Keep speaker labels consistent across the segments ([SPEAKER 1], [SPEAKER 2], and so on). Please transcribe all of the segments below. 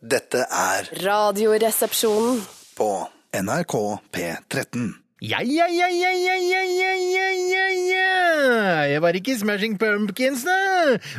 [SPEAKER 1] Dette er
[SPEAKER 2] Radioresepsjonen.
[SPEAKER 1] på NRK P13.
[SPEAKER 3] Ja, ja, ja, ja, ja, ja, ja, ja, ja, ja. Jeg var ikke i Smashing Pumpkins, da,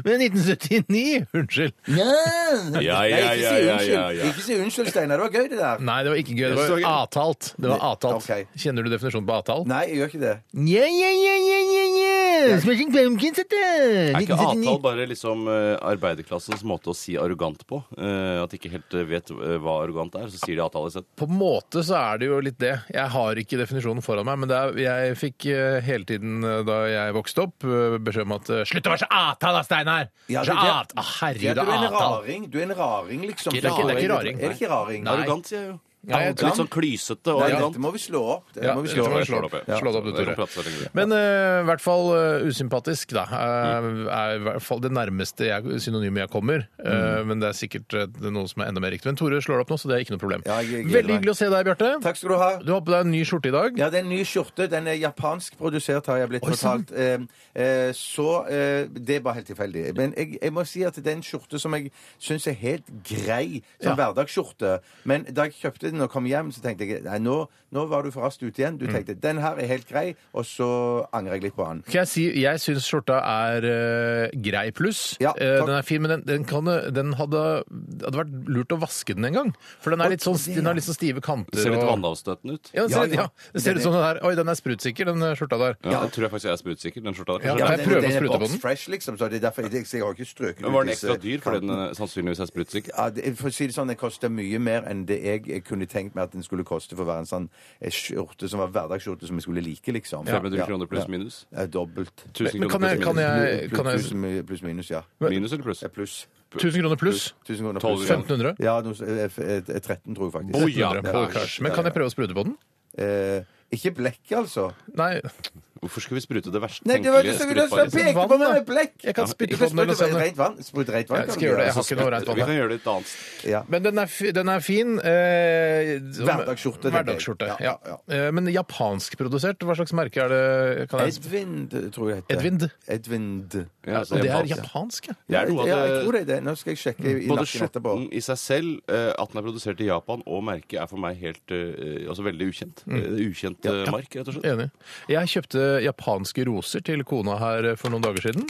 [SPEAKER 3] men 1979. Unnskyld.
[SPEAKER 4] Ja, ja, ja, ja, ja, ja.
[SPEAKER 5] Ikke si unnskyld, Steinar. Det var gøy, det der.
[SPEAKER 3] Nei, det var ikke gøy. Det var avtalt. Det var avtalt.
[SPEAKER 5] Ok.
[SPEAKER 3] Kjenner du definisjonen på avtall?
[SPEAKER 5] Nei, jeg gjør ikke det.
[SPEAKER 3] Ja, ja, ja, ja, ja, ja. Smashing Pumpkins, dette.
[SPEAKER 4] Er ikke avtall
[SPEAKER 3] 1979.
[SPEAKER 4] bare liksom eh, arbeiderklassens måte å si arrogant på? Eh, At de ikke helt eh, vet eh, hva arrogant er, så sier de avtale isteden.
[SPEAKER 3] På en måte så er det jo litt det. Jeg har ikke definisjonen foran meg, men det er, jeg fikk eh, hele tiden eh, da jeg vokste opp eh, beskjed om at eh, Slutt å være så avtall, da, Steinar!
[SPEAKER 5] Ja,
[SPEAKER 3] så
[SPEAKER 5] det- det-
[SPEAKER 3] avt... ah,
[SPEAKER 5] Ja,
[SPEAKER 3] herregud,
[SPEAKER 5] du er en
[SPEAKER 3] avtall.
[SPEAKER 5] raring. Du er en raring, liksom.
[SPEAKER 3] Ikke- det er ikke- det er ikke raring.
[SPEAKER 5] Er det ikke raring?
[SPEAKER 3] Nei.
[SPEAKER 4] Arrogant, sier jeg jo.
[SPEAKER 3] Ja, jeg tror-
[SPEAKER 4] Litt sånn klysete og
[SPEAKER 5] Nei,
[SPEAKER 4] arrogant.
[SPEAKER 5] dette må vi slå opp. Dette
[SPEAKER 3] Ja,
[SPEAKER 5] må vi
[SPEAKER 3] jeg
[SPEAKER 5] slå
[SPEAKER 3] tror
[SPEAKER 5] opp.
[SPEAKER 3] jeg slår det opp,
[SPEAKER 4] Ja.
[SPEAKER 3] slår det opp du,
[SPEAKER 4] Jeg kan
[SPEAKER 3] Tore.
[SPEAKER 4] prate så lenge.
[SPEAKER 3] Men eh, i hvert fall eh, usympatisk, da. eh, er i hvert fall det nærmeste jeg, synonymet jeg kommer.
[SPEAKER 5] Mm.
[SPEAKER 3] Eh, Men det er sikkert eh, det er noe som er enda mer riktig. Men Tore slår det opp nå, så det er ikke noe problem.
[SPEAKER 5] Ja, jeg gleder
[SPEAKER 3] Veldig
[SPEAKER 5] meg.
[SPEAKER 3] hyggelig å se deg, Bjarte.
[SPEAKER 5] Takk skal du ha.
[SPEAKER 3] Du har på deg en ny skjorte i dag.
[SPEAKER 5] Ja, det er en ny skjorte. Den er japansk produsert, har jeg blitt
[SPEAKER 3] Oi, sånn. sann.
[SPEAKER 5] fortalt. Eh, eh, så eh, Det er bare helt tilfeldig. Men jeg, jeg må si at det er en skjorte som jeg syns er helt grei som hverdagsskjorte. Men da jeg kjøpte den og kom hjem, så tenkte jeg nei, nå, nå var du for raskt ute igjen. Du
[SPEAKER 3] Mm.
[SPEAKER 5] tenkte den her er helt grei, og så angrer jeg litt på den.
[SPEAKER 3] Skal jeg si, jeg syns skjorta er eh, grei pluss.
[SPEAKER 5] Ja,
[SPEAKER 3] Eh,
[SPEAKER 5] takk.
[SPEAKER 3] den er fin, men den, den, kan, eh, den hadde, det hadde vært lurt å vaske den en gang. For den, er litt sånn, den har litt sånn stive kanter.
[SPEAKER 4] Det ser litt
[SPEAKER 3] og-
[SPEAKER 4] vannavstøtende ut.
[SPEAKER 3] Ja, den ser,
[SPEAKER 5] Ja,
[SPEAKER 3] litt-
[SPEAKER 5] ja.
[SPEAKER 3] ja. Det ser ut som den der. Oi, den er sprutsikker, den eh, skjorta der.
[SPEAKER 4] Ja, jeg tror jeg faktisk jeg er sprutsikker, den skjorta der.
[SPEAKER 3] Ja,
[SPEAKER 4] kanskje.
[SPEAKER 3] jeg prøver å
[SPEAKER 5] den er
[SPEAKER 3] sprute på
[SPEAKER 5] box
[SPEAKER 3] den.
[SPEAKER 5] Fresh, liksom, så det er derfor jeg, jeg har ikke strøket
[SPEAKER 4] Men Var den
[SPEAKER 5] disse
[SPEAKER 4] ekstra dyr fordi den
[SPEAKER 5] kantene.
[SPEAKER 4] eh, sannsynligvis er sprutsikker?
[SPEAKER 5] ja, det, for å si det sånn, Den koster mye mer enn det jeg kunne tenkt meg at den skulle koste for å være en sånn eh, skjorte som var hverdagsskjorte som jeg skulle like, liksom.
[SPEAKER 4] 500 kroner pluss minus?
[SPEAKER 5] Ja, dobbelt.
[SPEAKER 4] 1000
[SPEAKER 3] Men
[SPEAKER 4] kroner
[SPEAKER 3] kan jeg- kan jeg-
[SPEAKER 4] pluss minus?
[SPEAKER 5] Plu-
[SPEAKER 3] kan jeg-
[SPEAKER 5] Pluss, mi- pluss minus, ja.
[SPEAKER 4] Minus eller pluss?
[SPEAKER 5] Det er pluss.
[SPEAKER 3] 1000 kroner pluss.
[SPEAKER 5] 1000 kroner
[SPEAKER 4] Tolv
[SPEAKER 5] pluss.
[SPEAKER 4] kroner.
[SPEAKER 3] 1500?
[SPEAKER 5] Ja, noe så- eh, f- eh, 13 tror jeg faktisk.
[SPEAKER 4] Boja,
[SPEAKER 5] Ja,
[SPEAKER 3] Pokersh. Men kan jeg prøve å sprute på den?
[SPEAKER 5] Eh, ikke blekk, altså.
[SPEAKER 3] Nei.
[SPEAKER 4] Hvorfor skal vi sprute det verst
[SPEAKER 5] Nei, det var
[SPEAKER 4] tenkelige
[SPEAKER 5] det som ville
[SPEAKER 4] sprutbare?
[SPEAKER 3] pek-
[SPEAKER 5] peke på meg med blekk!
[SPEAKER 3] Jeg kan
[SPEAKER 5] Ja, ikke
[SPEAKER 3] spytte på den eller
[SPEAKER 5] sprute-
[SPEAKER 3] sende.
[SPEAKER 5] Rent vann. Sprut rent vann.
[SPEAKER 3] Jeg
[SPEAKER 5] kan du
[SPEAKER 3] skal gjøre det.
[SPEAKER 5] altså.
[SPEAKER 3] Jeg har ikke noe rent vann
[SPEAKER 4] Vi
[SPEAKER 3] her.
[SPEAKER 4] kan gjøre det litt annet.
[SPEAKER 5] Ja.
[SPEAKER 3] Men den er, fi- den er fin. Eh, som-
[SPEAKER 5] Hverdagsskjorte, tenker jeg.
[SPEAKER 3] Hverdagsskjorte,
[SPEAKER 5] Ja,
[SPEAKER 3] ja.
[SPEAKER 5] ja.
[SPEAKER 3] Eh, men japanskprodusert, hva slags merke er det? Kan jeg...
[SPEAKER 5] Edvind, tror jeg heter.
[SPEAKER 3] Edvind?
[SPEAKER 5] Edvind.
[SPEAKER 4] Ja, så
[SPEAKER 3] Og det er
[SPEAKER 4] japansk.
[SPEAKER 3] japansk, ja.
[SPEAKER 4] altså. Det er
[SPEAKER 5] Ja,
[SPEAKER 4] noe
[SPEAKER 5] jeg
[SPEAKER 4] av
[SPEAKER 5] tror
[SPEAKER 4] det Mm.
[SPEAKER 5] det er det. Nå skal jeg sjekke i
[SPEAKER 4] Både
[SPEAKER 5] nakken etterpå.
[SPEAKER 4] skjorten i seg selv, eh, at den er produsert i Japan, og merket er for meg helt eh, Altså veldig ukjent. Eh, Ukjent eh, mark, rett og slett.
[SPEAKER 3] Enig. Jeg kjøpte japanske roser til kona her for noen dager siden.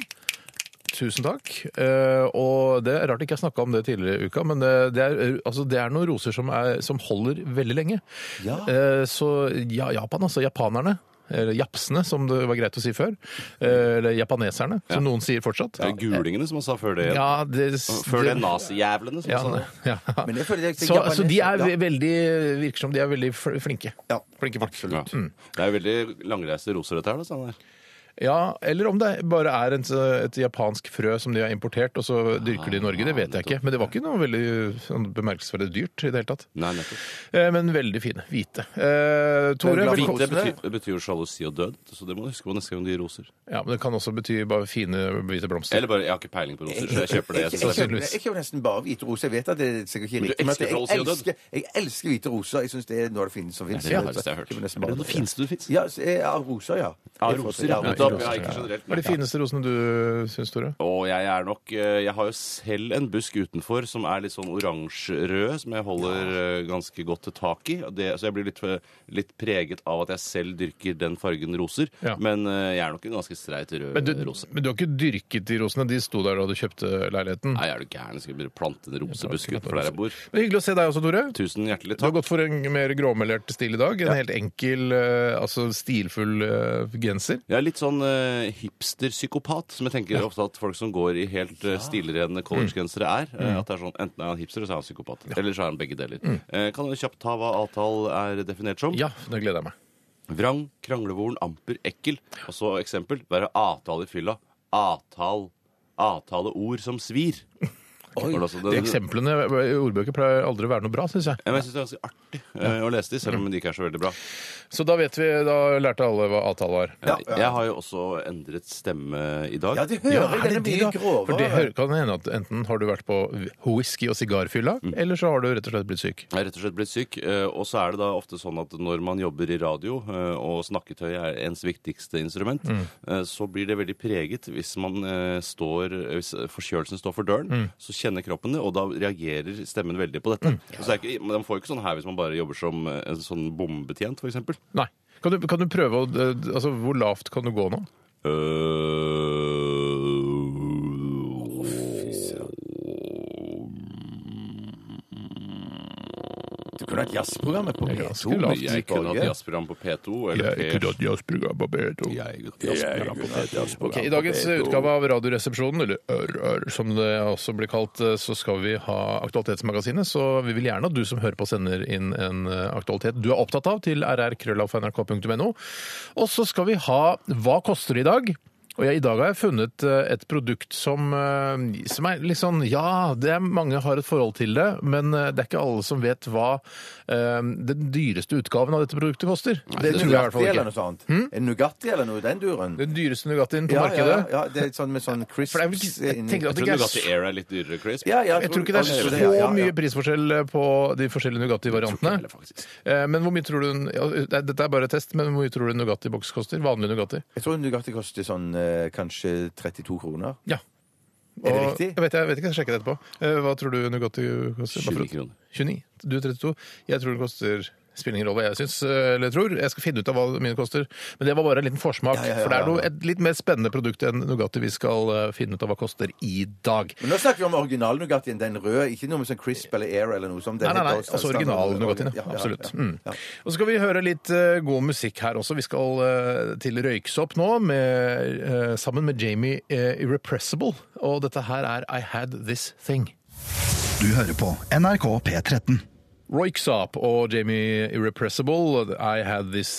[SPEAKER 3] Tusen takk. Eh, og det er rart ikke jeg snakka om det tidligere i uka, men det, det, er, altså, det er noen roser som, er, som holder veldig lenge.
[SPEAKER 5] Ja.
[SPEAKER 3] Eh, så ja, Japan, altså. Japanerne. Eller japsene, som det var greit å si før. Eh, eller japaneserne, som noen sier fortsatt.
[SPEAKER 4] Det er gulingene som han sa før det.
[SPEAKER 3] Ja, det,
[SPEAKER 4] Før det nazijævlene som
[SPEAKER 3] ja,
[SPEAKER 4] sa det.
[SPEAKER 3] ja.
[SPEAKER 5] Men jeg føler det er
[SPEAKER 3] Så, så de er
[SPEAKER 5] japanes-
[SPEAKER 3] ve- veldig, virker som de er veldig fl- flinke.
[SPEAKER 5] Ja.
[SPEAKER 3] Flinke folk.
[SPEAKER 4] Ja. Det er jo veldig langreiste roser, dette her. da, Steinar.
[SPEAKER 3] Ja, eller om det bare er et, et japansk frø som de har importert, og så dyrker de i Norge. Det
[SPEAKER 4] Ah,
[SPEAKER 3] vet jeg ikke. Men det var ikke noe veldig sånn, bemerkelsesverdig dyrt i det hele tatt.
[SPEAKER 4] Nei, nettopp.
[SPEAKER 3] Eh, Men veldig fine. Hvite. Eh,
[SPEAKER 5] Men
[SPEAKER 3] Tore,
[SPEAKER 5] glad for
[SPEAKER 3] velkommen.
[SPEAKER 4] Hvite
[SPEAKER 5] Rosene-
[SPEAKER 4] betyr, betyr jo sjalusi og død, så det må du huske på neste gang du gir roser.
[SPEAKER 3] Ja, men det kan også bety bare fine, hvite blomster.
[SPEAKER 4] Eller bare Jeg har ikke peiling på roser, så jeg kjøper det.
[SPEAKER 5] Jeg, jeg,
[SPEAKER 4] Jeg synes det er
[SPEAKER 5] kjøper, jeg kjøper nesten bare hvite roser. Jeg vet at det er sikkert ikke riktig,
[SPEAKER 4] Men du
[SPEAKER 5] men at
[SPEAKER 4] elsker
[SPEAKER 5] jeg,
[SPEAKER 4] roser,
[SPEAKER 5] jeg,
[SPEAKER 4] Odd.
[SPEAKER 5] elsker, jeg elsker hvite roser. Jeg syns det er noe av det fineste som fins.
[SPEAKER 4] det fineste jeg har hørt. Er det noe fineste du finnes?
[SPEAKER 5] Ja, så er- av roser, ja.
[SPEAKER 4] Av roser, ja.
[SPEAKER 5] av
[SPEAKER 4] Nettopp. Ja, ikke generelt.
[SPEAKER 3] Hva er de
[SPEAKER 4] men-
[SPEAKER 3] fineste rosene du syns, Tore?
[SPEAKER 4] Og jeg er nok eh, Jeg har jo selv en busk utenfor som er litt sånn oransjerød, som jeg holder eh, ganske godt til tak i. Og Det, så jeg blir litt, eh, litt preget av at jeg selv dyrker den fargen roser.
[SPEAKER 3] Ja.
[SPEAKER 4] Men eh, jeg er nok en ganske streit rød
[SPEAKER 3] Men du,
[SPEAKER 4] rose.
[SPEAKER 3] Eh, men du har ikke dyrket de rosene? De sto der da du kjøpte leiligheten?
[SPEAKER 4] Nei, er du gæren? Jeg Skal begynne å plante en rosebusk utenfor der jeg bor?
[SPEAKER 3] Men hyggelig å se deg også, Tore.
[SPEAKER 4] Tusen hjertelig
[SPEAKER 3] Du har
[SPEAKER 4] takk.
[SPEAKER 3] gått for en mer gråmelert stil i dag. En helt enkel, eh, altså stilfull eh, genser.
[SPEAKER 4] Jeg er litt sånn eh, hipster-psykopat, som jeg tenker ofte at folk som går i helt eh,
[SPEAKER 3] Mm.
[SPEAKER 4] stilrene collegegensere er. eh, at det er sånn, Enten er han hipster, eller så er han psykopat. Eller så er han begge deler.
[SPEAKER 3] Mm.
[SPEAKER 4] Eh, kan du kjapt ta hva avtal er definert som?
[SPEAKER 3] Ja, det gleder jeg meg.
[SPEAKER 4] Vrang, kranglevoren, amper, ekkel. Og så eksempel. Være avtale i fylla. Avtal, avtaleord som svir. Var det også-
[SPEAKER 3] De
[SPEAKER 4] det-
[SPEAKER 3] eksemplene i ordbøker pleier aldri å være noe bra, syns jeg.
[SPEAKER 4] Ja, men jeg syns det er ganske artig eh, å lese de, selv om de ikke er så veldig bra.
[SPEAKER 3] Så da vet vi, da lærte alle hva avtale var.
[SPEAKER 4] Jeg har jo også endret stemme i dag.
[SPEAKER 5] Ja, det hører jeg. Den er
[SPEAKER 3] det
[SPEAKER 5] mye
[SPEAKER 3] da? For det hø-
[SPEAKER 5] grovere.
[SPEAKER 3] kan hende at enten har du vært på whisky- og sigarfylla,
[SPEAKER 5] Mm.
[SPEAKER 3] eller så har du rett og slett blitt syk.
[SPEAKER 4] Jeg er rett og slett blitt syk. eh, Og så er det da ofte sånn at når man jobber i radio, eh, og snakketøy er ens viktigste instrument, eh, så blir det veldig preget hvis man eh, står Hvis forkjølelsen står for døren, så kjenner kroppen, og da reagerer stemmen veldig på dette. Så det er ikke, man får ikke sånn her hvis man bare jobber som eh, en sånn bombetjent, for eksempel.
[SPEAKER 3] Nei. Kan du, kan du prøve å eh, Altså, hvor lavt kan du gå nå?
[SPEAKER 5] Du kunne hatt jazzprogrammet på
[SPEAKER 3] er ganske
[SPEAKER 5] P2.
[SPEAKER 3] lavt.
[SPEAKER 5] Musikk
[SPEAKER 4] Eh, Jeg kunne hatt
[SPEAKER 5] Norge.
[SPEAKER 4] jazzprogram på P2 eller P...
[SPEAKER 3] Ok, I dagens eh, utgave av Radioresepsjonen, eller Ør, Ør, som det også blir kalt, eh, så skal vi ha Aktualitetsmagasinet. Så vi vil gjerne at du som hører på, sender inn en eh, aktualitet du er opptatt av, til rrkrøllalfa.nrk.no. Og så skal vi ha Hva koster det i dag? Og jeg, I dag har jeg funnet eh, et produkt som, eh, som er litt sånn Ja, det er mange har et forhold til det, men eh, det er ikke alle som vet hva eh, den dyreste utgaven av dette produktet koster. Det tror jeg i hvert
[SPEAKER 5] Nugatti
[SPEAKER 3] fall
[SPEAKER 5] eller
[SPEAKER 3] ikke.
[SPEAKER 5] noe sånt?
[SPEAKER 4] Hm?
[SPEAKER 5] En Nugatti eller noe i den duren?
[SPEAKER 3] Den dyreste Nugattien på
[SPEAKER 5] Ja, ja,
[SPEAKER 3] markedet.
[SPEAKER 5] ja, ja, det er sånn med sånn crisps
[SPEAKER 3] For det er vel ikke- jeg
[SPEAKER 5] inni.
[SPEAKER 3] tenker at
[SPEAKER 4] Jeg
[SPEAKER 3] det
[SPEAKER 4] tror
[SPEAKER 3] ikke er
[SPEAKER 4] Nugatti Air er litt dyrere, Chris.
[SPEAKER 5] Ja, ja,
[SPEAKER 3] Jeg tror ikke det
[SPEAKER 5] jeg
[SPEAKER 3] er
[SPEAKER 5] tror
[SPEAKER 3] så
[SPEAKER 5] det, ja, ja, ja.
[SPEAKER 3] mye prisforskjell på de forskjellige Nugatti-variantene.
[SPEAKER 4] heller, faktisk.
[SPEAKER 3] Eh, Men hvor mye tror du en- ja, det er- Dette er bare et test, men hvor mye tror du en Nugatti-boks koster? Vanlig Nugatti?
[SPEAKER 5] Jeg tror en Nugatti koster sånn eh, kanskje 32 kroner.
[SPEAKER 3] Ja.
[SPEAKER 5] Er det
[SPEAKER 3] Og-
[SPEAKER 5] riktig?
[SPEAKER 3] Jeg vet, jeg vet ikke, jeg skal sjekke det etterpå. Eh, Hva tror du Nugatti koster? Bare for å-
[SPEAKER 4] 29 kroner.
[SPEAKER 3] 29. Du 32. Jeg tror det koster Spiller ingen rolle hva jeg syns eh, eller tror. Jeg skal finne ut av hva mine koster. Men det var bare en liten forsmak.
[SPEAKER 5] Ja, ja, ja,
[SPEAKER 3] For det er
[SPEAKER 5] ja.
[SPEAKER 3] noe, et litt mer spennende produkt enn Nugatti vi skal eh, finne ut av hva koster i dag.
[SPEAKER 5] Men nå snakker vi om original Nugattien, den røde. Ikke noe med sånn crisp eller air eller noe sånt. Det
[SPEAKER 3] Nei,
[SPEAKER 5] er
[SPEAKER 3] nei, nei,
[SPEAKER 5] helt
[SPEAKER 3] altså
[SPEAKER 5] standard-
[SPEAKER 3] original-nougatien,
[SPEAKER 5] Ja,
[SPEAKER 3] ja.
[SPEAKER 5] ja, ja.
[SPEAKER 3] Absolutt.
[SPEAKER 5] Ja.
[SPEAKER 3] Mm. Og så skal vi høre litt eh, god musikk her også. Vi skal eh, til Røyksopp nå, med, eh, sammen med Jamie eh, Irrepressible. Og dette her er I Had This Thing.
[SPEAKER 1] Du hører på NRK P13.
[SPEAKER 3] Røyksopp og Jamie Irrepressible, I Had This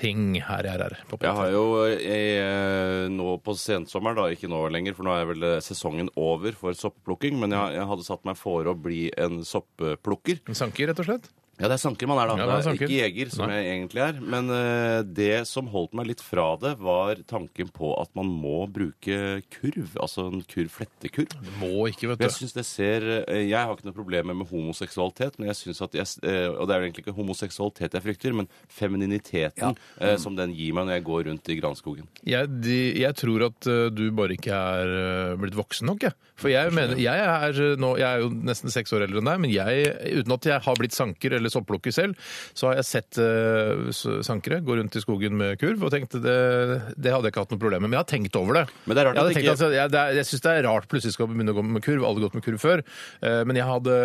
[SPEAKER 3] Thing her jeg er på
[SPEAKER 4] Jeg
[SPEAKER 3] P3.
[SPEAKER 4] har jo jeg, eh, nå på sensommeren, da, ikke nå lenger, for nå er vel eh, sesongen over for soppplukking, men jeg, jeg hadde satt meg fore å bli en sopplukker.
[SPEAKER 3] En sanker, rett og slett.
[SPEAKER 4] Ja, det er sanker man er, da.
[SPEAKER 3] Ja, det er sanker.
[SPEAKER 4] ikke jeger, som jeg egentlig er. Men eh, det som holdt meg litt fra det, var tanken på at man må bruke kurv. Altså en kurv, flettekurv.
[SPEAKER 3] Må ikke, vet
[SPEAKER 4] Men jeg
[SPEAKER 3] du.
[SPEAKER 4] synes det ser eh, Jeg har ikke noe problemer med homoseksualitet, men jeg synes at jeg, s- eh, Og det er jo egentlig ikke homoseksualitet jeg frykter, men femininiteten eh, som den gir meg når jeg går rundt i granskogen.
[SPEAKER 3] Jeg, de, jeg tror at eh, du bare ikke er eh, blitt voksen nok, jeg. For jeg, mener, jeg, er, eh, nå, jeg er jo nesten seks år eldre enn deg, men jeg, uten at jeg har blitt sanker eller sopplukker selv, så har jeg sett eh, s- sankere gå rundt i skogen med kurv og tenkte det, det hadde jeg ikke hatt noe problem med. Men jeg har tenkt over det.
[SPEAKER 4] Men det er
[SPEAKER 3] jeg
[SPEAKER 4] rart at
[SPEAKER 3] hadde
[SPEAKER 4] det
[SPEAKER 3] tenkt,
[SPEAKER 4] ikke-
[SPEAKER 3] altså, jeg, det er, jeg syns det er rart plutselig skal begynne å gå med kurv. Alle har gått med kurv før. eh, men jeg hadde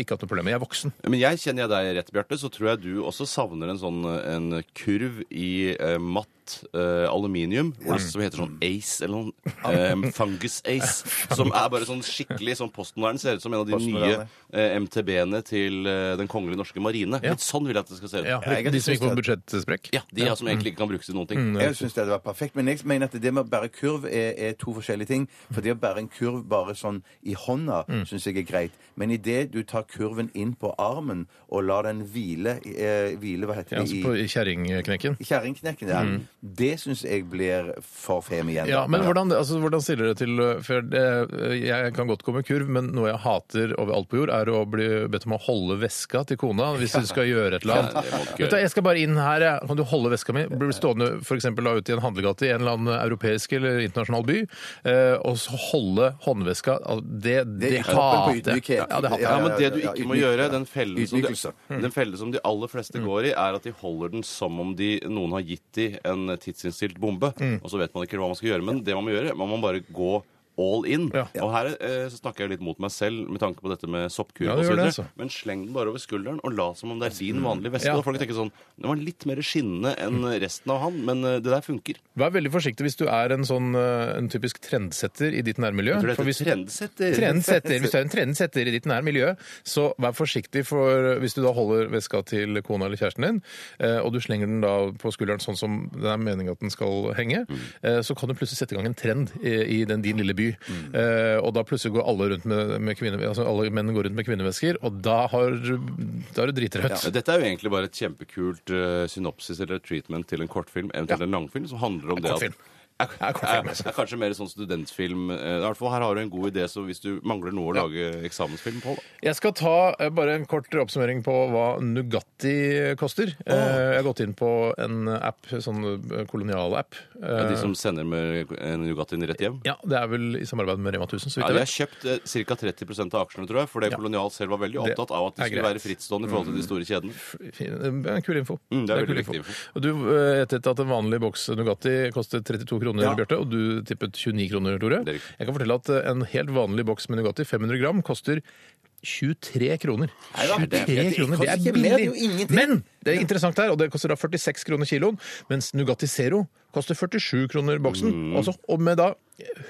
[SPEAKER 3] ikke hatt noe problem. Jeg er voksen.
[SPEAKER 4] Men jeg kjenner jeg deg rett, Bjarte, så tror jeg du også savner en sånn en kurv i eh, matt eh, aluminium hvor det- som heter sånn Ace eller noen eh, Fungus Ace. Som er bare sånn skikkelig sånn postmoderne. Ser ut som en av de nye
[SPEAKER 5] Postmoderne.
[SPEAKER 4] eh, MTB-ene til eh, Den kongelige norske marine. Litt sånn vil jeg at det skal se ut.
[SPEAKER 3] Ja,
[SPEAKER 4] Ja.
[SPEAKER 5] Jeg
[SPEAKER 3] de som gikk på
[SPEAKER 5] synes
[SPEAKER 3] budsjettsprekk.
[SPEAKER 4] de ja, som egentlig ikke kan brukes til noen ting.
[SPEAKER 5] Jeg syns det hadde vært perfekt, men jeg mener at det med å bære kurv er, er to forskjellige ting.
[SPEAKER 3] Mm.
[SPEAKER 5] For det å bære en kurv bare sånn i hånda syns jeg er greit. Men idet du tar kurven inn på armen og lar den hvile, eh, hvile hva heter
[SPEAKER 3] Ja,
[SPEAKER 5] det,
[SPEAKER 3] altså på
[SPEAKER 5] i
[SPEAKER 3] kjerringknekken.
[SPEAKER 5] kjerringknekken der,
[SPEAKER 4] Mm.
[SPEAKER 5] det syns jeg blir for fem igjen.
[SPEAKER 3] Ja, men hvordan, altså, hvordan stiller det til uh, For det, jeg kan godt gå med kurv, men noe jeg hater overalt på jord, er å bli bedt om å holde veska til kona hvis du skal gjøre et eller
[SPEAKER 4] Ja, det må du
[SPEAKER 3] annet.
[SPEAKER 4] ikke
[SPEAKER 3] Vet du, jeg skal bare inn her, jeg. Kan du holde veska mi? Blir stående for eksempel, da ute i en handlegate i en eller annen europeisk eller internasjonal by, eh, og så holde håndveska Altså, Det, det,
[SPEAKER 5] Det er
[SPEAKER 3] hater
[SPEAKER 5] kroppen på
[SPEAKER 3] jeg.
[SPEAKER 5] ydmykhet.
[SPEAKER 3] Ja, det hater jeg.
[SPEAKER 4] Ja, men det du
[SPEAKER 5] ja,
[SPEAKER 4] ikke
[SPEAKER 5] ja,
[SPEAKER 4] må
[SPEAKER 5] ydmyk-
[SPEAKER 4] gjøre,
[SPEAKER 5] ja.
[SPEAKER 4] den fellen, som
[SPEAKER 5] Ydmykelse.
[SPEAKER 4] de,
[SPEAKER 3] Mm.
[SPEAKER 4] den fellen som de aller fleste går i, er at de holder den som om de, noen har gitt de en tidsinnstilt bombe.
[SPEAKER 3] Mm.
[SPEAKER 4] Og så vet man ikke hva man skal gjøre. Men det man må gjøre, man må bare gå all in.
[SPEAKER 3] Ja.
[SPEAKER 4] Og her eh, så snakker jeg litt mot meg selv med tanke på dette med soppkur.
[SPEAKER 3] Ja,
[SPEAKER 4] og
[SPEAKER 3] du gjør
[SPEAKER 4] så
[SPEAKER 3] det,
[SPEAKER 4] videre.
[SPEAKER 3] altså. mm.
[SPEAKER 4] Men sleng den bare over skulderen og lat som om det er din vanlige veske.
[SPEAKER 3] Ja. Mm.
[SPEAKER 4] Da får du ikke tenke sånn Den var litt mer skinnende enn resten av han, men eh, det der funker.
[SPEAKER 3] Vær veldig forsiktig hvis du er en sånn uh, en typisk trendsetter i ditt nærmiljø.
[SPEAKER 4] For det
[SPEAKER 3] for
[SPEAKER 4] heter
[SPEAKER 3] hvis-
[SPEAKER 4] trendsetter.
[SPEAKER 3] Trendsetter. Hvis du er en trendsetter i ditt nære miljø, så vær forsiktig for hvis du da holder veska til kona eller kjæresten din, eh, og du slenger den da på skulderen sånn som det er meningen at den skal henge, eh, så kan du plutselig sette i gang en trend i, i den, din lille by. Eh, Og da plutselig går alle rundt med, med kvinne, altså alle menn går rundt med kvinnevesker, og da har du da er du dritrødt.
[SPEAKER 4] Ja, Dette er jo egentlig bare et kjempekult eh, synopsis eller treatment til en kortfilm, eventuelt en langfilm, som handler om det
[SPEAKER 3] kortfilm.
[SPEAKER 4] at
[SPEAKER 3] er
[SPEAKER 4] er,
[SPEAKER 3] kortfilm. altså.
[SPEAKER 4] er kanskje mer sånn studentfilm. eh, I hvert fall her har du en god idé, så hvis du mangler noe å lage eksamensfilm på, da.
[SPEAKER 3] Jeg skal ta eh, bare en kort oppsummering på hva Nugatti koster. Eh, Jeg har gått inn på en app, sånn eh, kolonial-app. Eh,
[SPEAKER 4] De som sender med en Nugattien rett hjem.
[SPEAKER 3] Ja, det er vel i samarbeid med Rema 1000, så
[SPEAKER 4] Ja,
[SPEAKER 3] vidt jeg
[SPEAKER 4] de har
[SPEAKER 3] vet.
[SPEAKER 4] kjøpt eh, ca. 30 av aksjene, tror jeg, fordi
[SPEAKER 3] Ja.
[SPEAKER 4] Kolonial selv var veldig
[SPEAKER 3] Det
[SPEAKER 4] opptatt av at
[SPEAKER 3] er
[SPEAKER 4] de skulle
[SPEAKER 3] greit. Mm.
[SPEAKER 4] være frittstående i forhold til de store kjedene.
[SPEAKER 3] Fin- det er Kul info.
[SPEAKER 4] Mm, det er veldig
[SPEAKER 3] kul
[SPEAKER 4] viktig
[SPEAKER 3] Og du eh, gjettet at en vanlig boks Nugatti kostet 32 kroner, Bjarte, og du tippet 29 kroner, Tore.
[SPEAKER 4] Det er riktig.
[SPEAKER 3] Jeg kan fortelle at eh, en helt vanlig boks med Nugatti, 500 gram, koster 23 kroner.
[SPEAKER 5] da, det er-
[SPEAKER 3] 23
[SPEAKER 5] det
[SPEAKER 3] kroner, det
[SPEAKER 5] koster
[SPEAKER 3] er
[SPEAKER 5] ikke mer, det er jo
[SPEAKER 3] billig!
[SPEAKER 5] ingenting.
[SPEAKER 3] Men det er interessant her, og det koster da 46 kroner kiloen, mens Nugatti Zero koster 47 kroner boksen. Altså, og med da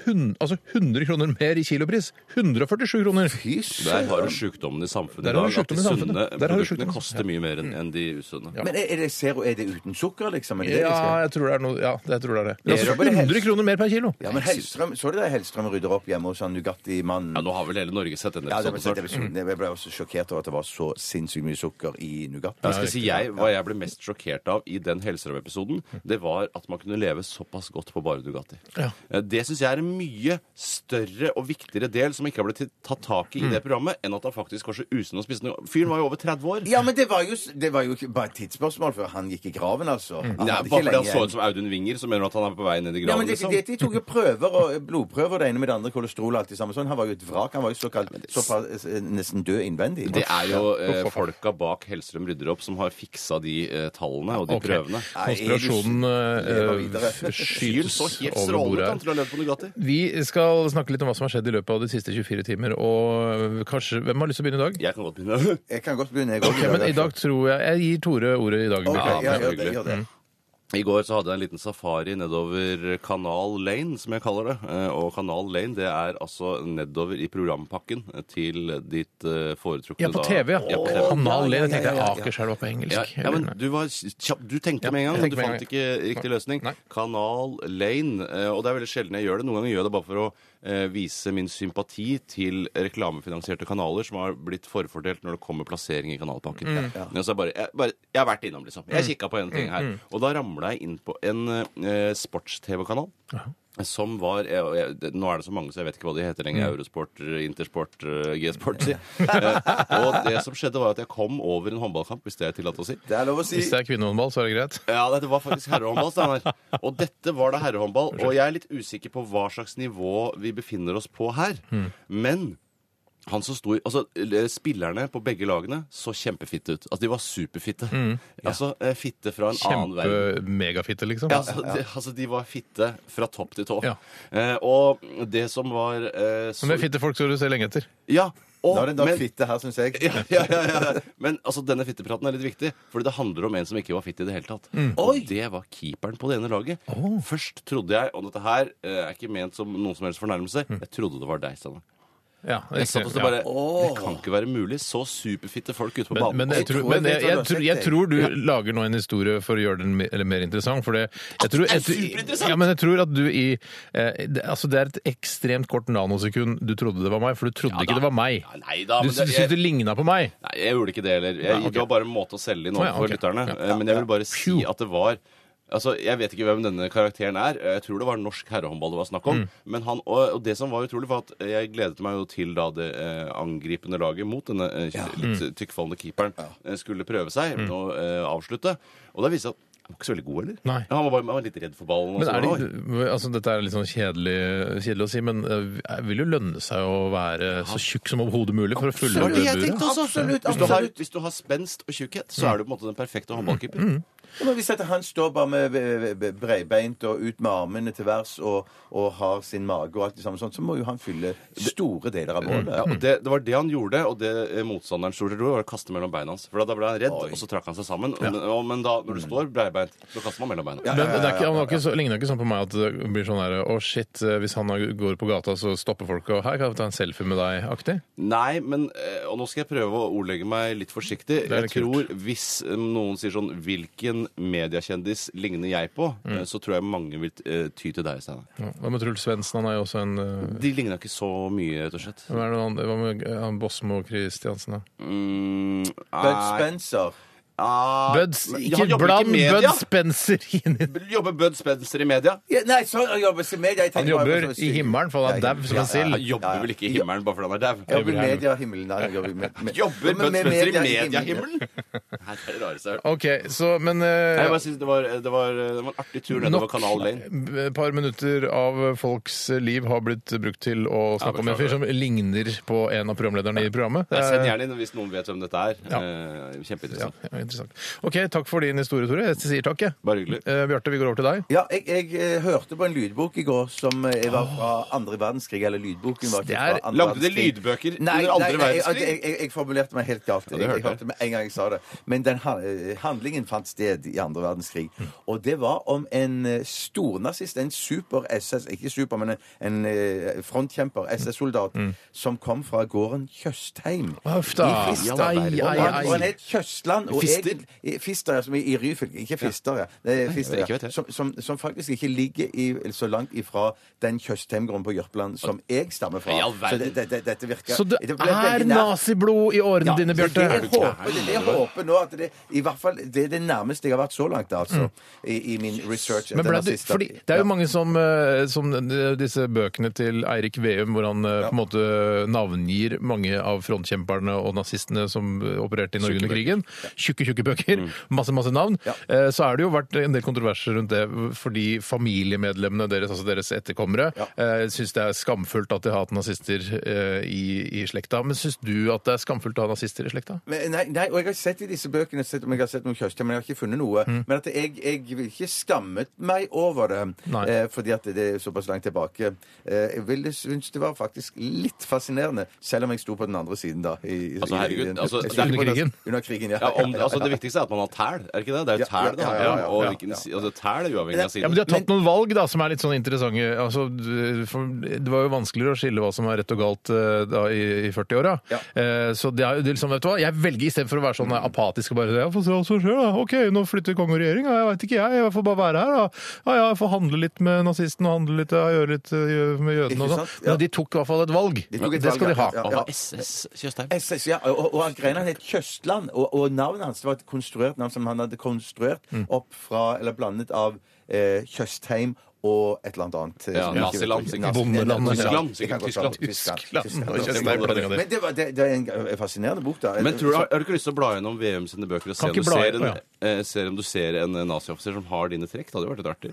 [SPEAKER 3] hun- altså 100 kroner mer i kilopris. 147 kroner!
[SPEAKER 4] Der har du sjukdommen i samfunnet i
[SPEAKER 3] Der har
[SPEAKER 4] dag.
[SPEAKER 3] du
[SPEAKER 4] At de
[SPEAKER 3] sjukdommen i samfunnet.
[SPEAKER 4] sunne
[SPEAKER 3] Der har du
[SPEAKER 4] produktene
[SPEAKER 3] sjukdommen. Ja.
[SPEAKER 4] koster mye mer enn enn de usunne.
[SPEAKER 5] Men er, er det Zero er det uten sukker, liksom? Er det det de skal?
[SPEAKER 3] Ja, jeg tror det er noe Ja, det- jeg tror det er det. Men
[SPEAKER 5] Jeg
[SPEAKER 3] altså
[SPEAKER 5] tror bare
[SPEAKER 3] 100
[SPEAKER 5] helst-
[SPEAKER 3] kroner mer per kilo!
[SPEAKER 5] Ja, men Hellstrøm, Så du det Hellstrøm rydder opp hjemme hos han Nugatti-mannen?
[SPEAKER 4] Ja, nå sånn har vel hele Norge sett denne
[SPEAKER 5] Ja, det var,
[SPEAKER 4] episoden
[SPEAKER 5] det
[SPEAKER 4] snart.
[SPEAKER 5] var, jeg ble også sjokkert over at det var så sinnssykt mye sukker i Nugatti.
[SPEAKER 4] Jeg skal si jeg, Hva jeg ble mest sjokkert av i den Hellstrøm-episoden, det var at man kunne leve såpass godt på bare Nugatti.
[SPEAKER 3] Ja.
[SPEAKER 4] Eh, Det syns jeg er en mye større og viktigere del som ikke har blitt tatt tak i i
[SPEAKER 5] Mm.
[SPEAKER 4] det programmet, enn at han faktisk var så usunn og spiste noe. Fyren var jo over 30 år.
[SPEAKER 5] Ja, men det var jo, det var jo ikke bare et tidsspørsmål før han gikk i graven, altså. Han
[SPEAKER 4] Nei,
[SPEAKER 5] hadde ikke
[SPEAKER 4] Mm. bare fordi han
[SPEAKER 5] lenge
[SPEAKER 4] så
[SPEAKER 5] igjen.
[SPEAKER 4] ut som Audun Winger, så mener du at han er på vei ned i
[SPEAKER 5] Ja,
[SPEAKER 4] graven?
[SPEAKER 5] men det,
[SPEAKER 4] liksom?
[SPEAKER 5] det, De tok jo prøver og eh, blodprøver, det ene med det andre, kolesterol og alt det samme. Sånn. Han var jo et vrak. Han var jo såkalt såpass eh, nesten død innvendig.
[SPEAKER 4] Det er jo eh, folka bak Hellstrøm rydder opp som har fiksa de eh, tallene og de
[SPEAKER 3] Ok.
[SPEAKER 4] prøvene.
[SPEAKER 3] Konspirasjonen
[SPEAKER 5] Lever
[SPEAKER 3] eh,
[SPEAKER 5] videre.
[SPEAKER 3] f-
[SPEAKER 4] Fyren
[SPEAKER 3] skytes
[SPEAKER 4] så helt
[SPEAKER 3] over
[SPEAKER 4] strålende ut
[SPEAKER 3] bordet her.
[SPEAKER 4] han til å ha levd på Nugatti.
[SPEAKER 3] Vi skal snakke litt om hva som har skjedd i løpet av de siste 24 timer. Og kanskje, Hvem har lyst til å begynne i dag?
[SPEAKER 4] Jeg kan godt begynne.
[SPEAKER 5] Jeg kan godt begynne, jeg òg.
[SPEAKER 3] Ja, men I dag Mm. tror jeg Jeg gir Tore ordet i dag.
[SPEAKER 5] Ok, ja,
[SPEAKER 3] Bjarte.
[SPEAKER 4] Ja, men
[SPEAKER 5] gjør det,
[SPEAKER 4] hyggelig.
[SPEAKER 5] gjør det.
[SPEAKER 4] I går så hadde jeg en liten safari nedover Kanal Lane, som jeg kaller det. Eh, Og Kanal Lane det er altså nedover i programpakken eh, til ditt eh, foretrukne
[SPEAKER 3] Ja, på TV, ja.
[SPEAKER 4] da-
[SPEAKER 3] ja
[SPEAKER 4] på TV.
[SPEAKER 3] Kanal
[SPEAKER 5] ja, ja,
[SPEAKER 3] 1. Jeg tenkte
[SPEAKER 5] ja, ja, ja.
[SPEAKER 3] Akerselva på engelsk.
[SPEAKER 4] Ja, ja, men du, var kjapp, du tenkte
[SPEAKER 3] Ja,
[SPEAKER 4] med en gang,
[SPEAKER 3] jeg
[SPEAKER 4] men
[SPEAKER 3] tenkte
[SPEAKER 4] du
[SPEAKER 3] med en gang.
[SPEAKER 4] fant ikke riktig løsning.
[SPEAKER 3] Nei.
[SPEAKER 4] Kanal Lane. eh, Og det er veldig sjelden jeg gjør det. Noen ganger gjør jeg det bare for å eh, vise min sympati til reklamefinansierte kanaler som har blitt forfordelt når det kommer plassering i kanalpakken.
[SPEAKER 3] Mm.
[SPEAKER 4] Men så er jeg bare, jeg, bare, jeg har vært innom, liksom. Jeg kikka på en ting
[SPEAKER 3] Mm.
[SPEAKER 4] her. Og da ramla jeg inn på en eh, sports-TV-kanal. Som var jeg, jeg, det, Nå er det så mange, så jeg vet ikke hva de heter lenger.
[SPEAKER 3] Mm.
[SPEAKER 4] Eurosport, Intersport, eh, G-sport. Si. Eh, og det som skjedde, var at jeg kom over en håndballkamp, hvis det er tillatt å si.
[SPEAKER 5] Det er lov å si.
[SPEAKER 3] Hvis det er kvinnehåndball, så er det greit.
[SPEAKER 4] Ja, det var faktisk herrehåndball, Steinar. Og dette var da herrehåndball. Og jeg er litt usikker på hva slags nivå vi befinner oss på her. Men han som sto i Altså, eh, spillerne på begge lagene så kjempefitte ut. Altså, de var superfitte. Altså, eh, fitte fra en annen verden.
[SPEAKER 3] Kjempemegafitte, liksom.
[SPEAKER 4] Ja, altså, de, altså, de var fitte fra topp til tå.
[SPEAKER 3] Ja.
[SPEAKER 4] Eh, og det som var eh, så
[SPEAKER 3] Men med fitte folk skal du se lenge etter.
[SPEAKER 4] Ja, og,
[SPEAKER 5] Nå er det en dag
[SPEAKER 4] men-
[SPEAKER 5] fitte her, syns jeg.
[SPEAKER 4] ja, ja, ja, ja. Men altså, denne fittepraten er litt viktig, fordi det handler om en som ikke var fitt i det hele tatt.
[SPEAKER 3] Mm.
[SPEAKER 4] Og det var keeperen på det ene laget. Først trodde jeg, og dette her eh, er ikke ment som noen som helst fornærmelse,
[SPEAKER 3] Mm.
[SPEAKER 4] jeg trodde det var deg, Steinar.
[SPEAKER 3] Ja,
[SPEAKER 4] Jeg satt og så
[SPEAKER 3] ja.
[SPEAKER 4] bare Det kan ikke være mulig. Så superfitte folk ute på
[SPEAKER 3] Men,
[SPEAKER 4] banen.
[SPEAKER 3] men, jeg,
[SPEAKER 5] tror
[SPEAKER 3] tror,
[SPEAKER 5] jeg
[SPEAKER 3] men
[SPEAKER 5] vet
[SPEAKER 3] jeg,
[SPEAKER 5] hva du
[SPEAKER 3] jeg,
[SPEAKER 5] har
[SPEAKER 3] tror,
[SPEAKER 5] sett,
[SPEAKER 3] jeg
[SPEAKER 5] jeg.
[SPEAKER 3] tror du lager nå en historie for å gjøre den mer, eller mer interessant. For det, jeg tror, jeg, tror-
[SPEAKER 4] superinteressant!
[SPEAKER 3] ja, men jeg tror at du i eh, det, altså det er et ekstremt kort nanosekund du trodde det var meg, for du trodde
[SPEAKER 4] Ja da.
[SPEAKER 3] ikke det var meg.
[SPEAKER 4] Ja, nei da,
[SPEAKER 3] du
[SPEAKER 4] men det-
[SPEAKER 3] syntes det ligna på meg.
[SPEAKER 4] Nei, jeg gjorde ikke det heller. Jeg,
[SPEAKER 3] Nei, ok.
[SPEAKER 4] Det var bare en måte å selge inn
[SPEAKER 3] Å, ja,
[SPEAKER 4] overfor
[SPEAKER 3] ok.
[SPEAKER 4] lytterne.
[SPEAKER 3] Ja,
[SPEAKER 4] Eh, Men jeg vil bare si at det var Altså, Jeg vet ikke hvem denne karakteren er. Eh, Jeg tror det var norsk herrehåndball det var snakk
[SPEAKER 3] Mm.
[SPEAKER 4] om. Men han, og, og det som var utrolig, var at jeg gledet meg jo til da det eh, angripende laget mot denne eh, litt
[SPEAKER 3] Mm.
[SPEAKER 4] tykkfallende keeperen eh, skulle prøve seg og eh, avslutte. Og da viste det seg at han var ikke så veldig god, eller?
[SPEAKER 3] Nei.
[SPEAKER 4] Ja, han, var bare, han var litt redd for ballen. og sånn.
[SPEAKER 3] Men
[SPEAKER 4] så
[SPEAKER 3] er
[SPEAKER 4] var han,
[SPEAKER 3] det, altså, dette er litt sånn kjedelig, kjedelig å si, men det vil jo lønne seg å være så tjukk som overhodet mulig for å
[SPEAKER 4] «Oi». det
[SPEAKER 3] fylle
[SPEAKER 4] var
[SPEAKER 3] opp
[SPEAKER 4] det
[SPEAKER 3] det
[SPEAKER 4] jeg
[SPEAKER 3] buret.
[SPEAKER 4] tenkte også!
[SPEAKER 5] Absolutt,
[SPEAKER 4] Hvis du har,
[SPEAKER 5] absolutt.
[SPEAKER 4] hvis du har spenst og tjukkhet, så
[SPEAKER 3] Mm.
[SPEAKER 4] er du på en måte den perfekte håndballkeeper.
[SPEAKER 5] Men hvis at han står bare med eh, be- breibeint og ut med armene til værs og, og har sin mage og alt det samme sånt, så må jo han fylle store deler av målet.
[SPEAKER 4] Ja,
[SPEAKER 3] Mm. Hm.
[SPEAKER 4] og det, det var det han gjorde, og det eh, motstanderen stort sett gjorde, var å kaste mellom beina hans. For da- da ble han redd, og så trakk han seg sammen. Men, og, men da, når du
[SPEAKER 3] Mm.
[SPEAKER 4] står breibeint, så kaster man mellom beina.
[SPEAKER 3] Men det er ikke, han var ikke så, ligner ikke sånn på meg at det blir sånn her Å, shit, hvis han går på gata, så stopper folk og Her kan vi ta en selfie med deg-aktig.
[SPEAKER 4] Nei, men eh, Og nå skal jeg prøve å ordlegge meg litt forsiktig.
[SPEAKER 3] er
[SPEAKER 4] Jeg
[SPEAKER 3] litt
[SPEAKER 4] tror hvis eh, noen sier sånn Hvilken mediekjendis ligner jeg på? eh, Så tror jeg mange vil eh, ty til deg, Steinar.
[SPEAKER 3] Mm. Ja, Hva med Truls Svendsen? Han er jo også en eh,
[SPEAKER 4] De ligner ikke så mye, rett og slett.
[SPEAKER 3] Hva er det han- hva med eh, han Bosmo Christiansen, da?
[SPEAKER 4] Mm,
[SPEAKER 5] Bud
[SPEAKER 4] nei.
[SPEAKER 5] Spencer.
[SPEAKER 4] ah,
[SPEAKER 3] Buds,
[SPEAKER 4] han
[SPEAKER 3] ikke
[SPEAKER 4] jobber
[SPEAKER 3] bland
[SPEAKER 4] i media.
[SPEAKER 3] Bud Spencer inn i
[SPEAKER 4] Jobber Bud Spencer i media?
[SPEAKER 5] Ja, nei, så han jobber ikke i media. jeg
[SPEAKER 3] Han
[SPEAKER 5] tenker bare
[SPEAKER 3] jobber
[SPEAKER 5] på sånn
[SPEAKER 3] i
[SPEAKER 5] stil.
[SPEAKER 3] himmelen, for han er
[SPEAKER 5] Ja,
[SPEAKER 3] dau som en
[SPEAKER 5] ja, ja.
[SPEAKER 4] Han
[SPEAKER 3] sild.
[SPEAKER 4] jobber vel ikke i himmelen bare fordi han er
[SPEAKER 5] Jeg
[SPEAKER 4] dau?
[SPEAKER 5] Jobber i mediehimmelen. da. Jeg Jobber, med, med,
[SPEAKER 4] Jobber
[SPEAKER 5] Ja, men
[SPEAKER 4] Bud
[SPEAKER 5] med
[SPEAKER 4] Spencer i
[SPEAKER 5] media-
[SPEAKER 4] mediehimmelen? Nei, Det er det rareste jeg har hørt.
[SPEAKER 3] OK, så Men
[SPEAKER 4] Nei,
[SPEAKER 3] eh,
[SPEAKER 4] Jeg bare synes det, var, det, var, det var en artig tur nedover
[SPEAKER 3] nok
[SPEAKER 4] Kanal Lane.
[SPEAKER 3] et par minutter av folks liv har blitt brukt til å snakke om en fyr som ligner på en av programlederne i programmet. Det
[SPEAKER 4] Jeg
[SPEAKER 3] er-
[SPEAKER 4] Send gjerne inn hvis noen vet hvem dette er. Eh,
[SPEAKER 3] ja,
[SPEAKER 4] Kjempeinteressant.
[SPEAKER 3] ja, interessant. OK, takk for din historie, Tore. Jeg sier takk, jeg.
[SPEAKER 4] Bare hyggelig.
[SPEAKER 3] Eh, Bjarte, vi går over til deg.
[SPEAKER 5] Ja, jeg, jeg eh, hørte på en lydbok i går som eh, var fra andre verdenskrig. Eller lydboken var
[SPEAKER 3] Det
[SPEAKER 5] ikke
[SPEAKER 3] er-
[SPEAKER 5] fra andre
[SPEAKER 4] Lagde dere
[SPEAKER 5] verdenskrig.
[SPEAKER 4] lydbøker
[SPEAKER 5] Nei,
[SPEAKER 4] under
[SPEAKER 5] nei,
[SPEAKER 4] andre
[SPEAKER 5] nei jeg,
[SPEAKER 4] verdenskrig?
[SPEAKER 5] jeg, jeg, jeg formulerte meg helt galt.
[SPEAKER 4] det
[SPEAKER 5] jeg, jeg
[SPEAKER 4] hørte jeg.
[SPEAKER 5] hørte med en gang jeg sa det. Men den ha- eh, handlingen fant sted i andre verdenskrig.
[SPEAKER 4] Mm.
[SPEAKER 5] Og det var om en eh, stornazist, en super-SS, ikke super, men en, en eh, frontkjemper, SS-soldat,
[SPEAKER 4] Mm.
[SPEAKER 5] som kom fra gården Tjøstheim.
[SPEAKER 3] Uff da.
[SPEAKER 5] I Fister.
[SPEAKER 3] Ai, ai,
[SPEAKER 5] Og han- og han
[SPEAKER 3] ai.
[SPEAKER 5] het Tjøstland. og
[SPEAKER 4] Fister?
[SPEAKER 5] egentlig- i- Fister, ja, som i, i Ryfylke. Ikke Fister, ja. Det er Fister,
[SPEAKER 4] vet ikke, vet
[SPEAKER 5] ja.
[SPEAKER 4] jeg.
[SPEAKER 5] Som, som, som faktisk ikke ligger i, så langt ifra den Tjøstheimgården på Jørpeland som jeg stammer
[SPEAKER 4] I all
[SPEAKER 5] fra. Så
[SPEAKER 4] verden.
[SPEAKER 5] det, det, det, dette virker
[SPEAKER 3] Så det
[SPEAKER 5] ble
[SPEAKER 3] er
[SPEAKER 5] veldig nært.
[SPEAKER 3] naziblod i årene dine,
[SPEAKER 5] så Det
[SPEAKER 3] Bjarte.
[SPEAKER 5] jeg håper, det, er det jeg håper nå at det, i hvert fall, det er det nærmeste jeg har vært så langt, altså, i, i min research.
[SPEAKER 3] Mm. Men
[SPEAKER 5] etter
[SPEAKER 3] ble du,
[SPEAKER 5] nazister.
[SPEAKER 3] fordi det er
[SPEAKER 5] Ja.
[SPEAKER 3] jo mange som, eh, som eh, disse bøkene til Eirik Veum, hvor han eh, på en måte navngir mange av frontkjemperne og nazistene som eh, opererte i Norge under krigen. Tjukke, tjukke bøker. Masse, masse navn.
[SPEAKER 5] Mm. Ja.
[SPEAKER 3] Eh, Så har det jo vært en del kontroverser rundt det fordi familiemedlemmene deres, altså deres etterkommere, eh, syns det er skamfullt at de har hatt nazister eh, i, i slekta. Men syns du at det er skamfullt å ha nazister i slekta?
[SPEAKER 5] Men, nei, nei, og jeg har sett i disse bøkene sett, om jeg har sett noe Kjøstheim, men jeg har ikke funnet noe.
[SPEAKER 3] Mm.
[SPEAKER 5] Men at jeg, jeg vil ikke skammet meg over det,
[SPEAKER 3] Nei.
[SPEAKER 5] eh, fordi at det er såpass langt tilbake. Eh, jeg ville synes det var faktisk litt fascinerende, selv om jeg sto på den andre siden da. I, i-
[SPEAKER 4] Altså, herregud,
[SPEAKER 5] i- i-
[SPEAKER 4] altså,
[SPEAKER 5] jeg
[SPEAKER 4] det er
[SPEAKER 5] sto på
[SPEAKER 3] under
[SPEAKER 5] den-
[SPEAKER 3] krigen.
[SPEAKER 5] Under krigen, ja.
[SPEAKER 4] Ja, om, altså Det viktigste er at man har tæl, er det ikke det? Det er jo
[SPEAKER 5] Ja,
[SPEAKER 4] tæl det
[SPEAKER 5] ja, ja,
[SPEAKER 4] handler
[SPEAKER 5] ja,
[SPEAKER 4] om. Og
[SPEAKER 5] ja,
[SPEAKER 4] hvilken
[SPEAKER 5] ja.
[SPEAKER 4] si- altså tæl er uavhengig av
[SPEAKER 3] Ja,
[SPEAKER 4] siden.
[SPEAKER 3] men De har tatt noen valg da, som er litt sånn interessante. Altså, du- for det var jo vanskeligere å skille hva som er rett og galt eh, da, i, i 40-åra.
[SPEAKER 5] Ja.
[SPEAKER 3] Eh, så det er jo det er liksom, vet du hva, jeg velger istedenfor å være sånn apatisk og bare ja, få se hva som skjer, da. OK, nå flytter kong og regjering, ja, jeg veit ikke jeg, jeg får bare være her, da. Ja, ja, jeg får handle litt med nazisten og handle litt, ja, gjøre litt eh, gjøre med jødene og
[SPEAKER 5] Ikke
[SPEAKER 3] sånn.
[SPEAKER 5] sant? Ja.
[SPEAKER 3] Men de tok i hvert fall et valg.
[SPEAKER 5] De tok et
[SPEAKER 3] det skal
[SPEAKER 5] valg,
[SPEAKER 3] de ha.
[SPEAKER 5] ja, ja.
[SPEAKER 4] Hva var SS Tjøstheim?
[SPEAKER 5] SS, ja, og, og han Grein han het Tjøstland, og, og navnet hans var et konstruert navn som han hadde konstruert
[SPEAKER 3] Mm.
[SPEAKER 5] opp fra, eller blandet av, eh, Tjøstheim og et eller annet annet. eh,
[SPEAKER 4] Ja,
[SPEAKER 5] som jeg ikke
[SPEAKER 4] naziland,
[SPEAKER 5] vet.
[SPEAKER 4] sikkert.
[SPEAKER 5] Nazi-
[SPEAKER 3] Bondeland,
[SPEAKER 5] ja,
[SPEAKER 4] Tyskland,
[SPEAKER 5] Det kan godt
[SPEAKER 4] sikkert.
[SPEAKER 5] være. Tyskland.
[SPEAKER 3] Tyskland.
[SPEAKER 5] Tyskland.
[SPEAKER 3] Og
[SPEAKER 5] Tyskland.
[SPEAKER 3] Tjøstheim-blandinga di.
[SPEAKER 5] Men det, var, det, det er en eh, fascinerende bok, da. Altså,
[SPEAKER 4] Men tror du, Har du ikke lyst til å bla gjennom VM sine bøker og se
[SPEAKER 3] Kan
[SPEAKER 4] om du
[SPEAKER 3] ikke bla-
[SPEAKER 4] ser
[SPEAKER 3] Å,
[SPEAKER 4] en,
[SPEAKER 3] ja.
[SPEAKER 4] eh, ser om du ser en eh, nazioffiser som har dine trekk? Det hadde jo vært litt artig.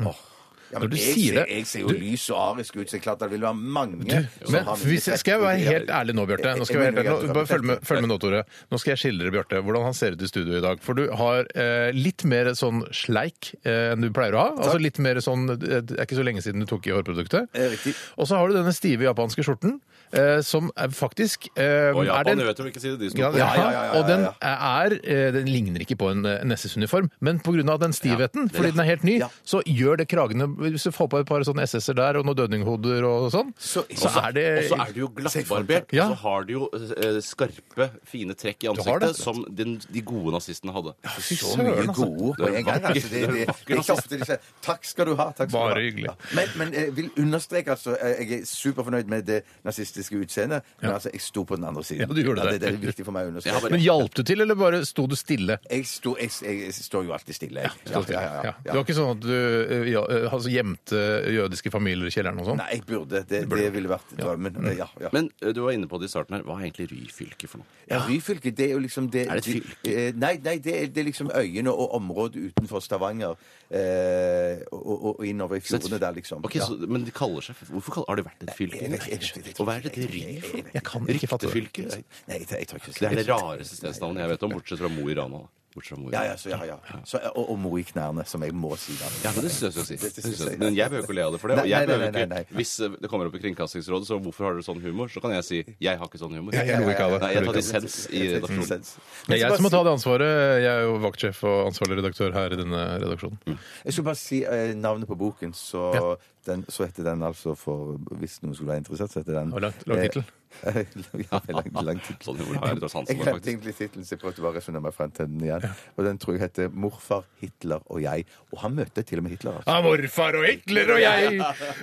[SPEAKER 5] Ja,
[SPEAKER 3] Når
[SPEAKER 5] men
[SPEAKER 3] du
[SPEAKER 5] jeg, ser,
[SPEAKER 3] sier det-
[SPEAKER 5] jeg ser jo
[SPEAKER 3] du-
[SPEAKER 5] lys og arisk ut, så klart det vil være mange som
[SPEAKER 3] Men
[SPEAKER 5] har mine
[SPEAKER 3] hvis, skal jeg
[SPEAKER 5] trekk.
[SPEAKER 3] være helt ærlig nå, Bjarte? Nå skal jeg være helt ærlig. Nå, bare følg med, følg med nå, Tore. Nå skal jeg skildre Bjarte hvordan han ser ut i studio i dag. For du har eh, litt mer sånn sleik eh, enn du pleier å ha. Altså litt mer sånn eh, Det er ikke så lenge siden du tok i hårproduktet.
[SPEAKER 5] Eh, riktig.
[SPEAKER 3] Og så har du denne stive japanske skjorten, eh, som er faktisk eh,
[SPEAKER 4] Og
[SPEAKER 3] er
[SPEAKER 4] Japan,
[SPEAKER 3] den-
[SPEAKER 4] du vet jo hvilken side de
[SPEAKER 3] ja,
[SPEAKER 4] står på.
[SPEAKER 3] ja,
[SPEAKER 5] ja, ja, ja,
[SPEAKER 3] Og den
[SPEAKER 5] ja.
[SPEAKER 3] er eh, Den ligner ikke på en eh, SS-uniform, men pga. den stivheten, fordi
[SPEAKER 4] Ja.
[SPEAKER 3] den er helt ny,
[SPEAKER 5] Ja.
[SPEAKER 3] så gjør det kragene Hvis du får på et par sånne SS-er der og noen dødninghoder og sånn, så,
[SPEAKER 5] Så-
[SPEAKER 3] er
[SPEAKER 5] Eh,
[SPEAKER 3] det
[SPEAKER 4] Og så er du jo glattbarbert,
[SPEAKER 3] Ja.
[SPEAKER 4] og så har du jo eh, skarpe, fine trekk i
[SPEAKER 3] har det.
[SPEAKER 4] ansiktet som den, de gode nazistene hadde.
[SPEAKER 3] Fy
[SPEAKER 5] Så mye
[SPEAKER 3] søren, altså.
[SPEAKER 5] gode ord på en gang. Altså. Det, det, det, er ikke ofte de sier 'takk skal du ha'. Takk skal
[SPEAKER 3] Bare
[SPEAKER 5] du ha.
[SPEAKER 3] hyggelig.
[SPEAKER 5] Ja. Men, men jeg vil understreke, altså, jeg er superfornøyd med det nazistiske utseendet, men altså, jeg sto på den andre siden.
[SPEAKER 3] Ja, du gjorde det.
[SPEAKER 5] det, er viktig for meg å
[SPEAKER 4] Ja,
[SPEAKER 5] understreke.
[SPEAKER 4] bare-
[SPEAKER 3] Men hjalp du til, eller bare sto du stille?
[SPEAKER 5] Jeg, sto, jeg, jeg står jo alltid stille, jeg. Ja, ja, ja, ja.
[SPEAKER 3] Det var ikke sånn at du eh, ja, eh, altså, gjemte jødiske familier i kjelleren og sånn?
[SPEAKER 5] Nei, jeg burde. Det, det ville vært drømmen.
[SPEAKER 3] Mm.
[SPEAKER 5] Ja, ja.
[SPEAKER 4] Men eh, du var inne på det i starten her. Hva er egentlig Ryfylke for noe?
[SPEAKER 5] Ja, Ryfylke, det er jo liksom det
[SPEAKER 4] Er det et fylke?
[SPEAKER 5] Eh, Nei, nei det, er, det er liksom øyene og området utenfor Stavanger eh, og, og, og innover i fjordene der, liksom.
[SPEAKER 4] Ok, så, men de kaller seg Hvorfor kaller, har det vært et fylke?
[SPEAKER 5] Jeg vet- Eh, jeg vet- jeg vet-
[SPEAKER 4] Og hva er dette Ry for noe?
[SPEAKER 3] Jeg kan ikke fatte det.
[SPEAKER 4] Ryktefylke? liksom.
[SPEAKER 5] Nei, jeg, jeg tar ikke
[SPEAKER 4] Det er det rareste stedsnavnet jeg vet om, bortsett fra Mo i Rana. da. Bortsett fra Mo i
[SPEAKER 5] Ja,
[SPEAKER 4] Rana.
[SPEAKER 5] ja, så, ja, ja. Så, og, og mo i knærne, som jeg må si. da.
[SPEAKER 4] Ja, men det synes jeg skal si.
[SPEAKER 5] Det- det
[SPEAKER 4] Det
[SPEAKER 5] synes
[SPEAKER 4] synes jeg.
[SPEAKER 5] jeg.
[SPEAKER 4] Men jeg behøver ikke å le av det for det. Og
[SPEAKER 5] Nei,
[SPEAKER 4] jeg
[SPEAKER 5] nei, nei,
[SPEAKER 4] behøver
[SPEAKER 5] nei,
[SPEAKER 4] ikke,
[SPEAKER 5] nei.
[SPEAKER 4] hvis eh, det kommer opp i Kringkastingsrådet, så hvorfor har dere sånn humor? Så kan jeg si jeg har ikke sånn humor.
[SPEAKER 3] Jeg- jeg lo ikke av det.
[SPEAKER 4] Nei, jeg tar dissens i
[SPEAKER 5] Jeg tar
[SPEAKER 4] redaksjonen.
[SPEAKER 5] dissens.
[SPEAKER 3] Det
[SPEAKER 5] Men
[SPEAKER 3] er
[SPEAKER 5] jeg
[SPEAKER 3] jeg som
[SPEAKER 5] skal
[SPEAKER 3] må ta
[SPEAKER 5] bare
[SPEAKER 3] det ansvaret. Jeg er jo vaktsjef og ansvarlig redaktør her i denne redaksjonen.
[SPEAKER 5] si- Jeg skulle bare si eh, navnet på boken, så, den, så heter den altså for Hvis noen skulle være interessert, så heter den
[SPEAKER 3] Og lang- lang
[SPEAKER 5] eh,
[SPEAKER 3] tittel.
[SPEAKER 5] ja, lang, lang tittel.
[SPEAKER 4] Sånn humor har jeg litt
[SPEAKER 5] Jeg
[SPEAKER 4] av sansen for,
[SPEAKER 5] glemte
[SPEAKER 4] faktisk.
[SPEAKER 5] egentlig tittelen, så jeg prøvde bare å resonnere meg frem til den igjen. Og den tror jeg heter 'Morfar, Hitler og jeg'. Og han møtte til og med Hitler. altså.
[SPEAKER 3] Ja, morfar og Hitler og jeg!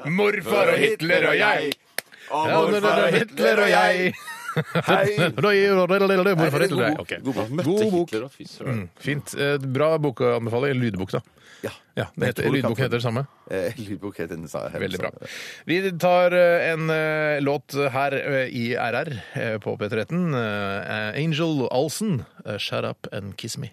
[SPEAKER 3] Morfar og Hitler og jeg! Ja, morfar og Hitler og jeg!
[SPEAKER 5] Hei!
[SPEAKER 3] Hvorfor heter du det?
[SPEAKER 4] god,
[SPEAKER 3] Ok.
[SPEAKER 4] god bok. Møtte
[SPEAKER 3] God bok.
[SPEAKER 4] Hitler og fy søren.
[SPEAKER 3] Fint. Eh, Bra bokanbefaling. Lydbok, da.
[SPEAKER 5] Ja.
[SPEAKER 3] Ja, det heter,
[SPEAKER 5] tror du kan
[SPEAKER 3] lydbok
[SPEAKER 5] få-
[SPEAKER 3] heter det samme.
[SPEAKER 5] Eh, Lydbok heter den. sa Altså, jeg.
[SPEAKER 3] Veldig bra. Vi tar eh, en eh, låt her eh, i RR eh, på P13. Eh, Angel Olsen, eh, 'Shut Up and Kiss Me'.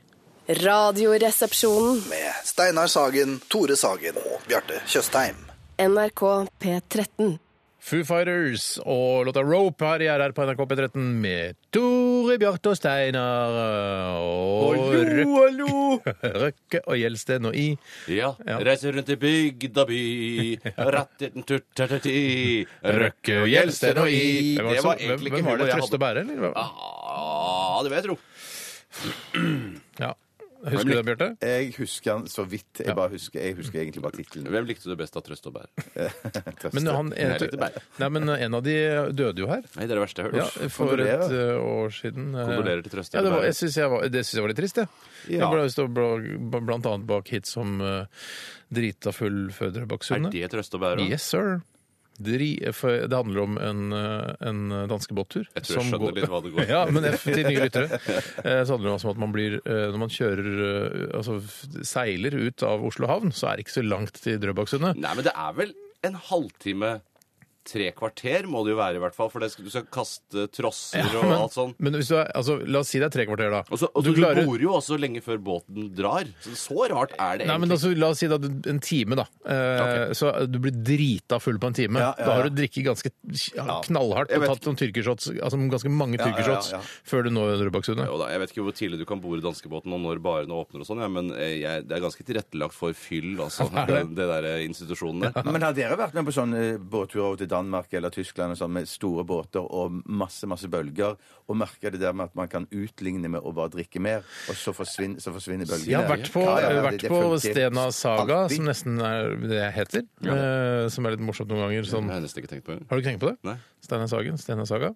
[SPEAKER 2] Radioresepsjonen.
[SPEAKER 6] Med Steinar Sagen, Tore Sagen og Bjarte Tjøstheim.
[SPEAKER 2] NRK P13.
[SPEAKER 3] Foo Fighters og låta 'Rope' her i RR på NRK P13 med Tore Bjarte og Steinar eh, og Røkke,
[SPEAKER 5] hallo!
[SPEAKER 3] Røkke og Gjelsten og I.
[SPEAKER 4] Ja.
[SPEAKER 3] Ja.
[SPEAKER 4] Reiser rundt i bygda by, rattetentutterti,
[SPEAKER 3] Røkke og Gjelsten og I.
[SPEAKER 4] Det
[SPEAKER 3] Hvem
[SPEAKER 4] var,
[SPEAKER 3] var, det som-
[SPEAKER 4] egentlig
[SPEAKER 3] hvem,
[SPEAKER 4] ikke
[SPEAKER 3] hvem var det?
[SPEAKER 4] humor jeg
[SPEAKER 3] Trøste
[SPEAKER 4] hadde.
[SPEAKER 3] Bære, eller? Hvem-
[SPEAKER 4] Ah, det vil jeg tro.
[SPEAKER 3] Ja. Husker du det, Bjarte?
[SPEAKER 5] eh, Jeg husker han så vidt. Jeg, bare husker, jeg husker egentlig bare tittelen.
[SPEAKER 4] Hvem likte du best av Trøst og Bær?
[SPEAKER 3] Men, han,
[SPEAKER 4] Jeg likte Bære.
[SPEAKER 3] nei, men en av de døde jo her.
[SPEAKER 4] Nei, det er det verste jeg har
[SPEAKER 3] Ja,
[SPEAKER 4] hørt.
[SPEAKER 3] for et
[SPEAKER 5] Kondolerer.
[SPEAKER 3] eh, år siden. eh.
[SPEAKER 4] Kondolerer til Trøste
[SPEAKER 3] Ja, det var,
[SPEAKER 4] Bære.
[SPEAKER 3] jeg synes jeg var, det syns jeg var litt trist, jeg.
[SPEAKER 5] Ja.
[SPEAKER 3] Jeg ble stå bl- blant annet bak hit som eh, drita full fødre bak
[SPEAKER 4] Er
[SPEAKER 3] sundet.
[SPEAKER 4] det Trøst og Bær? da?
[SPEAKER 3] Yes, sir. Dri, for det handler om en, eh, en danskebåttur.
[SPEAKER 4] Jeg tror jeg skjønner litt hva det går i.
[SPEAKER 3] Ja, men F til nye lyttere. Eh, Så handler det altså om at man blir eh, Når man kjører eh, Altså f- seiler ut av Oslo havn, så er det ikke så langt til Drøbaksundet.
[SPEAKER 4] Nei, men det er vel en halvtime Tre kvarter må det jo være, i hvert fall. For det skal, du skal kaste trosser og alt sånn.
[SPEAKER 3] Men hvis du er, altså, la oss si det er tre kvarter, da.
[SPEAKER 4] Og så, og
[SPEAKER 3] Du
[SPEAKER 4] du,
[SPEAKER 3] klarer-
[SPEAKER 4] bor jo også lenge før båten drar. Så, så rart er det
[SPEAKER 3] Nei, men altså,
[SPEAKER 4] egentlig.
[SPEAKER 3] La oss si da, du- en time, da. Eh, Så du blir drita full på en time.
[SPEAKER 5] Ja, ja,
[SPEAKER 3] Da har du
[SPEAKER 5] ja.
[SPEAKER 3] drikket ganske ja, knallhardt
[SPEAKER 4] Jeg
[SPEAKER 3] og
[SPEAKER 4] vet
[SPEAKER 3] tatt noen tyrkershots, altså ganske mange
[SPEAKER 5] ja, ja,
[SPEAKER 3] tyrkershots,
[SPEAKER 5] ja.
[SPEAKER 3] før du når Drøbaksundet.
[SPEAKER 4] Jo da, jeg vet ikke hvor tidlig du kan bore danskebåten og når barene åpner og sånn, ja, men eh, jeg, det er ganske tilrettelagt for fyll, altså. Det, det der eh, institusjonen der.
[SPEAKER 5] Men har dere vært med på sånne båtturer over til Danmark eller Tyskland og sånn, med store båter og masse masse bølger, og merka det der med at man kan utligne med å bare drikke mer, og så forsvinner, så forsvinner bølgene?
[SPEAKER 3] Jeg har vært på,
[SPEAKER 5] Ja, ja, ja,
[SPEAKER 3] vært
[SPEAKER 5] det- det
[SPEAKER 3] på
[SPEAKER 5] funker
[SPEAKER 3] Stena Saga, sånn
[SPEAKER 5] alltid.
[SPEAKER 3] som nesten er det jeg heter. eh, Som er litt morsomt noen ganger.
[SPEAKER 4] Det
[SPEAKER 3] Sånn.
[SPEAKER 4] har jeg nesten ikke tenkt på.
[SPEAKER 3] Har du ikke tenkt på det?
[SPEAKER 4] Nei.
[SPEAKER 3] Steinar Sagen, Steinar Saga.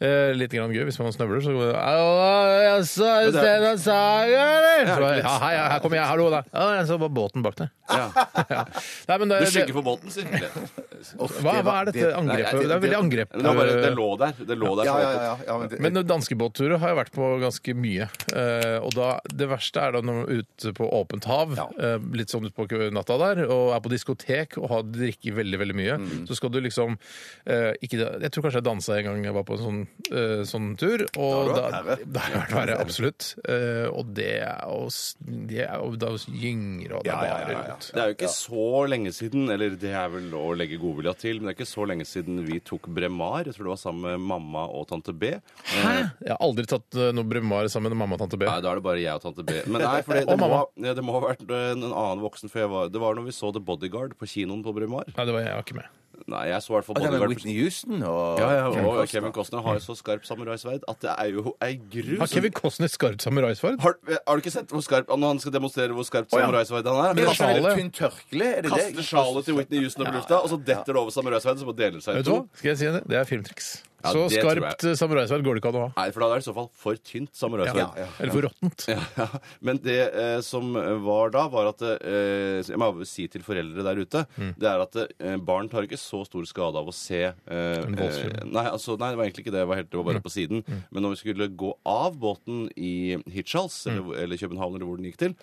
[SPEAKER 3] Eh, litt grann gøy hvis man snøvler, så går det «Hallo, jeg så er det Steinar Saga, eller? Så, bare, ja, hei, ja, her kommer jeg, hallo der. Ja, jeg så bare båten bak der.
[SPEAKER 4] Ja.
[SPEAKER 3] Ja. Nei, men det,
[SPEAKER 4] Du
[SPEAKER 3] det,
[SPEAKER 4] skygger for båten, sier jeg.
[SPEAKER 3] hva, hva er dette angrepet?
[SPEAKER 5] Nei,
[SPEAKER 3] Det er veldig angrep.
[SPEAKER 4] Men Det, var bare, det lå der. Det lå der
[SPEAKER 5] Ja,
[SPEAKER 4] for
[SPEAKER 5] ja,
[SPEAKER 4] åpen-
[SPEAKER 5] ja. ja men det,
[SPEAKER 3] Men danskebåtturer har jeg vært på ganske mye. Eh, og da, Det verste er da når man er ute på åpent hav, eh, litt sånn utpå natta der, og er på diskotek og har drikker veldig veldig mye.
[SPEAKER 5] Mm.
[SPEAKER 3] Så skal du liksom eh, ikke, Jeg tror kanskje jeg dansa en gang jeg var på en sånn, eh, sånn tur. Og
[SPEAKER 5] Da har
[SPEAKER 3] da,
[SPEAKER 5] du vært
[SPEAKER 3] da, har jeg vært verre, absolutt. Eh, og det er jo s- det er jo da gynger og det
[SPEAKER 5] Ja, ja,
[SPEAKER 3] varer
[SPEAKER 5] ja, ja, ja.
[SPEAKER 3] ut.
[SPEAKER 4] Det er jo ikke så lenge siden, eller det er vel å legge godvilja til, men det er ikke så lenge siden vi tok Bremar. Jeg tror det var sammen med mamma og tante B.
[SPEAKER 3] Hæ? Jeg har aldri tatt eh, noe Bremar sammen med mamma og tante B.
[SPEAKER 4] Nei, da er det bare jeg og tante B. Men nei, for det,
[SPEAKER 3] Og
[SPEAKER 4] det, må,
[SPEAKER 3] mamma.
[SPEAKER 4] ja, det må ha vært eh, en, en annen voksen før jeg var Det var når vi så The Bodyguard på kinoen på Bremar.
[SPEAKER 3] Nei, det var jeg, jeg var ikke med.
[SPEAKER 4] Nei, jeg så i hvert fall
[SPEAKER 5] og det med
[SPEAKER 4] Bodyguard.
[SPEAKER 5] Whitney Houston og
[SPEAKER 4] Ja, ja, og Kevin Costner har jo så skarp samuraisverd at det er jo ei grus.
[SPEAKER 3] Har Kevin Costner skarpt samuraisverd?
[SPEAKER 4] har, har du ikke sett hvor skarp når han skal demonstrere hvor skarp samuraisverd han er?
[SPEAKER 3] Men det
[SPEAKER 4] Han
[SPEAKER 3] er
[SPEAKER 4] kaster-
[SPEAKER 3] sjalet.
[SPEAKER 5] Eller Tynn tørkle? Er det
[SPEAKER 4] Kaster
[SPEAKER 5] det?
[SPEAKER 4] sjalet til Whitney Houston opp i lufta, og så detter det over samuraisverdet, så bare deler det seg i
[SPEAKER 3] Vet du hva?
[SPEAKER 4] to.
[SPEAKER 3] Skal jeg si det? Det er filmtriks.
[SPEAKER 4] Ja,
[SPEAKER 3] så
[SPEAKER 4] det tror jeg.
[SPEAKER 3] skarpt eh, samuraisverd går det ikke an å ha.
[SPEAKER 4] Nei, for da er det i så fall for tynt samuraisverd.
[SPEAKER 5] Ja, ja.
[SPEAKER 3] Eller for råttent.
[SPEAKER 4] Ja, men det eh, som var da, var at eh, Jeg må jo si til foreldre der ute
[SPEAKER 3] Mm.
[SPEAKER 4] Det er at eh, barn tar ikke så stor skade av å se eh,
[SPEAKER 3] voldsfilm. Mm.
[SPEAKER 4] eh, nei, altså, nei, det var egentlig ikke det. Det var, helt, det var bare på siden. Men når vi skulle gå av båten i Hirtshals,
[SPEAKER 3] Mm.
[SPEAKER 4] eller, eller København, eller hvor den gikk til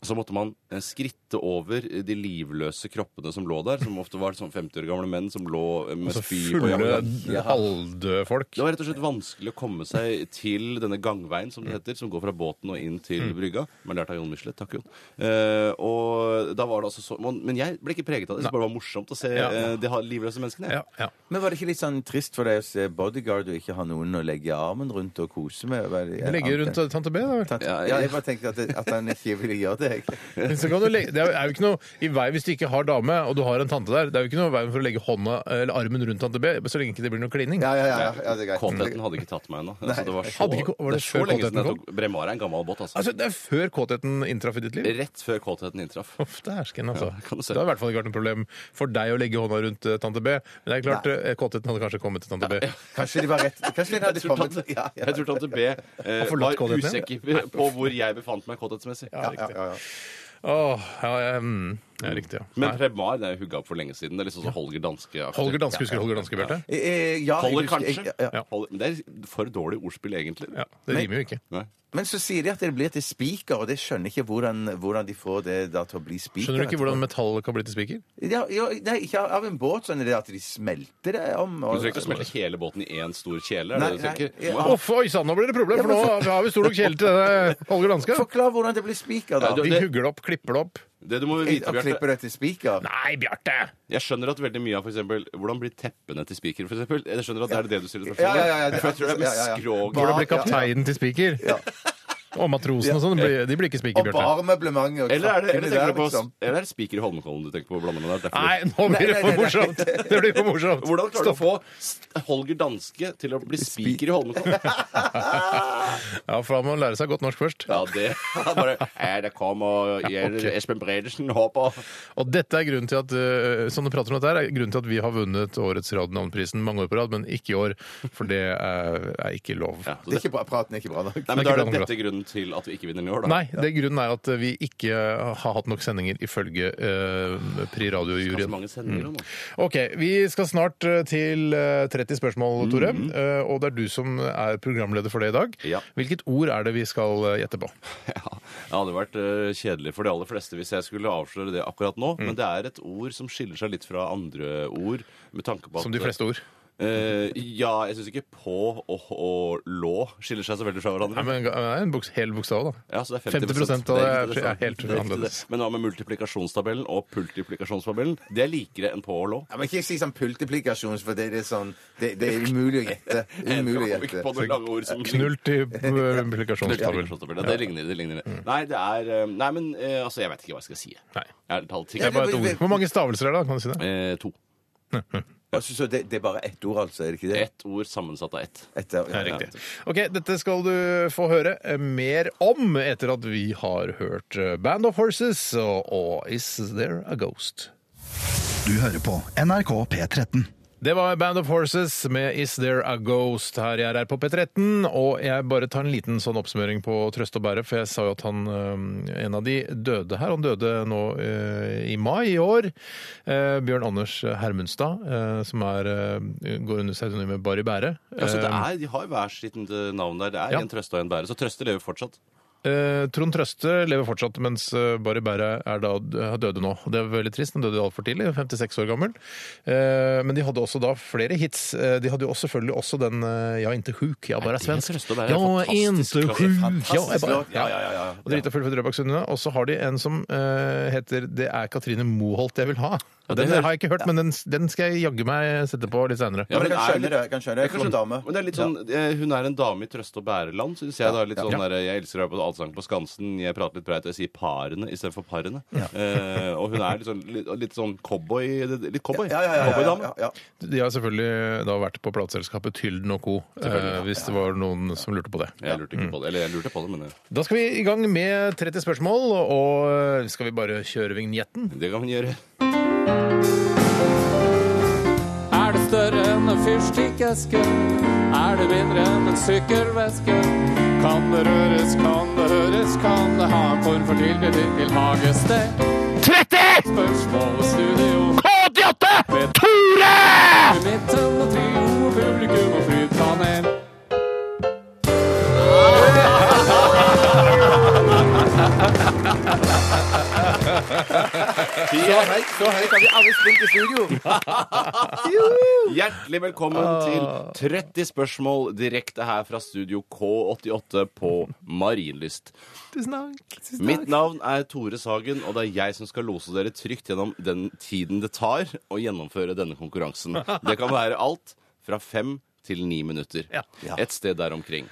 [SPEAKER 4] så måtte man eh, skritte over de livløse kroppene som lå der, som ofte var sånn 50 år gamle menn som lå eh, med
[SPEAKER 3] Altså
[SPEAKER 4] spy på
[SPEAKER 3] fulle,
[SPEAKER 4] jakken.
[SPEAKER 3] halvdøde folk.
[SPEAKER 4] Det var rett og slett vanskelig å komme seg til denne gangveien som det heter, som går fra båten og inn
[SPEAKER 3] Mm.
[SPEAKER 4] til brygga. Man lærte av Jon Michelet. Takk, Jon. Eh, og da var det altså så, man, Men jeg ble ikke preget av det. Det bare var morsomt å se
[SPEAKER 3] Ja.
[SPEAKER 4] eh, de ha- livløse menneskene.
[SPEAKER 3] Ja,
[SPEAKER 4] jeg.
[SPEAKER 3] ja.
[SPEAKER 5] Men var det ikke litt sånn trist for deg å se Bodyguard og ikke ha noen å legge armen rundt og kose med? Var det-
[SPEAKER 3] Legge rundt tante B, da vel.
[SPEAKER 5] Ja, jeg bare tenkte at, det- at han ikke ville gjøre det. jeg.
[SPEAKER 3] Men så kan du legge, det er jo ikke noe i vei hvis du ikke har dame og du har en tante der. Det er jo ikke noe i veien for å legge hånda eller armen rundt tante B, så lenge ikke det blir noe klining.
[SPEAKER 5] Ja, ja, ja, ja, ja, det er greit.
[SPEAKER 4] Kåtheten hadde ikke tatt meg ennå. Altså, det var så,
[SPEAKER 3] Hadde ikke- var det
[SPEAKER 4] det er så
[SPEAKER 3] før
[SPEAKER 4] lenge
[SPEAKER 3] kåtheten
[SPEAKER 4] siden jeg tok Bremar er en gammel båt, altså.
[SPEAKER 3] Altså, det er før kåtheten inntraff i ditt liv.
[SPEAKER 4] Rett før kåtheten inntraff.
[SPEAKER 3] Uff, det er hersken, altså.
[SPEAKER 4] Ja, kan du se.
[SPEAKER 3] det har i hvert fall ikke vært noe problem for deg å legge hånda rundt eh, tante B. Men det er klart, eh, kåtheten hadde kanskje kommet til tante B.
[SPEAKER 5] Kanskje de var rett Kanskje de hadde
[SPEAKER 4] Jeg tror
[SPEAKER 5] kommet
[SPEAKER 4] tante,
[SPEAKER 5] ja, ja.
[SPEAKER 4] jeg tror tante B eh,
[SPEAKER 3] forlatt
[SPEAKER 4] var
[SPEAKER 3] kåtheten, ja.
[SPEAKER 4] usikker på hvor jeg befant meg kåthetsmessig.
[SPEAKER 5] Ja, ja, ja.
[SPEAKER 3] Åh, ja, ja, mm. Ja, riktig, ja.
[SPEAKER 4] Men
[SPEAKER 3] Nei.
[SPEAKER 4] Preb Mar det er jo hugga opp for lenge siden. Det er litt sånn som Holger Danske.
[SPEAKER 3] Holger Danske, husker du Holger Danske, Bjarte?
[SPEAKER 5] Eh, eh, ja, jeg
[SPEAKER 4] Holger
[SPEAKER 5] husker-
[SPEAKER 4] kanskje?
[SPEAKER 5] jeg- ja.
[SPEAKER 3] Ja.
[SPEAKER 4] Holger- men Det er for dårlig ordspill, egentlig.
[SPEAKER 3] Ja, det rimer jo ikke.
[SPEAKER 4] Nei.
[SPEAKER 5] Men så sier de at det blir til spiker, og det skjønner jeg ikke hvordan, hvordan de får det da til å bli spiker.
[SPEAKER 3] Skjønner du ikke hvordan metall kan bli til spiker?
[SPEAKER 5] ja, ja, Nei, ikke av en båt, sånn er det at de smelter det om.
[SPEAKER 4] Du
[SPEAKER 5] Og,
[SPEAKER 4] trenger ikke å smelte hele båten i én stor kjele. er
[SPEAKER 5] Nei,
[SPEAKER 4] det det du
[SPEAKER 5] nei,
[SPEAKER 4] tenker?
[SPEAKER 5] ja.
[SPEAKER 3] Å, oi sann, nå blir det problem, for nå har vi stor nok kjele til denne Holger Danske.
[SPEAKER 5] Forklar hvordan det blir spiker, da.
[SPEAKER 4] Ja, du-
[SPEAKER 3] De hugger det opp, klipper det opp.
[SPEAKER 4] Det du må vite,
[SPEAKER 5] Og klipper det
[SPEAKER 4] Bjarte
[SPEAKER 5] til spiker?
[SPEAKER 3] Nei, Bjarte!
[SPEAKER 4] Jeg skjønner at veldig mye av for eksempel, Hvordan blir teppene til spiker, for eksempel? Jeg skjønner at det er det du stiller spørsmål
[SPEAKER 5] Ja, ja, ja, ja,
[SPEAKER 4] For jeg tror det er med
[SPEAKER 5] ja, ja, ja.
[SPEAKER 4] skroget
[SPEAKER 3] Hvordan blir kapteinen til spiker? Og matrosene og sånn, de blir- de blir ikke spiker,
[SPEAKER 5] Og
[SPEAKER 3] Bjarte.
[SPEAKER 5] bare møblement og
[SPEAKER 4] Eller er
[SPEAKER 5] krakkene
[SPEAKER 4] det, eller tenker
[SPEAKER 5] der,
[SPEAKER 4] du på,
[SPEAKER 5] liksom.
[SPEAKER 4] eller er det spiker i Holmenkollen du tenker på å blande med der? Derfor-
[SPEAKER 3] Nei, nå
[SPEAKER 5] Nei, nei,
[SPEAKER 3] blir det for
[SPEAKER 5] nei, nei.
[SPEAKER 3] morsomt! Det blir for morsomt.
[SPEAKER 4] Hvordan klarer du å
[SPEAKER 3] Stopp.
[SPEAKER 4] få st- Holger Danske til å bli spiker i Holmenkollen?
[SPEAKER 3] Ja, for da må man lære seg godt norsk først.
[SPEAKER 4] Ja, det han bare «Nei, det kommer jeg,
[SPEAKER 3] Ok.
[SPEAKER 4] Espen Bredesen håper
[SPEAKER 3] Og dette er grunnen til at eh, som du prater om dette her, er grunnen til at vi har vunnet årets Radionavnprisen mange år på rad, men ikke i år. For det er, er ikke lov.
[SPEAKER 4] ja,
[SPEAKER 5] Det
[SPEAKER 4] så
[SPEAKER 5] er
[SPEAKER 4] det,
[SPEAKER 5] ikke bra, praten er ikke bra nok.
[SPEAKER 4] Nei, men Da
[SPEAKER 3] Det
[SPEAKER 4] er
[SPEAKER 3] er ikke
[SPEAKER 4] det
[SPEAKER 3] bra.
[SPEAKER 4] dette grunnen til at vi ikke vinner i år, da.
[SPEAKER 3] Nei, det grunnen er at vi ikke har hatt nok sendinger ifølge eh, Pri
[SPEAKER 4] Det er så
[SPEAKER 3] Radio-juryen.
[SPEAKER 4] mange
[SPEAKER 3] Mm.
[SPEAKER 4] sendinger nå. nå.
[SPEAKER 3] Ok, vi skal snart eh, til eh, 30 spørsmål, Tore. eh, og det er du som er programleder for det i dag.
[SPEAKER 4] Mhm. Ja.
[SPEAKER 3] Hvilket ord er det vi skal eh, gjette på?
[SPEAKER 4] Ja, det hadde vært eh, kjedelig for de aller fleste hvis jeg skulle avsløre det akkurat nå,
[SPEAKER 3] Mm.
[SPEAKER 4] men det er et ord som skiller seg litt fra andre ord. Med tanke på at,
[SPEAKER 3] Som de fleste ord.
[SPEAKER 4] Eh, ja, jeg syns ikke på og, og lå skiller seg så veldig fra hverandre.
[SPEAKER 3] Nei, men det er en buks, hel bokstav, da.
[SPEAKER 4] Ja, så det er 50,
[SPEAKER 3] 50% av det er-
[SPEAKER 4] riktig,
[SPEAKER 3] er helt
[SPEAKER 4] Det riktig, det.
[SPEAKER 3] annerledes.
[SPEAKER 4] Men hva med multiplikasjonstabellen og pultiplikasjonstabellen? Det er likere enn på og lå.
[SPEAKER 5] Ja, men ikke si sånn pultiplikasjons, for det er sånn Det, det er umulig å gjette. Umulig å
[SPEAKER 4] Jeg kom ikke
[SPEAKER 5] gjette.
[SPEAKER 4] på noen lange ord som
[SPEAKER 3] Knullt i implikasjonstabelen.
[SPEAKER 4] Pultiplikasjonstabellen. Ja, det ligner det. ligner det. Nei, det er eh, Nei, men eh, altså, jeg vet ikke hva jeg skal si.
[SPEAKER 3] Nei.
[SPEAKER 4] Jeg har talt ting.
[SPEAKER 3] Det er bare et ord. Hvor mange stavelser er det, da? Kan du si det?
[SPEAKER 4] Eh, to.
[SPEAKER 5] Altså, så det, det er bare ett ord, altså? Er det ikke det?
[SPEAKER 4] Ett ord sammensatt av ett.
[SPEAKER 5] Ett ord, ja.
[SPEAKER 3] Riktig. Ok, Dette skal du få høre mer om etter at vi har hørt eh, Band of Horses og, og Is There a Ghost?
[SPEAKER 1] Du hører på NRK P13.
[SPEAKER 3] Det var Band of Horses med Is There a Ghost her jeg er her på P13. Og jeg bare tar en liten sånn oppsummering på Trøst og Bære, for jeg sa jo at han, øhm, en av de døde her, han døde nå øh, i mai i år. Eh, Bjørn Anders Hermundstad, eh, som er, eh, går under pseudonymet Barry Bære.
[SPEAKER 4] Ja, så det
[SPEAKER 5] Um,
[SPEAKER 3] Eh,
[SPEAKER 4] er, De har hver sitt eh, navn der. Det er
[SPEAKER 3] Ja.
[SPEAKER 4] en Trøste og en Bære. Så Trøste lever fortsatt.
[SPEAKER 3] Eh, Trond Trøste lever fortsatt, mens eh, Barry Bære er da er døde nå. Det er veldig trist. Han døde altfor tidlig, 56 år gammel. Eh, men de hadde også da flere hits. Eh, de hadde jo også, selvfølgelig også den eh, Ja, inte sjuk, ja, bare er
[SPEAKER 4] det
[SPEAKER 3] svensk.
[SPEAKER 4] Trøste Bære?
[SPEAKER 3] Ja,
[SPEAKER 4] Fantastisk
[SPEAKER 3] inte
[SPEAKER 4] låt.
[SPEAKER 3] sjuk, ja, jeg
[SPEAKER 5] Fantastisk
[SPEAKER 3] bare
[SPEAKER 5] låt. Ja, ja, ja, ja.
[SPEAKER 3] Og Drita full for Drøbaksundet. Og så har de en som eh, heter Det er Katrine Moholt jeg vil ha.
[SPEAKER 4] Ja,
[SPEAKER 3] den
[SPEAKER 4] det hører-
[SPEAKER 3] har jeg ikke hørt, men den, den skal jeg jaggu meg sette på litt seinere.
[SPEAKER 5] Ja, men jeg kan
[SPEAKER 4] men er-
[SPEAKER 5] skjønne det. Jeg kan skjønne det.
[SPEAKER 4] Jeg kan
[SPEAKER 5] Flott
[SPEAKER 4] skjønne-
[SPEAKER 5] dame.
[SPEAKER 4] Men det er litt sånn, eh, Hun er en dame i Trøste og Bære-land, syns jeg. da, litt sånn
[SPEAKER 3] Ja.
[SPEAKER 4] der, eh, Jeg elsker å være på Allsang på Skansen, jeg prater litt breit, og jeg sier parene istedenfor parene. Eh, og hun er litt sånn, litt, litt sånn cowboy. Litt cowboy.
[SPEAKER 5] Ja, ja, ja. ja, ja,
[SPEAKER 4] Cowboydame.
[SPEAKER 5] ja, ja.
[SPEAKER 3] De har selvfølgelig da vært på plateselskapet Tylden og co., eh, hvis det var noen som lurte på det.
[SPEAKER 4] Jeg lurte ikke på det. Eller jeg lurte på det, men eh,
[SPEAKER 3] Da skal vi i gang med 30 spørsmål, og skal vi bare kjøre vignetten?
[SPEAKER 4] det kan hun gjøre.
[SPEAKER 7] Er det større enn en fyrstikkeske? Er det mindre enn en sykkelveske? Kan det røres, kan det høres, kan det ha en form for tilknytning til hagested? 30! Spørsmål og studio. K88! Tore! Midten og trio, publikum og flypanel.
[SPEAKER 5] Så høyt så høyt har vi alle spilt i studio!
[SPEAKER 4] Hjertelig velkommen til 30 spørsmål direkte her fra studio K88 på Marienlyst. Tusen takk. Mitt navn er Tore Sagen, og det er jeg som skal lose dere trygt gjennom den tiden det tar å gjennomføre denne konkurransen. Det kan være alt fra fem til ni minutter. Et sted der omkring.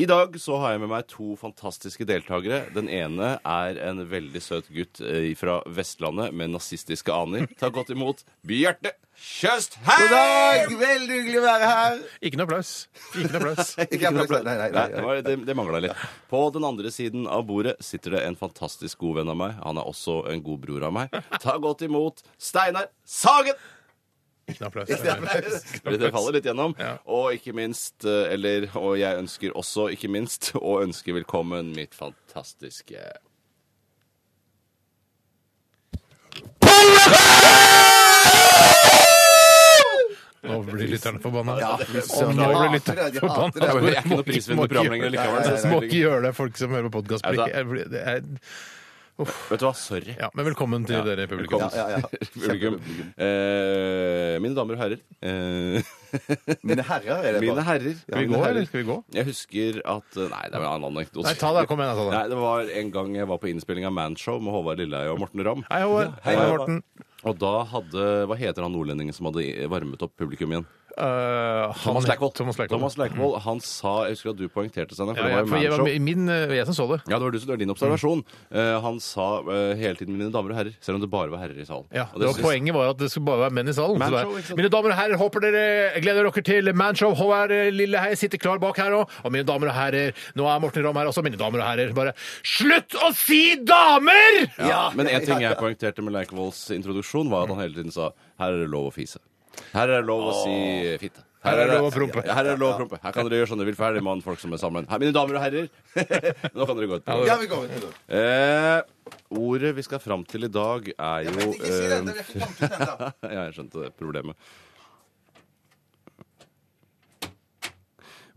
[SPEAKER 4] I dag så har jeg med meg to fantastiske deltakere. Den ene er en veldig søt gutt eh, fra Vestlandet med nazistiske aner. Ta godt imot Bjarte Tjøstheim!
[SPEAKER 5] God dag! Veldig hyggelig å være her.
[SPEAKER 3] Ikke noe applaus. Ikke noe applaus.
[SPEAKER 5] Ikke applaus. Nei, nei,
[SPEAKER 4] Nei, det,
[SPEAKER 5] nei.
[SPEAKER 4] var, det, det mangla litt. På den andre siden av bordet sitter det en fantastisk god venn av meg. Han er også en god bror av meg. Ta godt imot Steinar Sagen!
[SPEAKER 3] Ikke noe applaus.
[SPEAKER 4] Det faller litt gjennom. Og ikke minst, eh, eller Og jeg ønsker også, ikke minst, å ønske velkommen mitt fantastiske
[SPEAKER 3] Nå blir lytterne forbanna.
[SPEAKER 5] Ja, det er så-
[SPEAKER 3] nå blir
[SPEAKER 5] Jeg hater
[SPEAKER 3] lytterne
[SPEAKER 5] det, jeg hater
[SPEAKER 3] forbanna.
[SPEAKER 5] det.
[SPEAKER 4] Jeg er ikke noe prisvinnende program lenger likevel,
[SPEAKER 5] så-
[SPEAKER 3] Må ikke gjøre det, folk som hører på podkast.
[SPEAKER 4] Ja, da- Vet du hva, sorry.
[SPEAKER 3] Ja, men velkommen til
[SPEAKER 4] Ja,
[SPEAKER 3] dere, publikum.
[SPEAKER 4] velkommen.
[SPEAKER 5] Ja, ja, ja.
[SPEAKER 4] Publikum. Eh, mine damer og herrer. Eh,
[SPEAKER 5] Mine herrer er det
[SPEAKER 4] mine
[SPEAKER 5] bare.
[SPEAKER 4] herrer.
[SPEAKER 3] Skal vi gå, eller skal vi gå?
[SPEAKER 4] Jeg husker at Nei, det er en annen anekdote.
[SPEAKER 3] Nei, ta det. Kom igjen, ta det.
[SPEAKER 4] Nei, det var en gang jeg var på innspilling av Manshow med Håvard Lilleheie og Morten Ramm.
[SPEAKER 3] Hei, Håvard. Hei, Morten.
[SPEAKER 4] Og da hadde Hva heter han nordlendingen som hadde varmet opp publikum igjen?
[SPEAKER 3] Eh, han
[SPEAKER 4] Thomas
[SPEAKER 3] het-
[SPEAKER 4] Leikvoll.
[SPEAKER 3] Thomas Leikvoll.
[SPEAKER 4] Leikvoll, Han sa Jeg husker at du poengterte seg, for
[SPEAKER 3] Ja,
[SPEAKER 4] det
[SPEAKER 3] ja,
[SPEAKER 4] var jo
[SPEAKER 3] for jeg, var
[SPEAKER 4] Manshow.
[SPEAKER 3] med i Mm. min, eh, jeg som så det.
[SPEAKER 4] Ja, det var du som det var din observasjon. Eh, han sa eh, hele tiden 'mine damer og herrer', selv om det bare var herrer i salen.
[SPEAKER 3] Ja,
[SPEAKER 4] Og
[SPEAKER 3] det var
[SPEAKER 4] synes-
[SPEAKER 3] Poenget var at det skulle bare være menn i salen. Så
[SPEAKER 4] Manshow,
[SPEAKER 3] det er,
[SPEAKER 4] ikke sant?
[SPEAKER 3] mine damer og herrer, håper dere gleder dere til Manshow. Håvard Lilleheie sitter klar bak her òg. Og mine damer og herrer, nå er Morten Ramm her også. Mine damer og herrer, bare Slutt å si damer!
[SPEAKER 4] Ja, men en ting jeg poengterte med Leikvolls introduksjon, var at han hele tiden sa her er det lov å fise. Her er det lov å si fitte.
[SPEAKER 3] Her er det lov å prompe.
[SPEAKER 4] Ja, Her er det lov å prompe. Her kan dere gjøre sånn dere vil, for her er det mannfolk som er sammen. Her, mine damer og herrer, nå kan dere gå ut.
[SPEAKER 5] Ja, vi går ut.
[SPEAKER 4] Eh, ordet vi skal fram til i dag, er
[SPEAKER 5] Jeg
[SPEAKER 4] jo
[SPEAKER 5] vet ikke, si det, det
[SPEAKER 4] eh,
[SPEAKER 5] er ikke kommet ut enda.
[SPEAKER 4] ja, jeg skjønte det problemet.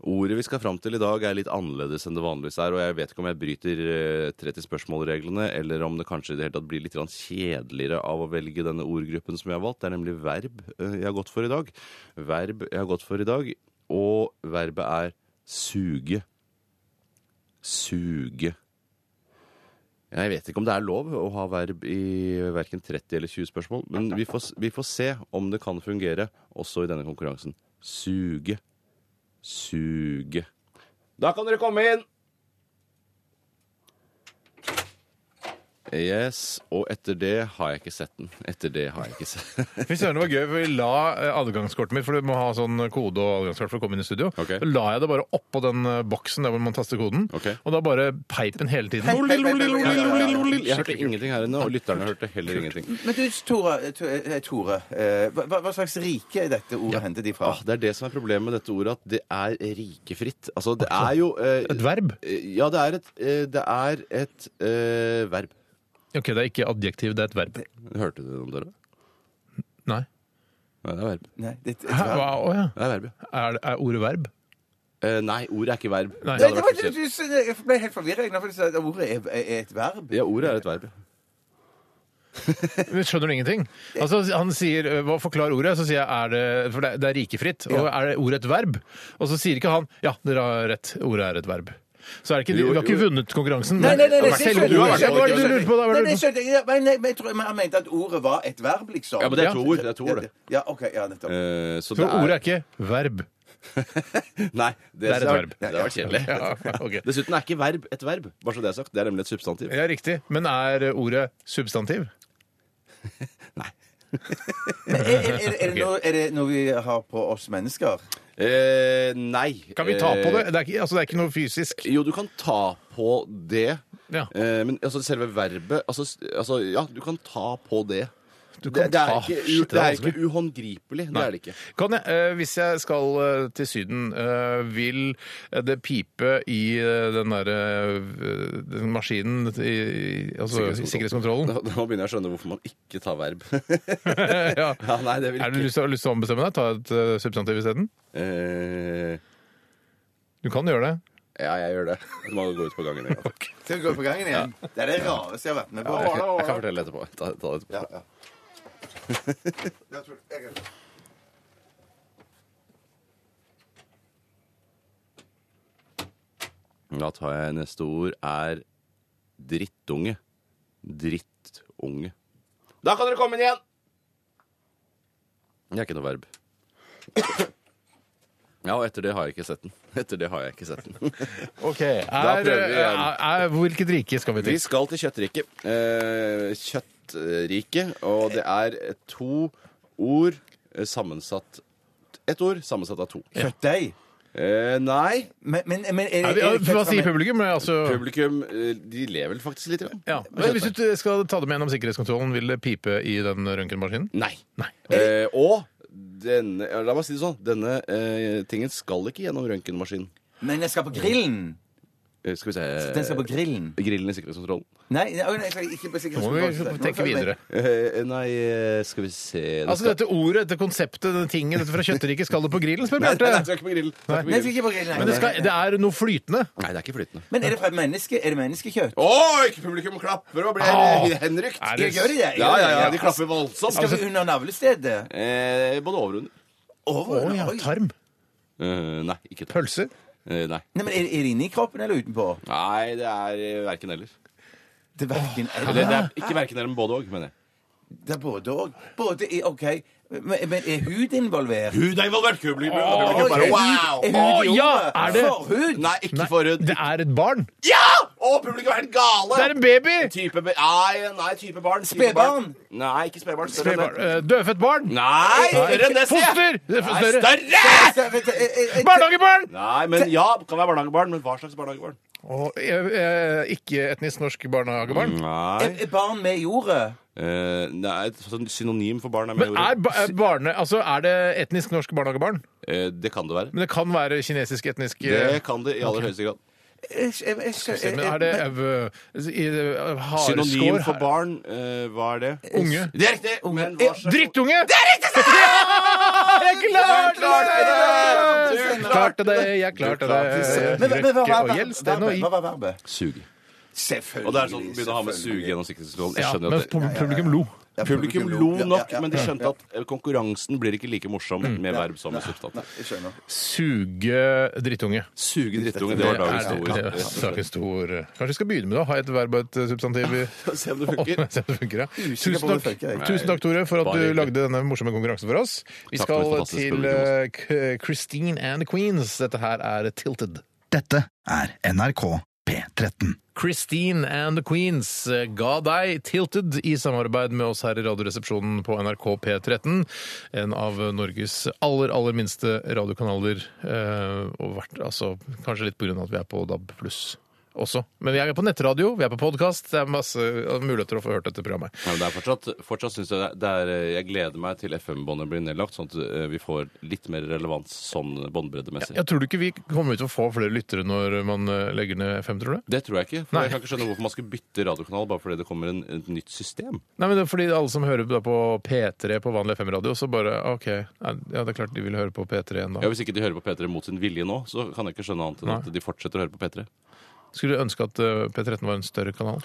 [SPEAKER 4] Ordet vi skal fram til i dag, er litt annerledes enn det vanligvis er. Og jeg vet ikke om jeg bryter eh, 30 spørsmål-reglene, eller om det kanskje i det hele tatt blir litt grann kjedeligere av å velge denne ordgruppen som jeg har valgt. Det er nemlig verb eh, jeg har gått for i dag. Verb jeg har gått for i dag, og verbet er suge. Suge. Jeg vet ikke om det er lov å ha verb i verken 30 eller 20 spørsmål, men vi får, vi får se om det kan fungere også i denne konkurransen. Suge. Suge. Da kan dere komme inn! Yes, og etter det har jeg ikke sett den. Etter det har jeg ikke sett
[SPEAKER 3] Fy søren, det var gøy. for Vi la eh, adgangskortet mitt, for du må ha sånn kode og adgangskort for å komme inn i studio.
[SPEAKER 4] Ok.
[SPEAKER 3] Så la jeg det bare oppå den eh, boksen der hvor man taster koden,
[SPEAKER 4] Ok.
[SPEAKER 3] og da bare peip den hele tiden.
[SPEAKER 5] Peip, peip, peip, peip, peip, peip, peip.
[SPEAKER 4] Jeg hørte ingenting her inne, og lytterne hørte heller ingenting.
[SPEAKER 5] Men du, Tore, Tore, eh, Tore eh, hva, hva slags rike er dette ordet hentet ifra?
[SPEAKER 4] Ah, det er det som er problemet med dette ordet, at det er rikefritt. Altså, det er jo eh,
[SPEAKER 3] Et verb?
[SPEAKER 4] eh, Ja, det er et, eh, det er et eh, verb.
[SPEAKER 3] Ok, det er ikke adjektiv, det er et verb.
[SPEAKER 4] Hørte du det om dere?
[SPEAKER 3] Nei.
[SPEAKER 4] Nei, det er verb.
[SPEAKER 5] Nei, det, det,
[SPEAKER 3] Hæ? Hva? Å ja.
[SPEAKER 4] Det er verb, ja.
[SPEAKER 3] Er, er ordet verb?
[SPEAKER 4] Eh, nei, ordet er ikke verb.
[SPEAKER 3] Nei.
[SPEAKER 4] Det
[SPEAKER 5] Nei,
[SPEAKER 4] hadde
[SPEAKER 5] det
[SPEAKER 4] vært
[SPEAKER 5] var, du,
[SPEAKER 4] spesielt.
[SPEAKER 5] du, jeg ble helt forvirret når du sa at ordet er, er et verb.
[SPEAKER 4] Ja, ordet er et verb.
[SPEAKER 3] Men skjønner du ingenting? Altså, han sier eh, hva 'forklar ordet', så sier jeg er det, for det, er- det er rikefritt. Og er det ordet et verb? Og så sier ikke han 'ja, dere har rett, ordet er et verb'. Så er det ikke,
[SPEAKER 4] Jo,
[SPEAKER 3] du har ikke
[SPEAKER 4] jo.
[SPEAKER 3] vunnet konkurransen.
[SPEAKER 5] Nei, nei, nei, nei,
[SPEAKER 3] men
[SPEAKER 5] det
[SPEAKER 3] selve
[SPEAKER 5] skjønner
[SPEAKER 4] du
[SPEAKER 3] ordet-
[SPEAKER 4] ikke.
[SPEAKER 3] Hva er det du lurer på da? Hva
[SPEAKER 5] Nei,
[SPEAKER 3] er
[SPEAKER 5] det
[SPEAKER 3] det du-
[SPEAKER 5] skjønte jeg. Nei, nei, men jeg tror han mente at ordet var et verb, liksom.
[SPEAKER 4] Ja, men det
[SPEAKER 3] Ja.
[SPEAKER 4] er to ord. Det er to ord, det.
[SPEAKER 5] Ja, OK. Ja, nettopp.
[SPEAKER 4] Eh, så
[SPEAKER 3] For
[SPEAKER 4] det er,
[SPEAKER 3] ordet er ikke verb.
[SPEAKER 4] Nei, det,
[SPEAKER 3] Det er et verb.
[SPEAKER 4] Det hadde vært kjedelig.
[SPEAKER 3] Ja, ok.
[SPEAKER 4] Dessuten er ikke verb et verb. Bare så det er sagt. Det er nemlig et substantiv.
[SPEAKER 3] Ja, riktig. Men er ordet substantiv?
[SPEAKER 5] Er, er, er, er, det noe, er det noe vi har på oss mennesker?
[SPEAKER 4] Eh, nei.
[SPEAKER 3] Kan vi ta på
[SPEAKER 4] Eh,
[SPEAKER 3] det? Det er ikke, altså, det er ikke noe fysisk.
[SPEAKER 4] Jo, du kan ta på det.
[SPEAKER 3] Ja.
[SPEAKER 4] Eh, men altså, selve verbet altså, s- altså, ja, du kan ta på det.
[SPEAKER 3] Du kan
[SPEAKER 4] Det, det, er,
[SPEAKER 3] ta-
[SPEAKER 4] ikke, u-
[SPEAKER 3] Shit,
[SPEAKER 4] det er
[SPEAKER 3] vanskelig.
[SPEAKER 4] ikke uhåndgripelig. Det er det ikke.
[SPEAKER 3] Kan jeg, eh, hvis jeg skal eh, til Syden, eh, vil det pipe i eh, den derre eh, den maskinen i, i- altså, i
[SPEAKER 4] Nå,
[SPEAKER 3] sikkerhetskontrollen?
[SPEAKER 4] nå begynner jeg å skjønne hvorfor man ikke tar verb.
[SPEAKER 3] ja.
[SPEAKER 4] ja, nei, det vil
[SPEAKER 3] Er
[SPEAKER 4] ikke
[SPEAKER 3] du lyst til, lyst til å ombestemme deg? Ta et eh, substantiv isteden?
[SPEAKER 4] Eh,
[SPEAKER 3] Du kan gjøre det.
[SPEAKER 4] Ja, jeg gjør det. Du må gå ut på gangen. Jeg,
[SPEAKER 5] Skal vi gå på gangen igjen? Det er det rareste jeg har vært med på.
[SPEAKER 4] jeg, jeg kan fortelle etterpå. Ta, ta det etterpå.
[SPEAKER 5] Ja, ja. Jeg tror- jeg kan-
[SPEAKER 4] Da tar jeg neste ord er drittunge. Drittunge. Da kan dere komme inn igjen! Det er ikke noe verb. Ja, og etter det har jeg ikke sett den. Etter det har jeg ikke sett den.
[SPEAKER 3] Ok,
[SPEAKER 4] Da
[SPEAKER 3] er, eh,
[SPEAKER 4] prøver vi igjen.
[SPEAKER 3] er, er, Hvilket rike skal vi
[SPEAKER 4] Vi
[SPEAKER 3] til?
[SPEAKER 4] skal til kjøttriket. Eh, kjøttriket, og det er to ord eh, sammensatt Ett ord sammensatt av to.
[SPEAKER 5] Kjøttdeig.
[SPEAKER 4] Eh, nei.
[SPEAKER 5] Men, men, men er,
[SPEAKER 3] Er vi,
[SPEAKER 5] er det
[SPEAKER 3] hva
[SPEAKER 5] kjøtt
[SPEAKER 3] sier
[SPEAKER 5] fra-
[SPEAKER 3] publikum? Men Altså,
[SPEAKER 4] Publikum eh, de lever vel faktisk litt. grann.
[SPEAKER 3] ja. Men hvis du skal ta det med gjennom sikkerhetskontrollen, vil det pipe i den røntgenmaskinen?
[SPEAKER 4] Nei.
[SPEAKER 3] Nei.
[SPEAKER 4] Eh, og denne, ja, la meg si det sånn, denne eh, tingen skal ikke gjennom røntgenmaskin.
[SPEAKER 5] Men jeg skal på grillen.
[SPEAKER 4] eh, Skal vi se
[SPEAKER 5] Den skal på grillen.
[SPEAKER 4] Grillen i sikkerhetskontrollen.
[SPEAKER 5] Nei, nei, nei, jeg skal ikke på
[SPEAKER 3] Nå må vi
[SPEAKER 5] sikkerhetskontrollen.
[SPEAKER 3] tenke videre.
[SPEAKER 4] Eh, nei, eh, skal vi se Den
[SPEAKER 3] Altså
[SPEAKER 4] skal-
[SPEAKER 3] dette ordet, dette konseptet, denne tingen, dette fra kjøtteriket, skal det på grillen, spør
[SPEAKER 4] Nei, nei, nei, det
[SPEAKER 3] Bjarte?
[SPEAKER 4] skal ikke på grillen. Det skal
[SPEAKER 5] Nei,
[SPEAKER 4] ikke på
[SPEAKER 5] jeg skal
[SPEAKER 4] grillen.
[SPEAKER 5] ikke på grillen. nei,
[SPEAKER 3] Men det,
[SPEAKER 5] nei, nei.
[SPEAKER 3] skal, det er noe flytende.
[SPEAKER 4] Nei, det er ikke flytende.
[SPEAKER 5] Men er det fra menneske? Er det menneskekjøtt?
[SPEAKER 4] Å, ikke publikum klapper og blir
[SPEAKER 3] Åh!
[SPEAKER 4] henrykt!
[SPEAKER 3] Ah. Er Altså-
[SPEAKER 5] Jeg gjør det, jeg.
[SPEAKER 4] Ja, ja, ja,
[SPEAKER 5] Jeg
[SPEAKER 4] de
[SPEAKER 5] gjør det.
[SPEAKER 4] klapper voldsomt.
[SPEAKER 5] Skal vi under navlestedet?
[SPEAKER 4] Eh, både over og under.
[SPEAKER 3] Å
[SPEAKER 5] Over?
[SPEAKER 3] ja,
[SPEAKER 5] Oi.
[SPEAKER 3] tarm.
[SPEAKER 4] Eh, nei, ikke det.
[SPEAKER 3] Pølse.
[SPEAKER 4] Eh, nei.
[SPEAKER 5] Nei, men er, er det inni kroppen eller utenpå?
[SPEAKER 4] nei, det er verken eller.
[SPEAKER 5] Det er hverken
[SPEAKER 4] Eller, det
[SPEAKER 5] eller.
[SPEAKER 3] Ah.
[SPEAKER 4] er ikke verken eller, men både òg, mener jeg.
[SPEAKER 5] Det er både og. Både i, OK, men, men er hud involvert?
[SPEAKER 4] Hud er involvert! Publikum
[SPEAKER 5] Oi,
[SPEAKER 4] bare
[SPEAKER 5] er
[SPEAKER 4] wow!
[SPEAKER 5] hud- er hud i
[SPEAKER 3] Å, ja,
[SPEAKER 5] ordet?
[SPEAKER 3] er det-
[SPEAKER 5] Forhud?
[SPEAKER 4] Nei, ikke
[SPEAKER 3] Eh, Nei,
[SPEAKER 4] forhud.
[SPEAKER 3] det er et barn.
[SPEAKER 4] Ja! Å, publikum er helt gale!
[SPEAKER 3] Det er en baby!
[SPEAKER 4] Type, be- nei, nei, type barn. type
[SPEAKER 5] Spedbarn.
[SPEAKER 4] barn. Nei, ikke spedbarn. større enn det.
[SPEAKER 3] Spedbarn. Eh, Dødfødt barn.
[SPEAKER 4] Nei, større enn det, sier jeg.
[SPEAKER 3] Foster! Det er
[SPEAKER 4] Nei,
[SPEAKER 3] Større.
[SPEAKER 4] større!
[SPEAKER 5] Så, vet du, eh, eh, eh,
[SPEAKER 3] Barnehagebarn!
[SPEAKER 4] Nei, men ja, kan være barnehagebarn, men hva slags barnehagebarn?
[SPEAKER 3] Og eh, eh, ikke etnisk norsk barnehagebarn.
[SPEAKER 4] Nei,
[SPEAKER 5] Er er barn med i ordet?
[SPEAKER 4] Eh, nei et sånn synonym for barn er med
[SPEAKER 3] Men er,
[SPEAKER 4] ordet.
[SPEAKER 3] ba- er barne, altså, er det etnisk norsk barnehagebarn?
[SPEAKER 4] Eh, det kan det være.
[SPEAKER 3] Men det kan være kinesisk etnisk eh,
[SPEAKER 4] Det kan det i aller høyeste grad.
[SPEAKER 5] Jeg- jeg- jeg- jeg-
[SPEAKER 3] Men er det
[SPEAKER 5] jeg-
[SPEAKER 3] eh, i, eh, hareskår
[SPEAKER 4] Synonym for
[SPEAKER 3] her?
[SPEAKER 4] barn, eh, hva er det?
[SPEAKER 3] Unge.
[SPEAKER 4] Det er riktig! Men
[SPEAKER 5] Eh,
[SPEAKER 4] hva slags
[SPEAKER 3] Drittunge! Det er riktig! Jeg klarte det!
[SPEAKER 4] Du
[SPEAKER 3] Du klarte det, jeg klarte det.
[SPEAKER 5] Men- men- men hva-
[SPEAKER 3] Røkke
[SPEAKER 5] hva-
[SPEAKER 3] og gjelsten og
[SPEAKER 5] verbet? Hva
[SPEAKER 3] i.
[SPEAKER 5] var verbet?
[SPEAKER 4] Suge.
[SPEAKER 5] Selvfølgelig.
[SPEAKER 4] Og det er sånn begynner å ha med
[SPEAKER 5] selvfølgelig.
[SPEAKER 4] suge gjennom sikkerhetskontrollen. Jeg
[SPEAKER 3] Ja,
[SPEAKER 4] skjønner
[SPEAKER 3] men
[SPEAKER 4] at det,
[SPEAKER 3] pub- publikum lo.
[SPEAKER 5] Ja,
[SPEAKER 4] publikum lo
[SPEAKER 5] Ja, ja,
[SPEAKER 4] nok,
[SPEAKER 5] ja.
[SPEAKER 4] men de skjønte at eh, konkurransen blir ikke like morsom
[SPEAKER 3] Mm.
[SPEAKER 4] med verb som med substans.
[SPEAKER 5] Nei, jeg skjønner.
[SPEAKER 3] Suge drittunge.
[SPEAKER 4] Suge drittunge, det
[SPEAKER 3] Det
[SPEAKER 4] var dagens
[SPEAKER 3] er- det er
[SPEAKER 4] ord.
[SPEAKER 3] Dagens ord. Kanskje vi skal begynne med det? Ha et verb og et eh, substantiv i
[SPEAKER 4] Se om det funker.
[SPEAKER 3] Se om det funker, ja.
[SPEAKER 5] Usikker på
[SPEAKER 3] Tusen
[SPEAKER 5] om det
[SPEAKER 3] takk,
[SPEAKER 5] funker, jeg.
[SPEAKER 3] tusen takk, Tore, for at
[SPEAKER 4] Bare
[SPEAKER 3] du
[SPEAKER 4] hyggelig.
[SPEAKER 3] lagde denne morsomme konkurransen for oss. Vi
[SPEAKER 4] Takk for et
[SPEAKER 3] skal
[SPEAKER 4] fantastisk
[SPEAKER 3] til
[SPEAKER 4] program
[SPEAKER 3] eh, K- Christine and the Queens. Dette her er Tilted.
[SPEAKER 1] Dette er NRK P13.
[SPEAKER 3] Christine and the Queens eh, ga deg Tilted i samarbeid med oss her i Radioresepsjonen på NRK P13. En av Norges aller, aller minste radiokanaler. eh, Og vært, altså, kanskje litt pga. at vi er på DAB pluss også. Men vi er på nettradio, vi er på podkast. Det er masse eh, muligheter å få hørt dette programmet.
[SPEAKER 4] Nei, men det er fortsatt, fortsatt synes jeg det er, det er eh, Jeg gleder meg til FM-båndet blir nedlagt, sånn at eh, vi får litt mer relevans sånn båndbreddemessig.
[SPEAKER 3] Jeg tror du ikke vi kommer til å få flere lyttere når man eh, legger ned FM, tror du?
[SPEAKER 4] Det tror jeg ikke. for
[SPEAKER 3] Nei.
[SPEAKER 4] Jeg kan ikke skjønne hvorfor man skulle bytte radiokanal bare fordi det kommer en, et nytt system.
[SPEAKER 3] Nei, men det er fordi alle som hører da på P3 på vanlig FM-radio, så bare OK, ja, det er klart de vil høre på P3 igjen
[SPEAKER 4] Ja,
[SPEAKER 3] da.
[SPEAKER 4] Hvis ikke de hører på P3 mot sin vilje nå, så kan jeg ikke skjønne annet enn
[SPEAKER 3] Nei.
[SPEAKER 4] at de fortsetter å høre på P3.
[SPEAKER 3] Skulle du ønske at eh, P13 var en større kanal?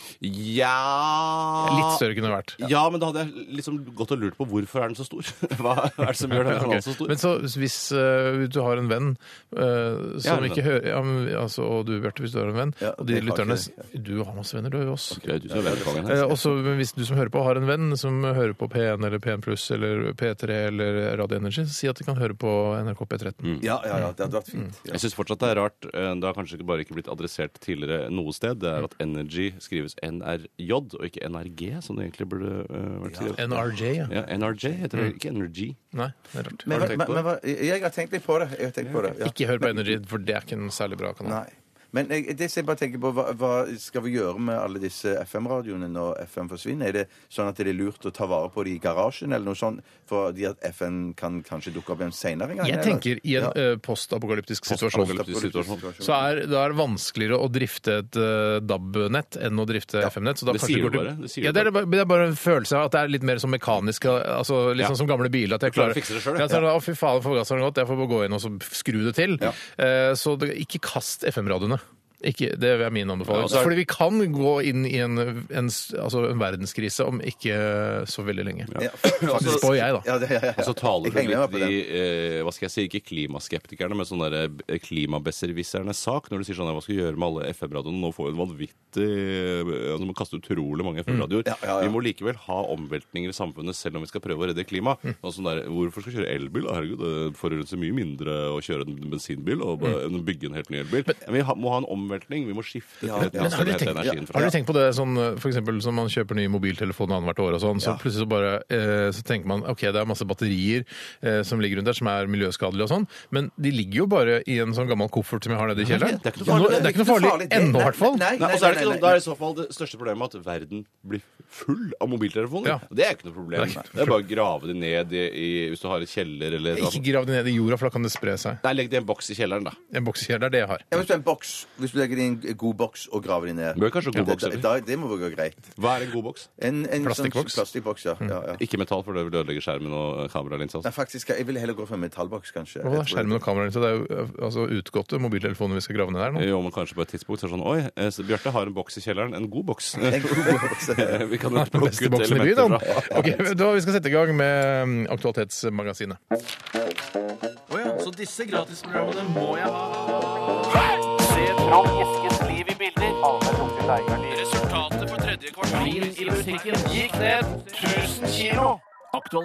[SPEAKER 5] Ah,
[SPEAKER 4] Ja
[SPEAKER 3] Litt større kunne det vært.
[SPEAKER 4] Ja, men da hadde jeg liksom gått og lurt på hvorfor er den så stor. Hva er det som gjør denne
[SPEAKER 3] Ok.
[SPEAKER 4] kanalen så stor?
[SPEAKER 3] Men så hvis eh, du har en venn eh,
[SPEAKER 4] Jeg har
[SPEAKER 3] som
[SPEAKER 4] en
[SPEAKER 3] ikke hører ja, men, altså, Og du, Bjarte, hvis du har en venn.
[SPEAKER 5] Ja,
[SPEAKER 3] og de
[SPEAKER 5] jeg har
[SPEAKER 3] lytterne
[SPEAKER 5] ikke
[SPEAKER 3] Du har masse venner, du, oss.
[SPEAKER 4] Det er du som er vedkommende her.
[SPEAKER 3] Eh, også, men hvis du som hører på har en venn som hører på P1 eller P1 Pluss eller P3 eller Radio Energy, så si at de kan høre på NRK P13.
[SPEAKER 5] Ja, ja, ja, det hadde vært fint.
[SPEAKER 3] Mm.
[SPEAKER 5] Ja.
[SPEAKER 4] Jeg syns fortsatt det er rart. eh, Det har kanskje ikke bare ikke blitt adressert tidligere noe sted. Det er at Energy skrives NRJ og ikke NRG, som det egentlig burde eh, vært skrevet.
[SPEAKER 3] NRJ, ja.
[SPEAKER 4] Ja, NRJ heter det, ikke Energy.
[SPEAKER 3] Nei, det er rart.
[SPEAKER 5] Men,
[SPEAKER 4] Har du
[SPEAKER 5] hva-
[SPEAKER 4] tenkt på
[SPEAKER 5] men, hva- jeg har tenkt litt på det. Jeg har tenkt på det ja.
[SPEAKER 3] Ikke hør på Energy, for det er ikke en særlig bra kanal.
[SPEAKER 5] Nei. Men jeg, det som jeg bare tenker på, hva, hva skal vi gjøre med alle disse FM-radioene når FM forsvinner? Er det sånn at det er lurt å ta vare på de i garasjen, eller noe sånt? Fordi at FM kan kanskje dukke opp igjen senere en gang?
[SPEAKER 3] Jeg
[SPEAKER 5] eller?
[SPEAKER 3] tenker i en
[SPEAKER 5] Ja.
[SPEAKER 3] eh, postapokalyptisk situasjon,
[SPEAKER 4] Apokalyptisk situasjon.
[SPEAKER 3] så er, da er det vanskeligere å drifte et eh, DAB-nett enn å drifte FM-nett. så da
[SPEAKER 4] Det
[SPEAKER 3] kanskje
[SPEAKER 4] sier
[SPEAKER 3] går
[SPEAKER 4] du
[SPEAKER 3] til-
[SPEAKER 4] bare, det sier
[SPEAKER 3] ja,
[SPEAKER 4] du
[SPEAKER 3] det, er bare, det er bare en følelse av at det er litt mer som mekanisk, altså litt
[SPEAKER 4] Ja.
[SPEAKER 3] sånn som gamle biler. At jeg
[SPEAKER 4] Du klarer
[SPEAKER 3] klarer
[SPEAKER 4] å fikse det selv,
[SPEAKER 3] Ja, så er det, Å, fy faen, forgasseren har gått, jeg får bare gå inn og så skru det til. Eh, så det, ikke kast FM-radioene. Ikke, det er min anbefaling.
[SPEAKER 4] Ja, og så er-
[SPEAKER 3] Fordi vi kan gå inn i en, en, s- altså en verdenskrise om ikke så veldig lenge.
[SPEAKER 5] Ja,
[SPEAKER 3] Det
[SPEAKER 5] faktisk.
[SPEAKER 3] spår jeg, da.
[SPEAKER 5] Ja, det, ja, ja, ja.
[SPEAKER 4] Og så taler
[SPEAKER 5] Jeg
[SPEAKER 4] du
[SPEAKER 5] henger meg
[SPEAKER 4] litt
[SPEAKER 5] på
[SPEAKER 4] de
[SPEAKER 5] den.
[SPEAKER 4] eh, hva skal jeg si, ikke klimaskeptikerne, men sånne der, eh, klimabeservissernes sak. Når du sier sånn her, hva skal vi gjøre med alle FM-radioene? Nå får vi en vanvittig eh, altså, Man kaster utrolig mange FM-radioer.
[SPEAKER 5] Mm. Ja, ja, ja.
[SPEAKER 4] Vi må likevel ha omveltninger i samfunnet selv om vi skal prøve å redde klimaet.
[SPEAKER 5] Mm.
[SPEAKER 4] Og Sånn der, hvorfor skal vi kjøre elbil? da? Herregud, det forurenser mye mindre å kjøre en bensinbil og
[SPEAKER 5] Mm.
[SPEAKER 4] bare- enn å bygge en helt ny elbil. Men vi ha, må ha en omveltning. Vi må skifte
[SPEAKER 5] Ja,
[SPEAKER 4] til et
[SPEAKER 5] ja.
[SPEAKER 3] Men har
[SPEAKER 4] plass der
[SPEAKER 3] du
[SPEAKER 4] vi henter
[SPEAKER 3] tenkt,
[SPEAKER 4] energien
[SPEAKER 3] har
[SPEAKER 4] fra.
[SPEAKER 3] du tenkt på det sånn, for eksempel som man kjøper ny mobiltelefon annethvert år og sånn, så plutselig så bare eh, så tenker man ok, det er masse batterier eh, som ligger rundt der som er miljøskadelige og sånn, men de ligger jo bare i en sånn gammel koffert som jeg har nede i kjelleren.
[SPEAKER 4] det er ikke
[SPEAKER 3] Nå-
[SPEAKER 4] noe farlig.
[SPEAKER 3] Det er ikke noe farlig
[SPEAKER 5] farlig, det.
[SPEAKER 3] ennå, i
[SPEAKER 5] Nei,
[SPEAKER 3] hvert fall.
[SPEAKER 5] nei,
[SPEAKER 4] Nei,
[SPEAKER 5] nei,
[SPEAKER 4] og så er det,
[SPEAKER 5] nei,
[SPEAKER 4] ikke
[SPEAKER 5] nei,
[SPEAKER 4] sånn, da er i så fall det største problemet at verden blir full av mobiltelefoner.
[SPEAKER 3] Ja.
[SPEAKER 4] Det er ikke noe problem.
[SPEAKER 3] Det er
[SPEAKER 4] Det
[SPEAKER 3] ikke
[SPEAKER 4] er, bare å grave det ned i, i, hvis du har et kjeller eller et eller
[SPEAKER 3] Ikke
[SPEAKER 4] annet.
[SPEAKER 3] grav det ned i jorda, for da kan det spre seg.
[SPEAKER 4] Nei, legg det i en boks i kjelleren, da.
[SPEAKER 3] En boksekjeller, det er det jeg har.
[SPEAKER 5] Ja, hvis du er en boks Hvis du legger de i en god boks og graver de ned.
[SPEAKER 4] Bør kanskje god boks,
[SPEAKER 5] det,
[SPEAKER 4] eller?
[SPEAKER 5] da, det må gå greit.
[SPEAKER 4] Hva er en god boks?
[SPEAKER 5] En, en
[SPEAKER 3] Plastikkboks? Mm.
[SPEAKER 5] Sånn plastikkboks, ja. ja, ja.
[SPEAKER 4] Ikke metall, for det vil ødelegge skjermen og kameralinsa.
[SPEAKER 5] Nei, faktisk, jeg ville heller gå for en metallboks, kanskje.
[SPEAKER 3] Hva er
[SPEAKER 5] Jeg tror
[SPEAKER 3] skjermen og kameraet? Så det er jo eh, altså, utgåtte mobiltelefoner vi skal grave ned her nå.
[SPEAKER 4] Jo, men kanskje på et tidspunkt så er det sånn Oi, eh, så Bjarte har en boks i kjelleren. En god boks. Eh,
[SPEAKER 5] En god boks, ja.
[SPEAKER 4] Vi kan jo
[SPEAKER 3] Den
[SPEAKER 4] plukke
[SPEAKER 3] beste
[SPEAKER 4] ut
[SPEAKER 3] boksen i byen,
[SPEAKER 4] elementer
[SPEAKER 3] da.
[SPEAKER 4] fra
[SPEAKER 3] Ok, vet du hva, vi skal sette i gang med mm, Aktualitetsmagasinet.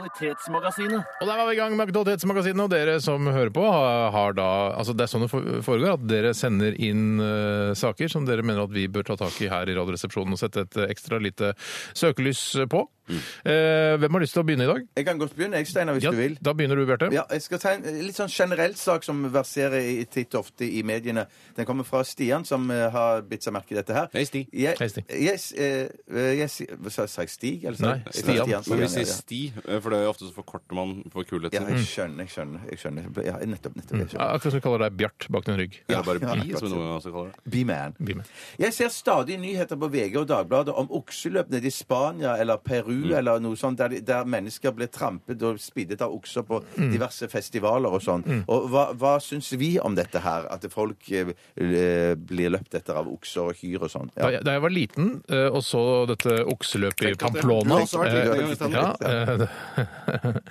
[SPEAKER 3] Og der var vi i gang med Aktualitetsmagasinet, og dere som hører på, har har da Altså, det er sånn det for- foregår, at dere sender inn eh, saker som dere mener at vi bør ta tak i her i Radioresepsjonen og sette et eh, ekstra lite søkelys på. Eh, hvem har lyst til å begynne i dag?
[SPEAKER 5] Jeg kan godt begynne, jeg, Steinar, Mm. hvis
[SPEAKER 3] Ja,
[SPEAKER 5] du vil.
[SPEAKER 3] Da begynner du, Bjarte.
[SPEAKER 5] Ja, jeg skal ta en litt sånn generell sak som verserer i- titt og ofte i mediene. Den kommer fra Stian, som eh, har bitt seg merke i dette her.
[SPEAKER 4] Hei, Stig.
[SPEAKER 5] Jeg,
[SPEAKER 3] Hei, Stig.
[SPEAKER 5] Yes, eh, jeg, si- hva sa, sa jeg Stig? Eller, sa jeg-
[SPEAKER 3] Nei,
[SPEAKER 5] jeg sa
[SPEAKER 3] Stian.
[SPEAKER 4] Men vi
[SPEAKER 5] ja,
[SPEAKER 4] sier
[SPEAKER 5] ja.
[SPEAKER 4] sti, eh, for det er ofte så forkorter man for
[SPEAKER 5] Ja,
[SPEAKER 4] kulheten.
[SPEAKER 3] Mm.
[SPEAKER 5] jeg skjønner, jeg skjønner. Jeg skjønner. Ja, nettopp, nettopp. Jeg
[SPEAKER 3] Ja,
[SPEAKER 5] skjønner.
[SPEAKER 3] Akkurat som vi kaller deg Bjart bak din rygg.
[SPEAKER 4] Eller bare
[SPEAKER 5] Ja,
[SPEAKER 4] bi,
[SPEAKER 5] akkurat
[SPEAKER 4] som noen ganger også kaller det.
[SPEAKER 5] Be man.
[SPEAKER 3] Bli med.
[SPEAKER 5] Jeg ser stadig nyheter på VG og Dagbladet om okseløp nede i Spania eller Peru eller noe sånt, der, de- der mennesker ble trampet og spiddet av okser på diverse festivaler og sånn. Og hva, hva syns vi om dette her? At folk eh, eh, blir løpt etter av okser og kyr og sånn?
[SPEAKER 3] Da
[SPEAKER 5] Ja.
[SPEAKER 3] jeg, da jeg var liten eh, og så dette okseløpet i
[SPEAKER 4] Tenk at det-
[SPEAKER 3] Pamplona
[SPEAKER 4] Det har også vært
[SPEAKER 3] eh,
[SPEAKER 4] litt gøy,
[SPEAKER 3] ja, eh,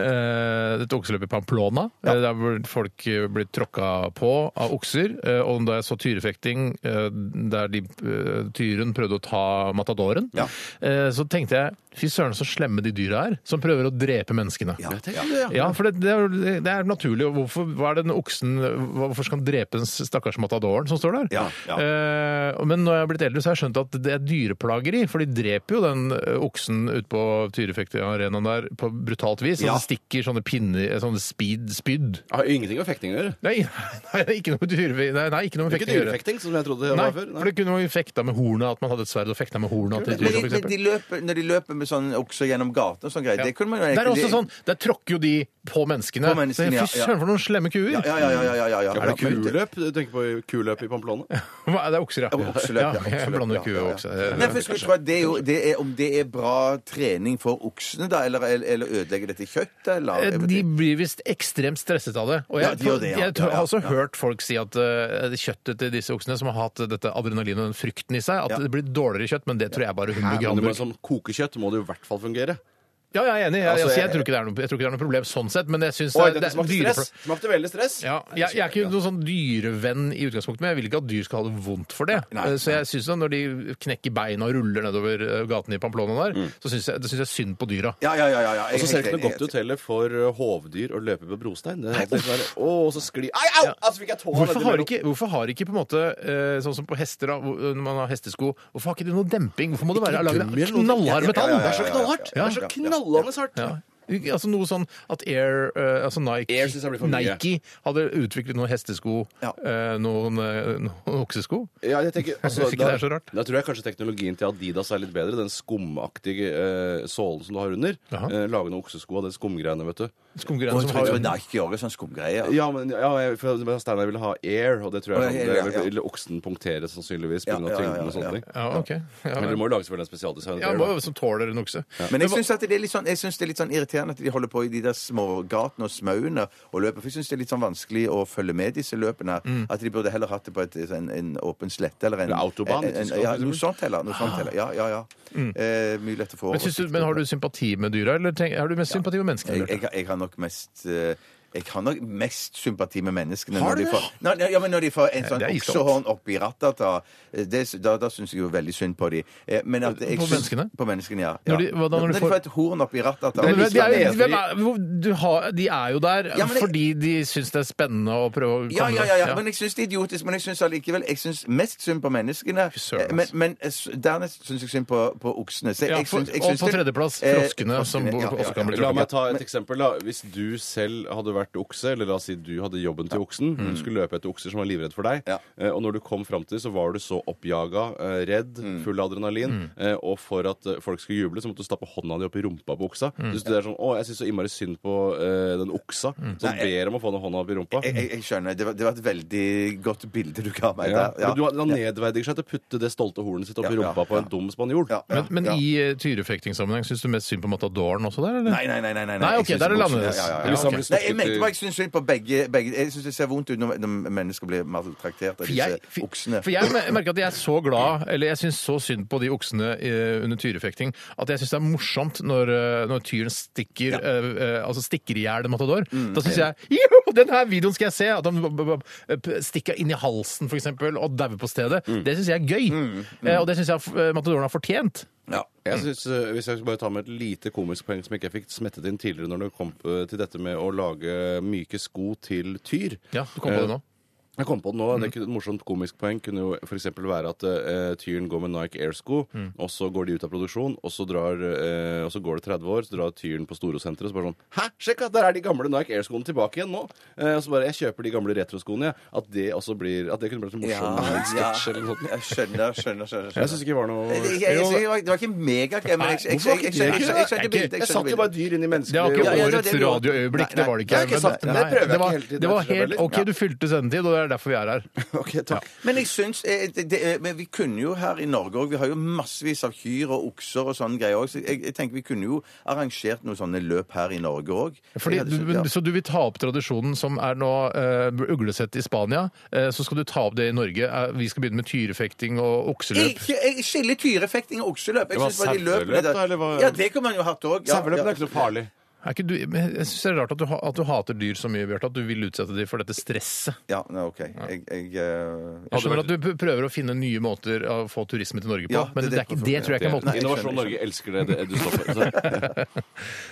[SPEAKER 3] eh, Dette okseløpet i Pamplona, eh, der hvor folk eh, blir tråkka på av okser. eh, Og da jeg så tyrefekting eh, der de, eh, tyren prøvde å ta matadoren,
[SPEAKER 5] Ja.
[SPEAKER 3] eh, så tenkte jeg fy søren så slemme de dyra er som prøver å drepe menneskene.
[SPEAKER 5] Ja,
[SPEAKER 3] Ja, for det, det, er, jo- det er naturlig. og Hvorfor, hva er den oksen, hvorfor skal han drepe den stakkars matadoren som står der?
[SPEAKER 5] Ja,
[SPEAKER 4] ja.
[SPEAKER 3] Eh, men når jeg er blitt eldre, så har jeg skjønt at det er dyreplageri. For de dreper jo den eh, oksen ute på Tyrifekta-arenaen der på brutalt vis.
[SPEAKER 4] Ja.
[SPEAKER 3] Og det stikker sånne pinner, eh, sånne speed, spydd.
[SPEAKER 4] Har ingenting med fekting å gjøre.
[SPEAKER 3] Nei, nei, ikke noe dyrefekting. Nei, nei, ikke noe med fekting
[SPEAKER 4] Ikke
[SPEAKER 3] å gjøre.
[SPEAKER 4] dyrefekting, som jeg trodde det
[SPEAKER 3] Nei,
[SPEAKER 4] var før.
[SPEAKER 3] for det kunne man jo fekta med hornet, at man hadde et sverd og fekta med hornet til
[SPEAKER 5] Men,
[SPEAKER 3] dyra,
[SPEAKER 5] de,
[SPEAKER 3] for
[SPEAKER 5] men de
[SPEAKER 3] eksempel.
[SPEAKER 5] løper, når de løper med sånn okser gjennom gaten og sånn greier, det kunne man jo
[SPEAKER 3] Det er
[SPEAKER 5] egentlig-
[SPEAKER 3] også sånn, Der tråkker jo de på menneskene.
[SPEAKER 5] På menneskene,
[SPEAKER 3] Så
[SPEAKER 5] ja,
[SPEAKER 3] Fy søren, for noen slemme kuer!
[SPEAKER 5] Ja, ja, ja, ja, ja, ja, ja.
[SPEAKER 4] Er det
[SPEAKER 5] Ja, men-
[SPEAKER 4] kuløp? Du tenker på kuløp i Pamplona?
[SPEAKER 3] Hva, Det er okser, ja.
[SPEAKER 5] Ja, okseløp, ja,
[SPEAKER 3] Ja, jeg
[SPEAKER 5] okseløp,
[SPEAKER 3] blander Eh,
[SPEAKER 5] ja,
[SPEAKER 3] ku
[SPEAKER 5] ja,
[SPEAKER 3] og
[SPEAKER 5] ja.
[SPEAKER 3] okse.
[SPEAKER 5] Nei, for jeg skulle tro at det er jo, det er, om det er bra trening for oksene, da, eller, eller ødelegger dette kjøttet, eller
[SPEAKER 3] Eh, De blir visst ekstremt stresset av det. Og jeg,
[SPEAKER 5] Ja, de gjør det, ja.
[SPEAKER 3] jeg tror-
[SPEAKER 5] Ja, ja,
[SPEAKER 3] har også
[SPEAKER 5] ja.
[SPEAKER 3] hørt folk si at eh, kjøttet til disse oksene, som har hatt dette adrenalinet og den frykten i seg, at
[SPEAKER 5] Ja.
[SPEAKER 3] det blir dårligere kjøtt, men det tror jeg bare hun
[SPEAKER 4] Men det må,
[SPEAKER 3] begraver.
[SPEAKER 4] som kokekjøtt må det jo i hvert fall fungere.
[SPEAKER 3] Ja, jeg er enig. Jeg,
[SPEAKER 5] Altså,
[SPEAKER 3] altså, jeg,
[SPEAKER 5] jeg-
[SPEAKER 3] tror ikke det er noe, jeg tror ikke det er noe problem sånn sett, men jeg syns det,
[SPEAKER 4] Oi, dette
[SPEAKER 3] det er
[SPEAKER 4] smakte stress!
[SPEAKER 3] dyrepla-
[SPEAKER 4] Smakte veldig stress.
[SPEAKER 3] Ja, jeg, jeg er ikke noen sånn dyrevenn i utgangspunktet, men jeg vil ikke at dyr skal ha det vondt for det. Eh, så jeg synes da, når de knekker beina og ruller nedover eh, gaten i Pamplona der,
[SPEAKER 5] Mm.
[SPEAKER 3] så syns jeg, det synes jeg synd på dyra.
[SPEAKER 5] Ja, ja, ja. ja, ja.
[SPEAKER 4] Og så ser det ikke noe godt ut heller for uh, hovdyr å løpe på brostein. Det er alltid sånn der, Å, og så skli Ai, au! Altså, fikk jeg tåa
[SPEAKER 3] Hvorfor
[SPEAKER 4] nedi
[SPEAKER 3] har,
[SPEAKER 4] mellom-
[SPEAKER 3] ikke, hvorfor har ikke på en måte, eh, sånn som på hester, da, hvor- når man har hestesko, hvorfor har ikke det noe demping? Hvorfor må det være laget av
[SPEAKER 4] gummi eller noe?
[SPEAKER 3] knallhard metall?
[SPEAKER 5] Ja, ja, ja, ja, ja, ja.
[SPEAKER 4] Det er så knallhardt! Det
[SPEAKER 3] Ja.
[SPEAKER 4] er så knallende hardt!
[SPEAKER 3] Ja. Altså Noe sånn at Air, eh, altså Nike,
[SPEAKER 4] Air synes jeg blir for mye.
[SPEAKER 3] Nike hadde utviklet noen hestesko,
[SPEAKER 5] Ja.
[SPEAKER 3] eh, noen, eh, noen oksesko.
[SPEAKER 4] Ja, jeg tenker, altså,
[SPEAKER 3] Hvis ikke det er så rart.
[SPEAKER 4] Da tror jeg kanskje teknologien til Adidas er litt bedre. Den skumaktige eh, sålen som du har under.
[SPEAKER 3] Jaha.
[SPEAKER 4] Eh, lage noen oksesko av det skumgreiene, vet du.
[SPEAKER 3] Skumgreiene
[SPEAKER 5] Jeg
[SPEAKER 3] som
[SPEAKER 5] tror det var
[SPEAKER 3] har
[SPEAKER 5] Nike gjorde sånn skumgreie.
[SPEAKER 4] Ja, men ja, jeg, for det var Steinar ville ha air, og det tror
[SPEAKER 5] Å,
[SPEAKER 4] jeg
[SPEAKER 5] ja,
[SPEAKER 4] sånn, det,
[SPEAKER 5] ja, ja.
[SPEAKER 4] ville oksen punktere sannsynligvis
[SPEAKER 5] Ja, ja,
[SPEAKER 4] pga.
[SPEAKER 5] ja,
[SPEAKER 4] tyngden og
[SPEAKER 5] ja, ja.
[SPEAKER 4] sånne ting.
[SPEAKER 3] ja, ok. Ja,
[SPEAKER 4] Men det må jo lages vel en spesialdesignet
[SPEAKER 3] ja,
[SPEAKER 4] air,
[SPEAKER 3] må-
[SPEAKER 4] da.
[SPEAKER 3] som tåler en okse.
[SPEAKER 5] Men jeg syns det, er litt sånn, jeg synes det er litt sånn irriterende at de holder på i de der smågatene og smauene og løper. For jeg syns det er litt sånn vanskelig å følge med disse løpene. her. At de burde heller hatt det på et, en, en åpen slette eller en
[SPEAKER 4] Mm. Eller autobahn i
[SPEAKER 5] en- en-
[SPEAKER 4] Tyskland,
[SPEAKER 5] Ja,
[SPEAKER 4] for
[SPEAKER 5] noe
[SPEAKER 4] eksempel.
[SPEAKER 5] sånt heller. Noe
[SPEAKER 4] Ah.
[SPEAKER 5] sånt heller. Ja, ja, ja.
[SPEAKER 4] Mm.
[SPEAKER 5] Eh, mye lett å få
[SPEAKER 3] Men, syns du, men har du sympati med dyra, eller tenk, har du mest sympati med
[SPEAKER 5] jeg,
[SPEAKER 3] menneskene?
[SPEAKER 5] jeg,
[SPEAKER 3] Bjarte?
[SPEAKER 5] jeg har nok mest eh, jeg har nok mest sympati med menneskene
[SPEAKER 4] Har
[SPEAKER 5] når
[SPEAKER 4] du
[SPEAKER 5] de
[SPEAKER 4] det?
[SPEAKER 5] får, Nei, nei, ja, men når de får en sånn
[SPEAKER 3] det er iskaldt.
[SPEAKER 5] oksehorn oppi rattet. Da, eh, det, da, da syns jeg jo veldig synd på de. Eh, Men at jeg
[SPEAKER 3] På
[SPEAKER 5] syns-
[SPEAKER 3] menneskene?
[SPEAKER 5] På menneskene, ja. ja.
[SPEAKER 3] Når de- hva da, når de
[SPEAKER 5] når de
[SPEAKER 3] får-
[SPEAKER 5] får et horn oppi rattet da-
[SPEAKER 3] Men hvem-
[SPEAKER 5] Det
[SPEAKER 3] de,
[SPEAKER 5] er
[SPEAKER 3] er,
[SPEAKER 5] litt
[SPEAKER 3] hvem er, hvor- du har, de er jo der
[SPEAKER 5] Ja, men det-
[SPEAKER 3] fordi de syns det er spennende å prøve å komme
[SPEAKER 5] Ja, ja, ja, ja,
[SPEAKER 3] Ja.
[SPEAKER 5] men jeg syns det er idiotisk. Men jeg syns allikevel jeg syns mest synd på menneskene.
[SPEAKER 3] søren,
[SPEAKER 5] Eh, Men,
[SPEAKER 3] altså.
[SPEAKER 5] men eh, s- dernest syns jeg synd på, på oksene. Så
[SPEAKER 3] Ja,
[SPEAKER 5] jeg
[SPEAKER 3] for-
[SPEAKER 5] syns- jeg
[SPEAKER 3] og
[SPEAKER 5] syns
[SPEAKER 3] på
[SPEAKER 5] det-
[SPEAKER 3] tredjeplass
[SPEAKER 5] eh,
[SPEAKER 3] froskene, som
[SPEAKER 5] froskene,
[SPEAKER 3] også kan bli
[SPEAKER 4] La
[SPEAKER 3] tråkket.
[SPEAKER 4] meg ta et eksempel. da. Hvis du selv hadde vært okse, eller la oss si du hadde jobben til oksen. Du skulle løpe etter okser som var livredd for deg.
[SPEAKER 5] Mm. Ja.
[SPEAKER 4] Eh, Og når du kom fram til det, så var du så oppjaga, eh, redd,
[SPEAKER 5] Mm.
[SPEAKER 4] full av adrenalin. eh, Og for at eh, folk skulle juble, så måtte du stappe hånda di opp i rumpa på oksa.
[SPEAKER 5] Mm.
[SPEAKER 4] Du synes det er sånn, å, jeg syns så innmari synd på eh, den oksa som ber om å få den hånda opp i rumpa.
[SPEAKER 5] Mm. Jeg, jeg, jeg skjønner. Det var, det var et veldig godt bilde du ga meg
[SPEAKER 4] Ja.
[SPEAKER 5] der. Ja.
[SPEAKER 4] Men du, han nedverdiger seg til å putte det stolte hornet sitt opp
[SPEAKER 5] Ja,
[SPEAKER 4] i rumpa
[SPEAKER 5] ja,
[SPEAKER 4] på
[SPEAKER 5] ja.
[SPEAKER 4] en dum spanjol.
[SPEAKER 5] Ja, ja,
[SPEAKER 3] Men, men
[SPEAKER 5] ja.
[SPEAKER 3] i eh, tyrefektingssammenheng, syns du mest synd på matadoren også der, eller?
[SPEAKER 5] Nei, nei, nei. nei, nei.
[SPEAKER 3] Nei,
[SPEAKER 5] Jeg
[SPEAKER 3] ok,
[SPEAKER 5] synes
[SPEAKER 3] der er det
[SPEAKER 5] ikke-
[SPEAKER 3] annerledes.
[SPEAKER 5] Ja, ja, ja.
[SPEAKER 3] Ja, ok.
[SPEAKER 4] blir
[SPEAKER 5] Nei,
[SPEAKER 4] stoppet
[SPEAKER 5] jeg mente
[SPEAKER 4] i-
[SPEAKER 5] bare jeg syns synd på begge, begge. Jeg syns det ser vondt ut når, når mennesker blir maltraktert av
[SPEAKER 3] For
[SPEAKER 5] disse
[SPEAKER 3] jeg,
[SPEAKER 5] oksene.
[SPEAKER 3] for for jeg mer- merker at jeg er så glad, eller jeg syns så synd på de oksene eh, under tyrefekting, at jeg syns det er morsomt når, eh, når tyren stikker eh, eh, altså stikker i hjel en matador.
[SPEAKER 5] Mm.
[SPEAKER 3] Da syns jeg jo, den her videoen skal jeg se! At han b- b- b- p- stikker inn i halsen, for eksempel, og dauer på stedet.
[SPEAKER 5] Mm.
[SPEAKER 3] Det syns jeg er gøy. Eh, og det syns jeg eh, matadoren har fortjent.
[SPEAKER 5] Ja.
[SPEAKER 4] Jeg
[SPEAKER 3] Mm.
[SPEAKER 4] synes, eh, Hvis jeg skal bare ta med et lite komisk poeng som ikke jeg fikk smettet inn tidligere når det kom eh, til dette med å lage myke sko til tyr. Eh,
[SPEAKER 3] Ja, du
[SPEAKER 5] Eh,
[SPEAKER 3] kom på det nå. Mm.
[SPEAKER 4] Jeg kom på det nå. Det er ikke et morsomt komisk poeng kunne jo f.eks. være at eh, tyren går med Nike Air-sko,
[SPEAKER 3] Mm.
[SPEAKER 4] og så går de ut av produksjon, og så, drar, eh, og så går det 30 år, så drar tyren på Storosenteret og så bare sånn Hæ, sjekk at der er de gamle Nike Air-skoene tilbake igjen nå! Eh, og så bare Jeg kjøper de gamle retroskoene, jeg. At det også blir At det kunne blitt en morsom
[SPEAKER 5] Ja,
[SPEAKER 4] sketsj eller noe sånt.
[SPEAKER 5] Jeg skjønner, skjønner, skjønner.
[SPEAKER 4] Jeg
[SPEAKER 5] skjønner.
[SPEAKER 4] syns ikke det var noe
[SPEAKER 5] Jeg- jeg- jeg- jeg- Det var ikke megagøy, men jeg jeg- jeg- jeg- jeg- jeg- jeg- jeg- jeg- jeg skjønte bildet.
[SPEAKER 4] Jeg satte jo bare dyr inn i
[SPEAKER 3] Det var ikke
[SPEAKER 5] Ja, ja,
[SPEAKER 4] menneskelig
[SPEAKER 5] det var
[SPEAKER 3] årets
[SPEAKER 5] det du-
[SPEAKER 3] radioøyeblikk, det
[SPEAKER 5] Nei, nei,
[SPEAKER 3] var det
[SPEAKER 4] det
[SPEAKER 3] ikke.
[SPEAKER 4] har jeg ikke sagt, men det prøver jeg
[SPEAKER 3] det
[SPEAKER 4] ikke
[SPEAKER 3] var,
[SPEAKER 4] hele tiden,
[SPEAKER 3] det var
[SPEAKER 4] jeg tror jeg
[SPEAKER 3] helt
[SPEAKER 4] bare-
[SPEAKER 3] OK, du fylte sendetid, og det er derfor vi er her.
[SPEAKER 4] Ok, takk.
[SPEAKER 5] Men jeg syns eh, det, det, eh, Men vi kunne jo her i Norge òg Vi har jo massevis av kyr og okser og sånne greier òg, så jeg, jeg tenker vi kunne jo arrangert noen sånne løp her i Norge òg.
[SPEAKER 3] Fordi, du, men, så du vil ta opp tradisjonen som er nå eh, uglesett i Spania, eh, så skal du ta opp det i Norge. Eh, vi skal begynne med tyrefekting og okseløp.
[SPEAKER 5] Ikke, jeg skiller tyrefekting og okseløp. Jeg
[SPEAKER 4] Det var
[SPEAKER 5] synes bare de løpene
[SPEAKER 4] saueløp, da, eller hva?
[SPEAKER 5] Ja, det kunne man jo hatt òg.
[SPEAKER 4] Saueløpene er ikke noe farlig.
[SPEAKER 3] Er ikke du, men jeg syns det er rart at du, ha- at du hater dyr så mye, Bjarte, at du vil utsette dem for dette stresset.
[SPEAKER 5] Ja, nei, OK. Jeg, jeg, eh,
[SPEAKER 3] Jeg skjønner at du p- prøver å finne nye måter å få turisme til Norge på,
[SPEAKER 5] Ja, det
[SPEAKER 3] men
[SPEAKER 5] er
[SPEAKER 3] det, er
[SPEAKER 5] det
[SPEAKER 3] ikke,
[SPEAKER 5] jeg
[SPEAKER 3] det tror jeg ikke er
[SPEAKER 5] Nei,
[SPEAKER 3] måten.
[SPEAKER 5] jeg
[SPEAKER 4] Innovasjon
[SPEAKER 5] skjønner,
[SPEAKER 4] Norge elsker det, det du står for. Så,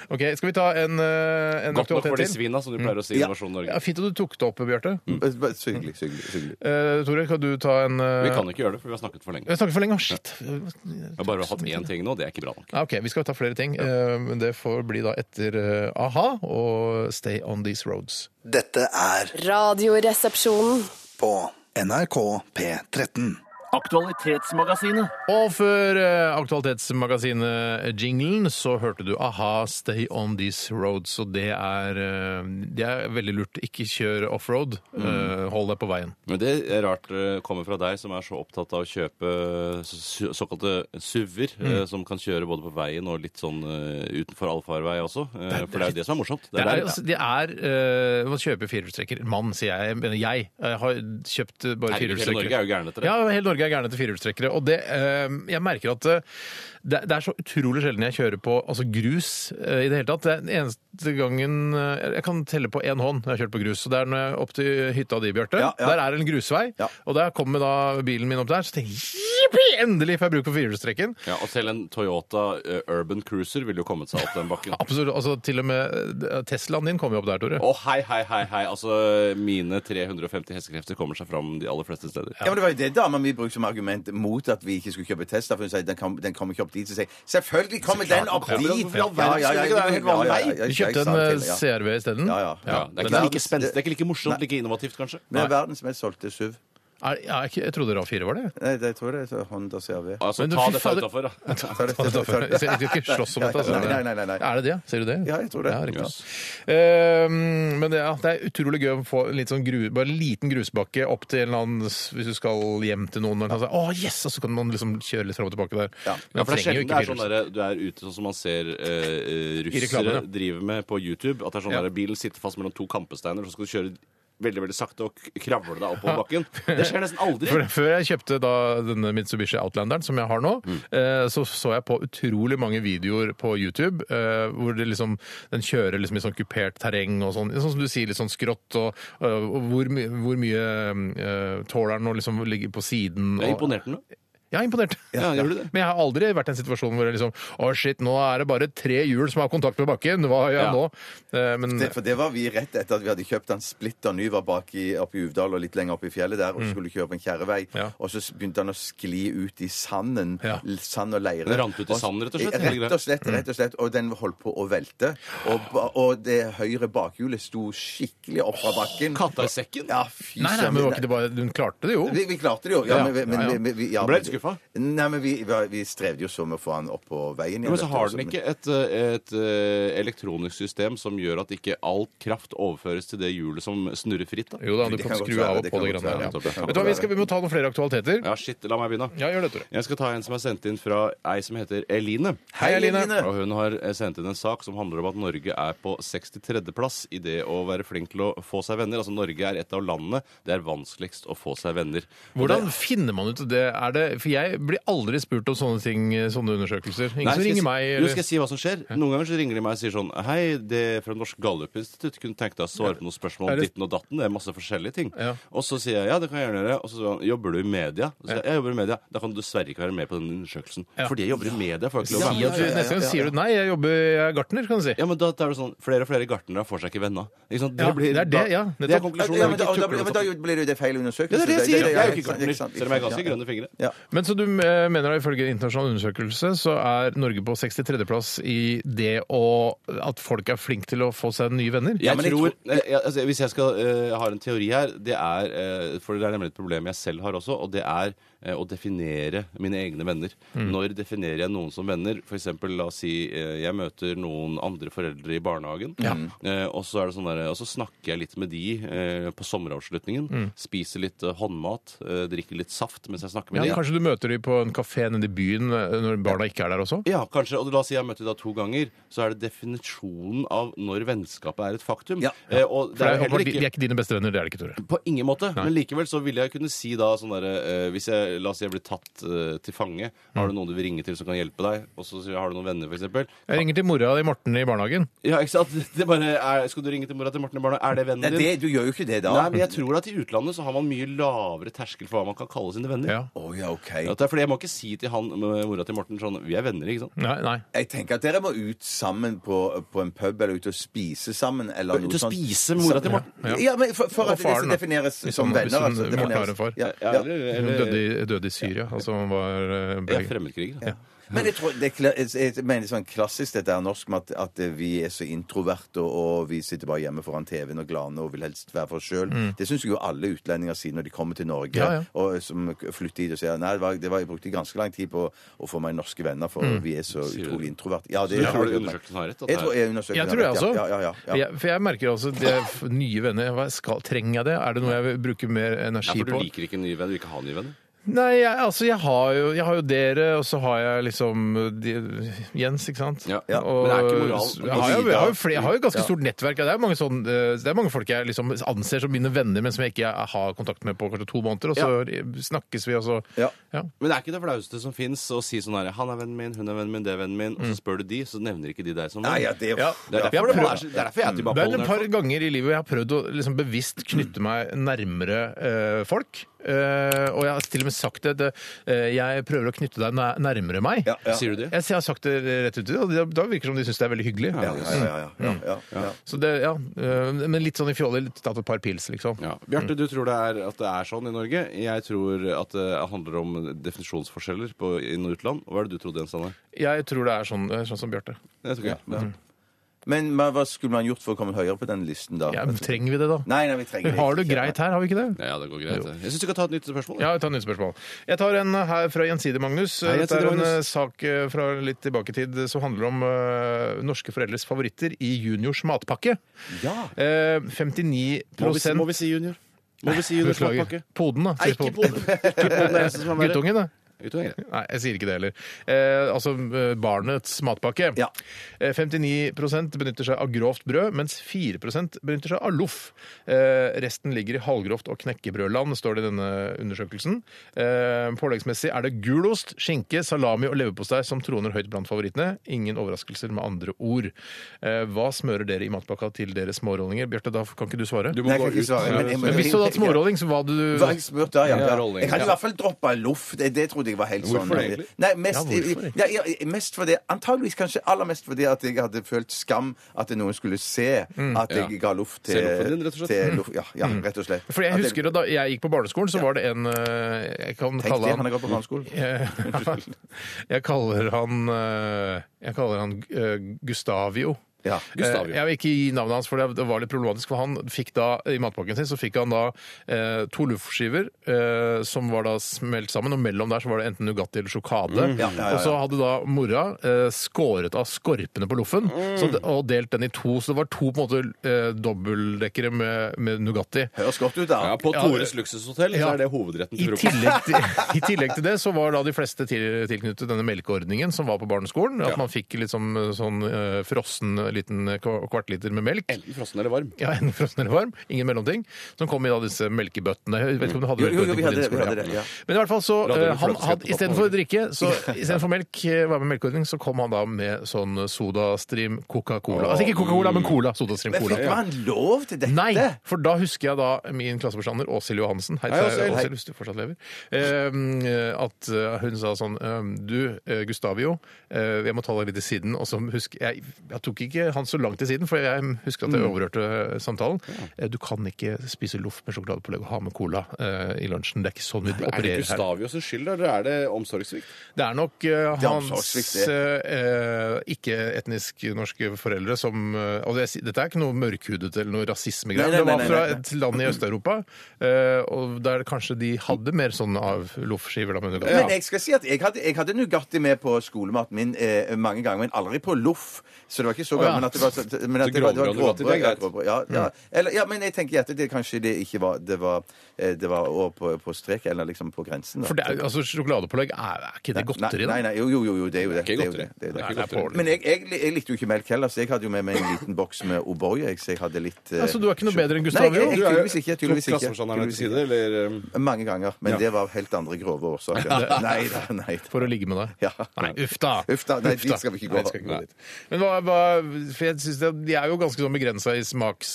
[SPEAKER 3] Ok, Skal vi ta en, eh, en
[SPEAKER 4] godt nok for de
[SPEAKER 3] aktualitet til?
[SPEAKER 4] svina, som du pleier å si.
[SPEAKER 5] Ja.
[SPEAKER 4] Innovasjon
[SPEAKER 3] Ja,
[SPEAKER 4] Norge.
[SPEAKER 3] fint at du tok det opp, Bjarte.
[SPEAKER 4] Mm.
[SPEAKER 5] bare- Så hyggelig, så hyggelig. så hyggelig.
[SPEAKER 3] Eh, Tore, kan du ta en eh,
[SPEAKER 4] Vi kan ikke gjøre det, for vi har snakket for lenge.
[SPEAKER 3] Jeg snakker for lenge. Å, Shit.
[SPEAKER 4] Vi har bare hatt én ting nå, det er ikke bra nok.
[SPEAKER 3] Ja, ok, Vi skal ta flere ting. Eh, men Det får bli da etter eh, a-ha og Stay On These Roads.
[SPEAKER 6] Dette er
[SPEAKER 2] Radioresepsjonen.
[SPEAKER 6] på NRK P13.
[SPEAKER 8] Aktualitetsmagasinet.
[SPEAKER 3] Og før eh, Aktualitetsmagasinet-jinglen så hørte du a-ha, Stay On These Roads. Og det er, eh, det er veldig lurt. Ikke kjør offroad.
[SPEAKER 4] Mm.
[SPEAKER 3] Eh, Hold deg på veien.
[SPEAKER 4] Men det er rart eh, kommer fra deg, som er så opptatt av å kjøpe så- såkalte SUV-er, eh, som kan kjøre både på veien og litt sånn eh, utenfor allfarvei også. Eh, For det er jo det som er morsomt.
[SPEAKER 3] Det
[SPEAKER 4] Det er
[SPEAKER 3] er,
[SPEAKER 4] der-
[SPEAKER 3] altså, det er eh, Man kjøper firehjulstrekker. Mann, sier jeg. Jeg mener jeg. Jeg har kjøpt eh, bare
[SPEAKER 4] Herregud, hele
[SPEAKER 3] firehjulstrekkere.
[SPEAKER 4] Norge er jo gærne etter det.
[SPEAKER 3] Ja, hele Norge er gærne etter firehjulstrekkere. Og det, eh, jeg merker at eh, det, det er så utrolig sjelden jeg kjører på altså grus eh, i det hele tatt. Det er den eneste gangen eh, Jeg kan telle på én hånd når jeg har kjørt på grus. Og det er når jeg er opp til hytta di, Bjarte.
[SPEAKER 5] Ja, ja.
[SPEAKER 3] Der er det en grusvei.
[SPEAKER 5] Ja.
[SPEAKER 3] Og der kommer da bilen min opp der. Så tenker jeg jippi, endelig får jeg bruk for firehjulstrekken.
[SPEAKER 4] Ja, og selv en Toyota eh, Urban Cruiser ville jo kommet seg opp den bakken.
[SPEAKER 3] Absolutt. Altså, til og med eh, Teslaen din kommer jo opp der, Tore.
[SPEAKER 4] Å, hei, hei, hei, hei. Altså, mine 350 hestekrefter kommer seg fram de aller fleste steder.
[SPEAKER 5] Ja, men Det var jo det dama mi brukte som argument mot at vi ikke skulle kjøpe Tesla. For hun sier den, kom, den kommer ikke opp dit. Så sier jeg selvfølgelig kommer den opp dit!
[SPEAKER 4] kommer den. Hvorfor i all verden skulle ikke det være helt vanlig?
[SPEAKER 3] Du kjøpte en eh, CRV isteden?
[SPEAKER 5] Ja, ja.
[SPEAKER 4] Ja, det er
[SPEAKER 5] Men
[SPEAKER 4] ikke like spenstig, det er ikke like morsomt,
[SPEAKER 5] Nei.
[SPEAKER 4] like innovativt, kanskje.
[SPEAKER 5] Men det er verdens mest solgte SUV.
[SPEAKER 3] Er, ja, jeg, jeg trodde RAV4 var det.
[SPEAKER 5] Nei, det tror jeg det er Honda CRV.
[SPEAKER 4] Altså,
[SPEAKER 3] Men du,
[SPEAKER 4] ta
[SPEAKER 3] fy
[SPEAKER 4] dette
[SPEAKER 3] fader.
[SPEAKER 4] utafor, da.
[SPEAKER 5] Ta det- ta det- ta det- ta det.
[SPEAKER 3] Jeg skal ikke slåss om dette. Altså.
[SPEAKER 5] Nei, nei, nei, nei.
[SPEAKER 3] Er det det? Sier du det?
[SPEAKER 5] Ja, jeg tror det.
[SPEAKER 3] Ja, riktig. Eh, men det, ja, det er utrolig gøy å få en litt sånn gru, bare en liten grusbakke opp til en eller annen s- Hvis du skal hjem til noen. Og kan si, Åh, yes! Og så kan man liksom kjøre litt fram og tilbake der.
[SPEAKER 5] Ja.
[SPEAKER 4] Ja, for det er
[SPEAKER 3] trenger jo
[SPEAKER 4] sjelden det
[SPEAKER 3] ikke
[SPEAKER 4] er sånn
[SPEAKER 3] firehjuls.
[SPEAKER 4] der, du er ute sånn som man ser eh, eh,
[SPEAKER 3] reklamer, ja.
[SPEAKER 4] russere drive med på YouTube. At det er sånn
[SPEAKER 3] Ja.
[SPEAKER 4] der, bilen sitter fast mellom to kampesteiner, så skal du kjøre veldig veldig sakte og k- kravle deg oppover bakken. Det skjer nesten aldri.
[SPEAKER 3] For, før jeg kjøpte da denne Mitsubishi Outlanderen som jeg har nå,
[SPEAKER 5] Mm.
[SPEAKER 3] eh, så så jeg på utrolig mange videoer på YouTube eh, hvor det liksom, den kjører liksom i sånn kupert terreng og sånn, sånn som du sier, litt sånn skrått, og, eh, og hvor, my hvor mye eh, tåler den å liksom ligge på siden.
[SPEAKER 4] Jeg
[SPEAKER 3] og-
[SPEAKER 4] imponerte den.
[SPEAKER 3] Jeg er imponert.
[SPEAKER 4] Ja, gjør du det?
[SPEAKER 3] Men jeg har aldri vært i en situasjon hvor jeg liksom Å, shit, nå er det bare tre hjul som har kontakt med bakken. Hva gjør jeg
[SPEAKER 4] Ja.
[SPEAKER 3] nå? Eh, Men
[SPEAKER 5] Det, for det var vi rett etter at vi hadde kjøpt en splitter ny var bak i, oppe i Uvdal og litt lenger oppe i fjellet der, og
[SPEAKER 4] Mm.
[SPEAKER 5] så skulle kjøre på en kjerrevei.
[SPEAKER 3] Ja.
[SPEAKER 5] Og så begynte han å skli ut i sanden.
[SPEAKER 3] Ja.
[SPEAKER 5] l- Sand og leire.
[SPEAKER 4] Det rant ut i sand, rett og slett, hele
[SPEAKER 5] Rett
[SPEAKER 4] greia.
[SPEAKER 5] og slett, rett
[SPEAKER 4] Mm.
[SPEAKER 5] og slett. Og den holdt på å velte. Og, ba- og det høyre bakhjulet sto skikkelig opp fra bakken.
[SPEAKER 4] Katta i sekken?
[SPEAKER 5] Ja, fy
[SPEAKER 3] Nei, nei,
[SPEAKER 5] søren.
[SPEAKER 3] men var ikke det bare, hun klarte det jo.
[SPEAKER 5] Vi, vi klarte det jo. Ja,
[SPEAKER 3] Ja,
[SPEAKER 5] men, vi- men,
[SPEAKER 3] ja, ja.
[SPEAKER 5] vi- Vi, ja,
[SPEAKER 4] Du ble
[SPEAKER 5] men-
[SPEAKER 4] litt skuffa?
[SPEAKER 5] Nei, men vi, vi- vi strevde jo så med å få han opp på veien igjen.
[SPEAKER 4] Ja, men
[SPEAKER 5] vet
[SPEAKER 4] så
[SPEAKER 5] du,
[SPEAKER 4] har
[SPEAKER 5] altså,
[SPEAKER 4] den ikke et, eh, et eh, elektronisk system som gjør at ikke all kraft overføres til det hjulet som snurrer fritt, da?
[SPEAKER 3] Jo da, du
[SPEAKER 5] Det
[SPEAKER 3] kan
[SPEAKER 5] kan godt
[SPEAKER 3] skru
[SPEAKER 5] være,
[SPEAKER 3] av og
[SPEAKER 5] det
[SPEAKER 3] på
[SPEAKER 5] kan
[SPEAKER 3] det
[SPEAKER 5] godt
[SPEAKER 3] grann der.
[SPEAKER 5] være,
[SPEAKER 3] Ja.
[SPEAKER 5] nettopp, det kan
[SPEAKER 3] Vet du hva,
[SPEAKER 5] godt
[SPEAKER 3] vi, skal, vi må ta noen flere aktualiteter.
[SPEAKER 4] Ja, shit, la meg begynne.
[SPEAKER 3] Ja, gjør det, Tore.
[SPEAKER 4] Jeg skal ta en som er sendt inn fra ei som heter Eline.
[SPEAKER 3] Hei, Eline.
[SPEAKER 4] Og hun har eh, sendt inn en sak som handler om at Norge er på 63.-plass i det å være flink til å få seg venner. Altså Norge er et av landene det er vanskeligst å få seg venner. Og
[SPEAKER 3] Hvordan
[SPEAKER 4] det-
[SPEAKER 3] finner man ut det? Er det? For jeg blir aldri spurt om sånne ting, sånne undersøkelser. Ingen
[SPEAKER 4] Nei,
[SPEAKER 3] som
[SPEAKER 4] skal jeg si-
[SPEAKER 3] ringer meg.
[SPEAKER 4] Jo, skal
[SPEAKER 3] Eller...
[SPEAKER 4] jeg si hva som skjer? Noen ganger så ringer de meg og sier sånn Hei, det er fra Norsk Gallup-institutt. Kunne tenke deg å svare på noen spørsmål
[SPEAKER 3] Er
[SPEAKER 4] om
[SPEAKER 3] det-
[SPEAKER 4] ditten og datten. Det er masse forskjellige ting.
[SPEAKER 3] Ja.
[SPEAKER 4] Og så sier jeg ja, det kan jeg gjerne gjøre. Og så sier han jobber du i media? Og så sier jeg, jeg jobber i media. Da kan du dessverre ikke være med på den undersøkelsen. Fordi jeg jobber i media. Får jeg ikke lov
[SPEAKER 3] Si
[SPEAKER 4] å være med.
[SPEAKER 3] at du, neste gang sier du nei, jeg jobber, jeg er gartner, kan du si.
[SPEAKER 4] Ja, men da da er det sånn Flere og flere gartnere får seg ikke venner. Ikke sant?
[SPEAKER 3] Ja, det er det,
[SPEAKER 4] da,
[SPEAKER 3] ja,
[SPEAKER 4] Det
[SPEAKER 3] nettopp.
[SPEAKER 4] er konklusjonen.
[SPEAKER 5] Ja,
[SPEAKER 4] Jeg
[SPEAKER 5] men
[SPEAKER 4] vil
[SPEAKER 5] da,
[SPEAKER 4] ikke
[SPEAKER 5] da,
[SPEAKER 4] tukle
[SPEAKER 5] ja, men
[SPEAKER 4] med
[SPEAKER 5] da
[SPEAKER 4] sånn.
[SPEAKER 5] blir det jo det feil undersøkelse.
[SPEAKER 4] Ja, det er det jeg sier. Jeg er jo ikke
[SPEAKER 5] ikke
[SPEAKER 4] gartner,
[SPEAKER 5] sant,
[SPEAKER 4] selv om jeg er ganske grønne fingre.
[SPEAKER 5] Ja.
[SPEAKER 3] Men så du eh, mener da, ifølge en internasjonal undersøkelse så er Norge på 63.-plass i det å at folk er flinke til å få seg nye venner?
[SPEAKER 4] Jeg
[SPEAKER 5] men jeg
[SPEAKER 4] tror, eh, jeg, altså, Hvis jeg skal eh, ha en teori her det er, eh, For det er nemlig et problem jeg selv har også, og det er eh, å definere mine egne venner. Når definerer jeg noen som venner? For eksempel, la oss si eh, jeg møter noen andre foreldre i barnehagen, eh, og, så er det sånn der, og så snakker jeg litt med de eh, på sommeravslutningen. Spiser litt eh, håndmat, eh, drikker litt saft mens jeg snakker
[SPEAKER 3] Ja,
[SPEAKER 4] med de.
[SPEAKER 3] Kanskje du møter dem på en kafé nede i byen eh, når barna ikke er der også?
[SPEAKER 4] Ja, kanskje. Og la oss si jeg har møtt deg to ganger, så er det definisjonen av når vennskapet er et faktum.
[SPEAKER 5] Ja.
[SPEAKER 4] Eh, og det
[SPEAKER 3] For det
[SPEAKER 4] er jo
[SPEAKER 3] er,
[SPEAKER 4] heller
[SPEAKER 3] åpenbart, de
[SPEAKER 4] ikke
[SPEAKER 3] er ikke dine beste venner, det er det ikke, Tore.
[SPEAKER 4] på ingen måte, men likevel så ville jeg kunne si da sånn derre eh, Hvis jeg la oss si jeg blir tatt eh, til fange, har du noen du vil ringe til som kan hjelpe deg? Og så sier jeg har du noen venner, f.eks.?
[SPEAKER 3] Jeg ringer til mora di Morten i barnehagen.
[SPEAKER 4] Ja, ikke sant? Det bare er, skal du ringe til mora til Morten i barna? Er det
[SPEAKER 5] Nei,
[SPEAKER 4] vennen
[SPEAKER 5] det,
[SPEAKER 4] din?
[SPEAKER 5] du gjør jo ikke det da.
[SPEAKER 4] Nei, men jeg tror at i utlandet så har man mye lavere terskel for hva man kan kalle sine venner.
[SPEAKER 3] Ja.
[SPEAKER 5] Å ja, OK.
[SPEAKER 4] At det er fordi Jeg må ikke si til han eh, mora til Morten sånn Vi er venner, ikke sant?
[SPEAKER 3] Nei, nei.
[SPEAKER 5] Jeg tenker at dere må ut sammen på, på en pub, eller ut og spise sammen, eller
[SPEAKER 4] Ut
[SPEAKER 5] noe
[SPEAKER 4] og
[SPEAKER 5] sånt.
[SPEAKER 4] spise med mora til Morten.
[SPEAKER 5] Ja, men for, for
[SPEAKER 3] Og
[SPEAKER 5] at det
[SPEAKER 3] faren,
[SPEAKER 5] skal
[SPEAKER 3] da.
[SPEAKER 5] defineres
[SPEAKER 3] Hvis
[SPEAKER 5] som
[SPEAKER 3] han- hvis
[SPEAKER 5] venner.
[SPEAKER 3] han-
[SPEAKER 5] altså,
[SPEAKER 3] Morten
[SPEAKER 5] defineres-
[SPEAKER 3] har en far.
[SPEAKER 5] Ja,
[SPEAKER 4] Ja,
[SPEAKER 5] ja.
[SPEAKER 4] eller,
[SPEAKER 3] Hun
[SPEAKER 4] eller,
[SPEAKER 3] døde i, døde i Syria, altså hun var eh,
[SPEAKER 4] ja,
[SPEAKER 3] ble-
[SPEAKER 4] fremmedkriger. Ja.
[SPEAKER 5] Men jeg, tror, det, er kla- jeg- jeg mener sånn klassisk dette er norsk med at, at vi er så introverte, og, og vi sitter bare hjemme foran TV-en og glane og vil helst være for oss sjøl. Det syns jo alle utlendinger sier når de kommer til Norge
[SPEAKER 3] Ja, ja.
[SPEAKER 5] og som flytter hit og sier nei, det var, det var, jeg brukte ganske lang tid på å få meg norske venner, for vi er så
[SPEAKER 4] Sier du
[SPEAKER 5] utrolig
[SPEAKER 4] det?
[SPEAKER 5] introverte. Ja, det
[SPEAKER 4] Du
[SPEAKER 5] er-
[SPEAKER 4] tror det undersøkelsen har rett? At
[SPEAKER 5] Jeg tror
[SPEAKER 4] det er-
[SPEAKER 5] jeg undersøker det,
[SPEAKER 3] Jeg Sånn tror
[SPEAKER 5] ja.
[SPEAKER 3] jeg også.
[SPEAKER 5] Ja, ja, ja, ja.
[SPEAKER 3] Jeg, for jeg merker altså det er f- nye venner. Hva skal, trenger jeg det? Er det noe jeg vil bruke mer
[SPEAKER 4] ja,
[SPEAKER 3] energi
[SPEAKER 4] for du
[SPEAKER 3] på?
[SPEAKER 4] liker ikke nye venner? Du vil ikke ha nye venner?
[SPEAKER 3] Nei, jeg, altså jeg har, jo, jeg har jo dere, og så har jeg liksom de, Jens, ikke sant?
[SPEAKER 4] Ja.
[SPEAKER 5] Ja,
[SPEAKER 3] Og,
[SPEAKER 4] men det er ikke moral.
[SPEAKER 3] s- jeg, har jo, jeg, har jo flere, jeg har jo ganske stort nettverk. Det er, mange sånn, eh, det er mange folk jeg liksom anser som mine venner, men som jeg ikke har kontakt med på kanskje to måneder, og så snakkes vi, og så
[SPEAKER 5] Ja.
[SPEAKER 3] Ja.
[SPEAKER 4] Men det er ikke det flaueste som fins å si sånn her Han er vennen min, hun er vennen min, det er vennen min. Og så spør du de, så nevner ikke de deg som venn.
[SPEAKER 5] Nei, ja, det er
[SPEAKER 3] Ja.
[SPEAKER 4] Det er
[SPEAKER 3] Jeg
[SPEAKER 4] derfor, det
[SPEAKER 3] prøver-
[SPEAKER 4] er, så- det er derfor
[SPEAKER 3] Det er
[SPEAKER 4] jeg er
[SPEAKER 3] et par
[SPEAKER 4] tilbakeholden. i hvert fall.
[SPEAKER 3] ganger i livet jeg har prøvd å liksom bevisst knytte meg nærmere eh, folk. Eh, og jeg har til og med sagt det. det eh, jeg prøver å knytte deg nær- nærmere meg.
[SPEAKER 5] Ja, ja.
[SPEAKER 4] Sier du det?
[SPEAKER 3] Jeg, jeg har sagt det rett ut, til dem, og da- da virker det som de syns det er veldig hyggelig.
[SPEAKER 5] Ja, ja, ja, ja, ja, ja,
[SPEAKER 4] Mm.
[SPEAKER 5] ja.
[SPEAKER 3] Så det, ja, eh, Men litt sånn i fjolle, litt tatt et par pils, liksom.
[SPEAKER 4] Ja. Bjarte, du tror det er at det er sånn i Norge. Jeg tror at det handler om definisjonsforskjeller på inn- og utland. Hva er det du trodde, Jens Anne?
[SPEAKER 3] Jeg tror det er sånn, eh, sånn som Bjarte.
[SPEAKER 4] Det tror jeg. Ja.
[SPEAKER 5] Men hva hva skulle man gjort for å komme høyere på den listen, da?
[SPEAKER 3] Ja, trenger vi det, da?
[SPEAKER 5] Nei, nei, vi trenger
[SPEAKER 3] Har du
[SPEAKER 5] det ikke.
[SPEAKER 3] greit her, har vi ikke det?
[SPEAKER 4] Ja, det går greit. det. Jeg syns du kan ta et nytt spørsmål.
[SPEAKER 3] Ja, vi tar nytt spørsmål. Jeg tar en her fra Gjensidige Magnus.
[SPEAKER 4] Hei,
[SPEAKER 3] Dette er
[SPEAKER 4] Gjensidige
[SPEAKER 3] en eh,
[SPEAKER 4] Magnus.
[SPEAKER 3] sak eh, fra litt tilbake i tid som handler om eh, norske foreldres favoritter i juniors matpakke.
[SPEAKER 5] Ja.
[SPEAKER 3] Eh, 59
[SPEAKER 4] Må vi, si- må vi si junior? Må vi si junior
[SPEAKER 3] Beklager.
[SPEAKER 4] smakpakke?
[SPEAKER 3] Poden, da.
[SPEAKER 4] Nei, ikke Polen. Ikke Polen er det eneste som er verre.
[SPEAKER 3] Guttungen, da.
[SPEAKER 4] Guttungen er greit.
[SPEAKER 3] Nei, jeg sier ikke det heller. Eh, altså eh, barnets matpakke.
[SPEAKER 5] Ja.
[SPEAKER 3] Eh, 59 benytter seg av grovt brød, mens 4 benytter seg av loff. Eh, resten ligger i halvgrovt og knekkebrødland, står det i denne undersøkelsen. Eh, påleggsmessig er det gulost, skinke, salami og leverpostei som troner høyt blant favorittene. Ingen overraskelser, med andre ord. Eh, hva smører dere i matpakka til dere smårollinger? Bjarte, da kan ikke du svare.
[SPEAKER 4] Du må
[SPEAKER 5] Nei, jeg
[SPEAKER 4] gå
[SPEAKER 5] kan ikke
[SPEAKER 4] ut.
[SPEAKER 5] svare, men jeg må-
[SPEAKER 3] Men hvis du hadde hatt smårolling, så hva hadde du
[SPEAKER 5] Hva jeg spurte, ja, ja.
[SPEAKER 4] Ja, rolling.
[SPEAKER 5] Jeg hadde i hvert fall droppa loff. Det, det trodde fordi jeg var helt
[SPEAKER 4] Hvorfor
[SPEAKER 5] sånn
[SPEAKER 4] egentlig?
[SPEAKER 5] Nei, mest,
[SPEAKER 3] Ja, hvorfor
[SPEAKER 5] ja, ja, mest fordi Antageligvis kanskje aller mest fordi at jeg hadde følt skam at noen skulle se
[SPEAKER 3] Mm.
[SPEAKER 5] at jeg
[SPEAKER 4] Ja.
[SPEAKER 5] ga luft til
[SPEAKER 4] Se luften din, rett og slett.
[SPEAKER 5] til luft- ja, ja, rett og slett.
[SPEAKER 3] For Mm. jeg
[SPEAKER 5] At
[SPEAKER 3] husker at da jeg gikk på barneskolen, så var det en eh, Jeg kan
[SPEAKER 5] Tenk
[SPEAKER 3] kalle
[SPEAKER 5] det, han
[SPEAKER 3] han
[SPEAKER 5] har gått på barneskolen.
[SPEAKER 3] jeg, Eh, jeg kaller han eh, Jeg kaller han eh, Gustavio.
[SPEAKER 5] Ja.
[SPEAKER 4] Gustavio.
[SPEAKER 3] Eh, Jeg vil ikke gi navnet hans, for det det var litt problematisk. For han fikk da, I matpakken sin så fikk han da eh, to luftskiver eh, som var da smelt sammen, og mellom der så var det enten Nugatti eller sjokade.
[SPEAKER 5] Mm. Ja, ja, ja, ja.
[SPEAKER 3] Og så hadde da mora eh, skåret av skorpene på loffen
[SPEAKER 5] Mm.
[SPEAKER 3] så det- og delt den i to. Så det var to på en måte eh, dobbeltdekkere med, med Nugatti.
[SPEAKER 5] Høres godt ut, da.
[SPEAKER 4] Ja, På
[SPEAKER 3] Ja,
[SPEAKER 4] Tores luksushotell så
[SPEAKER 3] ja.
[SPEAKER 4] er det hovedretten
[SPEAKER 3] I
[SPEAKER 4] til frokost.
[SPEAKER 3] tillegg, til, I tillegg til det så var da de fleste til, tilknyttet denne melkeordningen som var på barneskolen. At
[SPEAKER 4] Ja.
[SPEAKER 3] man fikk liksom eh, sånn eh, frossen liten kva- kvartliter med melk.
[SPEAKER 4] Enten frossen eller varm.
[SPEAKER 3] Ja, enten frossen eller varm. Ingen mellomting. Som kom i da disse melkebøttene. Jeg vet ikke om du hadde
[SPEAKER 5] Jo, jo, jo, vi
[SPEAKER 3] melkebøttene på
[SPEAKER 5] hadde
[SPEAKER 3] din
[SPEAKER 5] det. Vi hadde det
[SPEAKER 3] skole, ja.
[SPEAKER 5] ja.
[SPEAKER 3] Men i hvert fall så
[SPEAKER 4] Da hadde du
[SPEAKER 3] eh, han
[SPEAKER 4] fløteskje
[SPEAKER 3] hadde,
[SPEAKER 4] på
[SPEAKER 3] Istedenfor
[SPEAKER 4] toppen.
[SPEAKER 3] drikke, så istedenfor melk, eh, var med melkeordning, så kom han da med sånn sodastream Coca-Cola. Altså ikke Coca-Cola, men Cola. Sodastream
[SPEAKER 5] Men
[SPEAKER 3] Cola.
[SPEAKER 5] fikk man lov til dette?
[SPEAKER 3] Nei, for da husker jeg da min klasseforstander Åshild Johansen, hei
[SPEAKER 4] Hei,
[SPEAKER 3] til
[SPEAKER 4] Åshild.
[SPEAKER 3] Åshild, hvis du fortsatt lever, ehm, at eh, hun sa sånn ehm, Du, eh, Gustavio, eh, jeg må ta deg litt til siden. Og så husker jeg Jeg tok ikke han så langt til siden, for jeg husker at
[SPEAKER 4] Mm.
[SPEAKER 3] jeg overhørte samtalen. Eh, Du kan ikke spise loff med sjokoladepålegg og ha med cola eh, i lunsjen. Det er ikke sånn vi
[SPEAKER 4] Er det
[SPEAKER 3] opererer her.
[SPEAKER 4] Gustavios skyld, da, eller er det omsorgssvikt?
[SPEAKER 3] Det er nok eh,
[SPEAKER 5] er
[SPEAKER 3] hans
[SPEAKER 5] omsorgssvikt,
[SPEAKER 3] eh, ikke-etnisk norske foreldre som eh, og det, Dette er ikke noe mørkhudet eller noe rasismegreier.
[SPEAKER 5] Nei, nei,
[SPEAKER 3] Det var
[SPEAKER 5] nei, nei,
[SPEAKER 3] fra
[SPEAKER 5] nei, nei.
[SPEAKER 3] et land i Øst-Europa, eh, og der kanskje de hadde mer sånn av loffskiver. da, men-
[SPEAKER 5] Men jeg skal si at jeg hadde, jeg hadde Nugatti med på skolematen min eh, mange ganger, men aldri på loff. Så det var ikke så
[SPEAKER 3] ja.
[SPEAKER 5] gammelt. Men at det var, så- men at
[SPEAKER 4] Så
[SPEAKER 5] det var, det var
[SPEAKER 4] grovbrød Nugatti, det er
[SPEAKER 5] grovbrød, ja,
[SPEAKER 4] greit.
[SPEAKER 5] grovbrød, ja, ja. Eller, ja, men jeg tenker at det kanskje det ikke var Det var, eh, det var over på, på strek, eller liksom på grensen. Da.
[SPEAKER 3] For det er, altså, Sjokoladepålegg, er, er ikke det
[SPEAKER 5] Nei,
[SPEAKER 3] godteri? da?
[SPEAKER 5] nei, nei, jo, jo, jo, jo, det er jo det.
[SPEAKER 4] Ikke
[SPEAKER 5] det er jo
[SPEAKER 4] godteri.
[SPEAKER 5] det, det er jo det.
[SPEAKER 4] Nei,
[SPEAKER 3] det er pålegg.
[SPEAKER 5] Men jeg, jeg, jeg likte jo ikke melk heller, så jeg hadde jo med meg en liten boks med O'boy. Jeg, så jeg hadde litt eh,
[SPEAKER 3] Ja, så Altså, du er ikke noe bedre enn
[SPEAKER 5] Nei,
[SPEAKER 3] Gustavio?
[SPEAKER 5] jeg, jeg, tydeligvis ikke. Tydeligvis ikke.
[SPEAKER 4] Tok klasseforstanderen
[SPEAKER 5] Tydeligvis
[SPEAKER 4] til side,
[SPEAKER 5] ikke.
[SPEAKER 4] eller um,
[SPEAKER 5] Mange ganger. Men det var helt andre grove årsaker. Nei da, nei da.
[SPEAKER 3] For å ligge med deg?
[SPEAKER 5] Ja.
[SPEAKER 3] Nei, uff da!
[SPEAKER 5] Uff da, nei, dit skal vi ikke gå.
[SPEAKER 3] Nei, vi skal ikke gå dit. Men hva, hva, for jeg synes det, De er jo ganske sånn begrensa i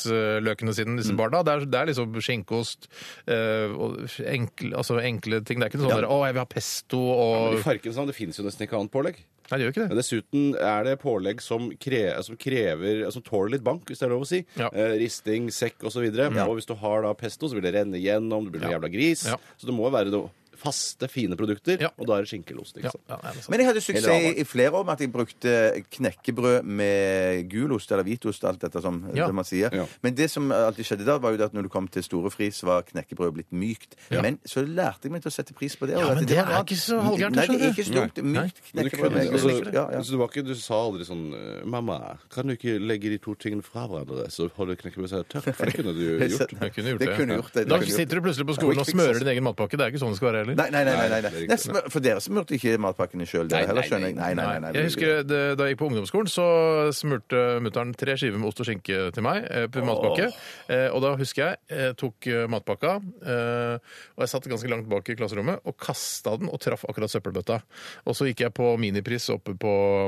[SPEAKER 3] smaksløkene sine, disse barna. Det er, det er liksom skinkeost eh, og enkle, altså enkle ting. Det er ikke noe sånn der, 'Å, jeg vil ha pesto' og
[SPEAKER 4] I Farkensand det fins jo nesten ikke annet pålegg.
[SPEAKER 3] Nei, det gjør ikke
[SPEAKER 4] Men
[SPEAKER 3] det.
[SPEAKER 4] dessuten er det pålegg som, kre, som krever altså, Som tåler litt bank, hvis det er lov å si.
[SPEAKER 3] Ja.
[SPEAKER 4] Eh, risting, sekk osv. videre Og hvis du har da pesto, så vil det renne gjennom, du blir en
[SPEAKER 3] Ja.
[SPEAKER 4] jævla gris.
[SPEAKER 3] Ja.
[SPEAKER 4] Så det må jo være noe faste, fine produkter,
[SPEAKER 3] Ja.
[SPEAKER 4] og da er det skinkelost.
[SPEAKER 3] Ja,
[SPEAKER 4] Ikke sant?
[SPEAKER 3] ja, det er sant.
[SPEAKER 5] Men jeg hadde suksess i,
[SPEAKER 4] Eller
[SPEAKER 5] i flere år med at jeg brukte knekkebrød med gulost eller hvitost. alt dette som
[SPEAKER 3] Ja.
[SPEAKER 5] det man sier.
[SPEAKER 4] Ja.
[SPEAKER 5] Men det som alltid skjedde da, var jo det at når du kom til storefri, så var knekkebrød blitt mykt. Men så lærte jeg meg til å sette pris på det. og
[SPEAKER 3] Ja,
[SPEAKER 5] at
[SPEAKER 3] men det
[SPEAKER 5] var
[SPEAKER 3] er
[SPEAKER 5] rart.
[SPEAKER 3] ikke så halvgærent,
[SPEAKER 5] Nei, det
[SPEAKER 3] skjønner
[SPEAKER 5] er ikke så dumt. Mykt
[SPEAKER 3] Nei.
[SPEAKER 4] Men du,
[SPEAKER 5] knekkebrød med
[SPEAKER 4] altså,
[SPEAKER 5] gulost. Ja, ja.
[SPEAKER 4] Så det var ikke, du sa aldri sånn 'Mamma, kan du ikke legge de to tingene fra hverandre?' Så holder knekkebrødet seg tørt. For det kunne du jo gjort.
[SPEAKER 3] Jeg kunne gjort
[SPEAKER 5] Det
[SPEAKER 3] det.
[SPEAKER 5] kunne gjort det, det
[SPEAKER 3] Da
[SPEAKER 5] kunne gjort
[SPEAKER 3] sitter du plutselig på
[SPEAKER 5] Ja,
[SPEAKER 3] skolen
[SPEAKER 5] quick
[SPEAKER 3] og
[SPEAKER 5] fix,
[SPEAKER 3] smører
[SPEAKER 5] altså.
[SPEAKER 3] din egen matpakke. Det er ikke sånn det skal være heller.
[SPEAKER 5] Nei, nei, nei. nei, nei.
[SPEAKER 4] Nei, det er ikke
[SPEAKER 5] Nei, smør- for dere smurte ikke matpakkene sjøl, dere
[SPEAKER 4] Nei,
[SPEAKER 5] heller,
[SPEAKER 4] nei,
[SPEAKER 5] skjønner jeg. Nei, nei, nei, nei,
[SPEAKER 3] Jeg husker det, Da jeg gikk på ungdomsskolen, så smurte mutter'n tre skiver med ost og skinke til meg eh, på matpakke. Eh, og da husker jeg eh, tok eh, matpakka, eh, og jeg satt ganske langt bak i klasserommet, og kasta den og traff akkurat søppelbøtta. Og så gikk jeg på minipris oppe på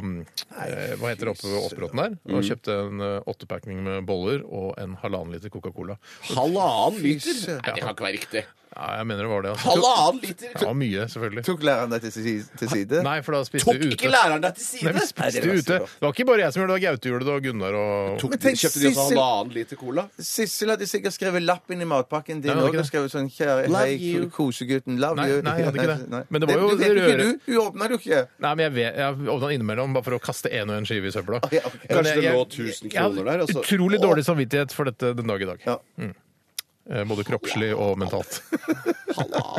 [SPEAKER 3] mm, eh, Hva heter det oppe ved Åsbråten der?
[SPEAKER 5] Mm.
[SPEAKER 3] Og kjøpte en eh, åttepakning med boller og en halvannen liter Coca-Cola.
[SPEAKER 4] Halvannen liter?
[SPEAKER 5] søren.
[SPEAKER 4] Nei, det kan ikke være riktig.
[SPEAKER 3] Ja, jeg mener det var det. Altså.
[SPEAKER 4] Halvannen liter?
[SPEAKER 3] Ja, mye, selvfølgelig.
[SPEAKER 5] Tok læreren deg til si- til side?
[SPEAKER 3] Nei, for da spiste
[SPEAKER 4] Tok
[SPEAKER 3] vi ute.
[SPEAKER 4] ikke læreren deg til
[SPEAKER 3] Nei, vi
[SPEAKER 4] side?
[SPEAKER 3] spiste
[SPEAKER 5] det var
[SPEAKER 3] ute.
[SPEAKER 5] så
[SPEAKER 3] Det var ikke bare jeg som gjorde det, det var Gaute gjorde det, og Gunnar og
[SPEAKER 4] Tok,
[SPEAKER 5] Men tenk,
[SPEAKER 4] kjøpte de også
[SPEAKER 5] Sissel-
[SPEAKER 4] halvannen liter cola?
[SPEAKER 5] Sissel hadde sikkert skrevet lapp inn i matpakken din
[SPEAKER 3] Nei, hadde
[SPEAKER 5] òg.
[SPEAKER 3] ikke
[SPEAKER 5] Og skrevet sånn kjære,
[SPEAKER 4] Love
[SPEAKER 5] Hei,
[SPEAKER 4] you.
[SPEAKER 5] kosegutten. Love
[SPEAKER 3] Nei,
[SPEAKER 5] you.
[SPEAKER 3] nei, jeg hadde ikke det.
[SPEAKER 5] Nei.
[SPEAKER 3] Men det var jo
[SPEAKER 5] vet ikke
[SPEAKER 3] røre-
[SPEAKER 5] du. Du åpna det jo ikke.
[SPEAKER 3] Nei, men jeg, vet, jeg åpna den innimellom bare for å kaste én og én skive i søpla.
[SPEAKER 5] ja, ok.
[SPEAKER 3] Men
[SPEAKER 4] Ah, Kanskje det
[SPEAKER 3] jeg-
[SPEAKER 4] lå
[SPEAKER 3] jeg
[SPEAKER 4] 1000
[SPEAKER 3] hadde
[SPEAKER 4] kroner der, altså.
[SPEAKER 3] Utrolig dårlig samvittighet for dette den dag i dag.
[SPEAKER 5] Ja.
[SPEAKER 3] Mm. Eh, Både kroppslig og mentalt.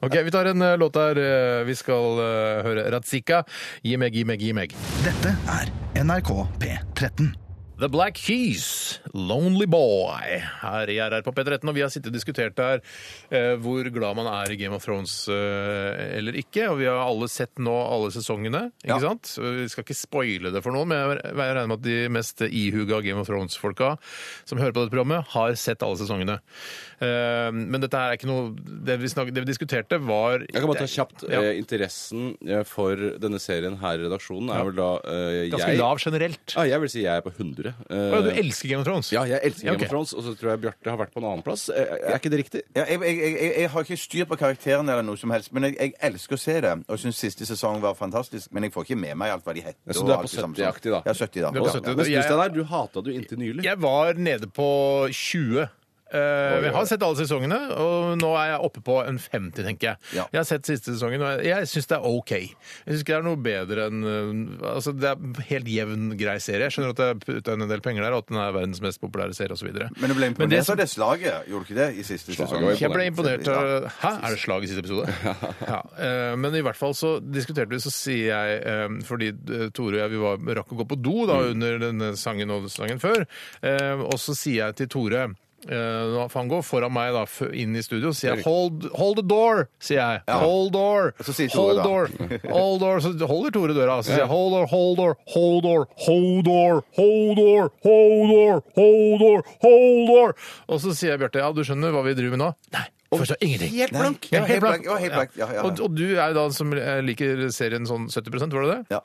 [SPEAKER 3] OK, vi tar en eh, låt der. Eh, Vi skal eh, høre Ratzika. Gi meg, gi meg, gi meg.
[SPEAKER 1] Dette er NRK P13.
[SPEAKER 3] The Black Keys, Lonely Boy, her i RR på P13. Og vi har sittet og diskutert her eh, hvor glad man er i Game of Thrones eh, eller ikke. Og vi har alle sett nå alle sesongene, ikke sant? Vi skal ikke spoile det for noen, men jeg regner med at de mest ihuga Game of Thrones-folka som hører på dette programmet, har sett alle sesongene. Eh, men dette her er ikke noe Det vi, snak, det vi diskuterte, var
[SPEAKER 4] Jeg kan bare ta kjapt.
[SPEAKER 3] Ja.
[SPEAKER 4] Eh, interessen eh, for denne serien her i redaksjonen er vel da eh,
[SPEAKER 3] Ganske
[SPEAKER 4] jeg,
[SPEAKER 3] lav generelt.
[SPEAKER 4] Ja, jeg vil si jeg er på 100. gjorde. Eh,
[SPEAKER 3] Å, ja, du elsker Game of Thrones?
[SPEAKER 4] ja, jeg elsker Game
[SPEAKER 3] Ja, ok.
[SPEAKER 4] of Thrones, og så tror jeg Bjarte har vært på en annen plass. Eh, Er ikke det riktig?
[SPEAKER 5] Ja, jeg, jeg, jeg, jeg- jeg har ikke styr på karakterene eller noe som helst, men jeg, jeg elsker å se det. Og syns siste sesong var fantastisk, men jeg får ikke med meg alt hva de heter.
[SPEAKER 4] Ja, så
[SPEAKER 5] og
[SPEAKER 4] du er
[SPEAKER 5] alt
[SPEAKER 4] på
[SPEAKER 5] det samme
[SPEAKER 4] 70-aktig, da?
[SPEAKER 5] Ja, 70 da.
[SPEAKER 3] Du er på
[SPEAKER 5] Ja,
[SPEAKER 3] 70.
[SPEAKER 5] ja.
[SPEAKER 4] Men
[SPEAKER 3] jeg-
[SPEAKER 4] Kristian her, du hata du inntil nylig.
[SPEAKER 3] Jeg var nede på 20. Eh, jeg har sett alle sesongene, og nå er jeg oppe på en 50, tenker jeg.
[SPEAKER 5] Ja.
[SPEAKER 3] Jeg har sett siste sesongen, og jeg, jeg syns det er OK. Jeg syns ikke det er noe bedre enn eh, altså Det er en helt jevn, grei serie. Jeg skjønner at det er putta inn en del penger der, og at den er verdens mest populære serie osv.
[SPEAKER 5] Men du ble imponert
[SPEAKER 3] det
[SPEAKER 5] av
[SPEAKER 3] som-
[SPEAKER 5] det slaget, gjorde du ikke det? I siste
[SPEAKER 4] Slaget
[SPEAKER 5] sesong?
[SPEAKER 4] var
[SPEAKER 3] Jeg ble imponert av
[SPEAKER 5] Ja.
[SPEAKER 3] Hæ, er det slag i siste episode? Ja. eh, Men i hvert fall så diskuterte vi, så sier jeg eh, Fordi eh, Tore og jeg vi var, rakk å gå på do
[SPEAKER 5] Mm.
[SPEAKER 3] da under denne sangen og sangen før, eh, og så sier jeg til Tore eh, når han går foran meg da, f- inn i studio sier jeg 'hold, hold the door'. sier jeg. Hold door.
[SPEAKER 5] Så sier Tore
[SPEAKER 3] hold
[SPEAKER 5] da.
[SPEAKER 3] door. Hold door. Så holder Tore døra. Så sier jeg 'hold door, hold door, hold door, hold door, hold door, hold door, hold door'. hold door. Og så sier jeg Bjarte 'ja, du skjønner hva vi driver med nå'? Nei. Først og ingenting.
[SPEAKER 5] Helt blank. Ja, helt blank. Ja, helt blank. Ja, ja, ja.
[SPEAKER 3] Og, og du er jo da som eh, liker serien sånn 70 var det det?
[SPEAKER 5] Ja.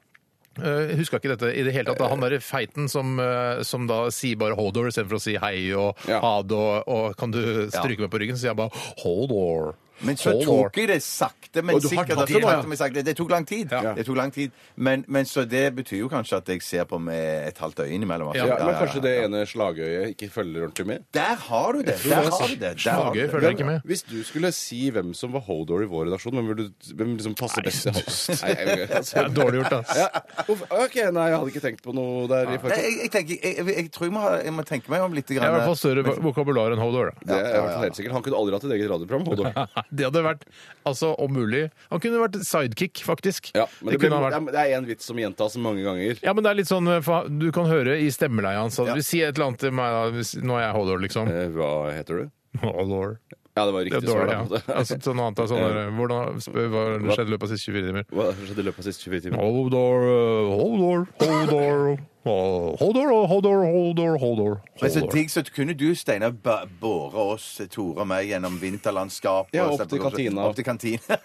[SPEAKER 3] Eh, Jeg huska ikke dette i det hele tatt. da. Han derre feiten som, eh, som da sier bare 'hold door' istedenfor å si hei og
[SPEAKER 4] Ja.
[SPEAKER 3] ha det og, og 'kan du stryke meg på ryggen', så sier jeg bare 'hold door'.
[SPEAKER 5] Men så
[SPEAKER 3] Hold door.
[SPEAKER 5] tok jeg det sakte, men
[SPEAKER 4] Og du har
[SPEAKER 5] sikkert.
[SPEAKER 4] tatt
[SPEAKER 5] at
[SPEAKER 4] det,
[SPEAKER 5] jeg
[SPEAKER 4] ja.
[SPEAKER 5] sakte, men sakte. Det tok lang tid.
[SPEAKER 3] Ja.
[SPEAKER 5] Det tok lang tid. Men, men så det betyr jo kanskje at jeg ser på med et halvt øye innimellom. altså.
[SPEAKER 3] Ja,
[SPEAKER 4] Ja, men kanskje det ene slagøyet ikke følger ordentlig med?
[SPEAKER 5] Der har du det! Der har du det. Der har du
[SPEAKER 3] Slagøy
[SPEAKER 5] det.
[SPEAKER 3] følger jeg ikke med.
[SPEAKER 4] Hvis du skulle si hvem som var holdor i vår redaksjon, hvem, ville du, hvem liksom passer best til host? Nei, jeg,
[SPEAKER 3] Det er dårlig gjort, ass.
[SPEAKER 4] ja. Uff, Ok, nei, jeg hadde ikke tenkt på noe der.
[SPEAKER 5] Nei,
[SPEAKER 4] i forhold til-
[SPEAKER 5] jeg, jeg, tenker, jeg, jeg, jeg tror jeg må, ha, jeg må tenke meg om litt.
[SPEAKER 3] Jeg
[SPEAKER 5] Grann.
[SPEAKER 3] har i hvert fall
[SPEAKER 4] eh,
[SPEAKER 3] større vo- vokabular enn 'hold door'. Da.
[SPEAKER 4] Det er i hvert fall helt sikkert. Han kunne aldri hatt et eget radioprogram. Holdor.
[SPEAKER 3] Det hadde vært altså om mulig Han kunne vært sidekick, faktisk.
[SPEAKER 4] Ja, men det,
[SPEAKER 3] kunne han vært.
[SPEAKER 4] blir, ja, men det er en vits som gjentas mange ganger.
[SPEAKER 3] Ja, men det er litt sånn, for Du kan høre i stemmeleiet hans at
[SPEAKER 5] Ja.
[SPEAKER 3] du sier et eller annet til meg da, hvis, nå er jeg holder, liksom.
[SPEAKER 4] Eh, Hva heter du?
[SPEAKER 3] Holder.
[SPEAKER 4] Ja, det var
[SPEAKER 3] Det er
[SPEAKER 4] riktig svar.
[SPEAKER 3] dårlig,
[SPEAKER 4] da, på
[SPEAKER 3] ja.
[SPEAKER 4] en måte.
[SPEAKER 3] Altså, sånn annet, er sånn, der, hvordan spør, hva skjedde i løpet av siste 24 timer?
[SPEAKER 4] Hva skjedde i løpet av siste 24 timer?
[SPEAKER 3] Holder, eh, holder, holder, holder, holder, holder, holder, holder.
[SPEAKER 5] Men så digg, så kunne du, Steinar, ba- båre oss, Tore og meg, gjennom vinterlandskapet.
[SPEAKER 4] Ja,
[SPEAKER 5] og
[SPEAKER 4] opp til
[SPEAKER 5] så-
[SPEAKER 4] kantina.
[SPEAKER 5] Opp til kantina.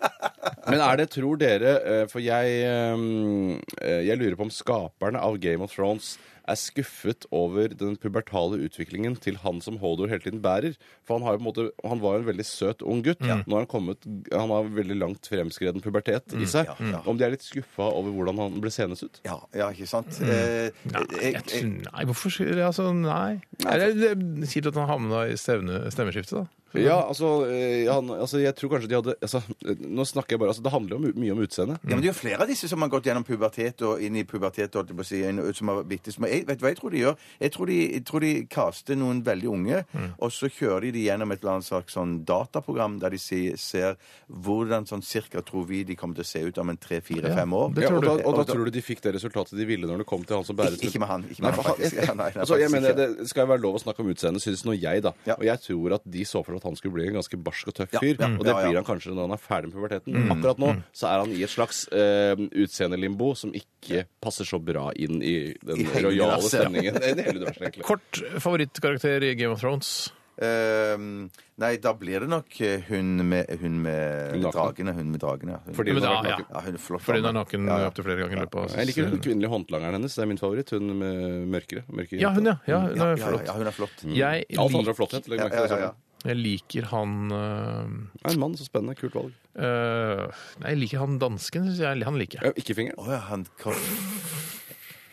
[SPEAKER 4] Men er det, tror dere eh, For jeg, ehm, eh, jeg lurer på om skaperne av Game of Thrones er skuffet over den pubertale utviklingen til han som Hodor hele tiden bærer. For han, har jo på en måte, han var jo en veldig søt ung gutt. Nå har han kommet Han har veldig langt fremskreden pubertet i seg.
[SPEAKER 5] Ja, ja.
[SPEAKER 4] Om de er litt skuffa over hvordan han ble seende ut?
[SPEAKER 5] Ja, ja, ikke sant? Eh,
[SPEAKER 3] Nei,
[SPEAKER 5] jeg-
[SPEAKER 3] jeg, tror- nei, hvorfor skulle- altså, Nei. Eller, det- Kjipt at han havna i stevne, stemmeskiftet, da.
[SPEAKER 4] Ja, altså, eh, han, altså Jeg tror kanskje de hadde altså, eh, Nå snakker jeg bare altså, Det handler jo my- mye om utseendet.
[SPEAKER 5] Ja, men Det er jo flere av disse som har gått gjennom pubertet og inn i pubertet. holdt jeg på å si, inn- som har bitte små. Jeg, vet du hva jeg tror de gjør? Jeg tror de, jeg tror de kaster noen veldig unge,
[SPEAKER 4] Mm.
[SPEAKER 5] og så kjører de de gjennom et eller annet slags sånn dataprogram der de sier, ser hvordan sånn cirka tror vi de kommer til å se ut om en tre-fire-fem år.
[SPEAKER 3] det
[SPEAKER 4] Ja,
[SPEAKER 3] tror
[SPEAKER 4] og,
[SPEAKER 3] du.
[SPEAKER 4] da, og da tror du de fikk det resultatet de ville når det kom til han som bæres
[SPEAKER 5] Ikke- ikke med han, ikke med
[SPEAKER 4] Nei,
[SPEAKER 5] han,
[SPEAKER 4] for
[SPEAKER 5] faktisk. Ja, nei, nei,
[SPEAKER 4] altså, jeg
[SPEAKER 5] faktisk
[SPEAKER 4] mener,
[SPEAKER 5] ikke.
[SPEAKER 4] det skal jo være lov å snakke om utseendet, synes nå jeg, da.
[SPEAKER 5] Ja.
[SPEAKER 4] Og jeg tror at de så for seg at han skulle bli en ganske barsk og tøff
[SPEAKER 5] Ja,
[SPEAKER 4] fyr.
[SPEAKER 5] ja,
[SPEAKER 4] Og det
[SPEAKER 5] ja, ja.
[SPEAKER 4] blir han kanskje når han er ferdig med puberteten.
[SPEAKER 3] Mm.
[SPEAKER 4] Akkurat nå så er han i et slags eh, utseendelimbo som ikke passer så bra inn i den
[SPEAKER 5] I
[SPEAKER 4] rojale
[SPEAKER 5] hengelasset.
[SPEAKER 4] stemningen. Det er en hel universet, egentlig.
[SPEAKER 3] Kort favorittkarakter i Game of Thrones.
[SPEAKER 5] Ehm, nei, da blir det nok eh, hun med, hun med
[SPEAKER 4] Hun nakne.
[SPEAKER 5] dragene. Hun med dragene, ja. Hun,
[SPEAKER 4] Fordi hun
[SPEAKER 3] Men
[SPEAKER 4] har
[SPEAKER 3] da-
[SPEAKER 4] vært naken.
[SPEAKER 5] ja, hun er flott.
[SPEAKER 3] Fordi hun er
[SPEAKER 5] dame.
[SPEAKER 3] naken
[SPEAKER 5] Ja, ja.
[SPEAKER 3] opptil flere ganger. i løpet av
[SPEAKER 4] Jeg liker den kvinnelige håndlangeren hennes. Det er min favoritt. Hun med mørkere. mørkere
[SPEAKER 3] Ja, hun, ja. ja hun
[SPEAKER 5] Ja, ja,
[SPEAKER 3] er
[SPEAKER 5] ja,
[SPEAKER 3] flott.
[SPEAKER 5] hun er flott.
[SPEAKER 3] Jeg
[SPEAKER 4] Alt handler om
[SPEAKER 3] liker,
[SPEAKER 4] flotthet. legg
[SPEAKER 5] Ja,
[SPEAKER 4] merke
[SPEAKER 5] ja,
[SPEAKER 4] til
[SPEAKER 5] ja,
[SPEAKER 4] det.
[SPEAKER 5] ja.
[SPEAKER 3] jeg liker han øh,
[SPEAKER 4] Ja, En mann, så spennende. Kult valg.
[SPEAKER 3] Øh, nei, jeg liker han dansken. Synes jeg, han liker jeg.
[SPEAKER 4] Ja, Ikke fingeren.
[SPEAKER 5] Å ja, han kom.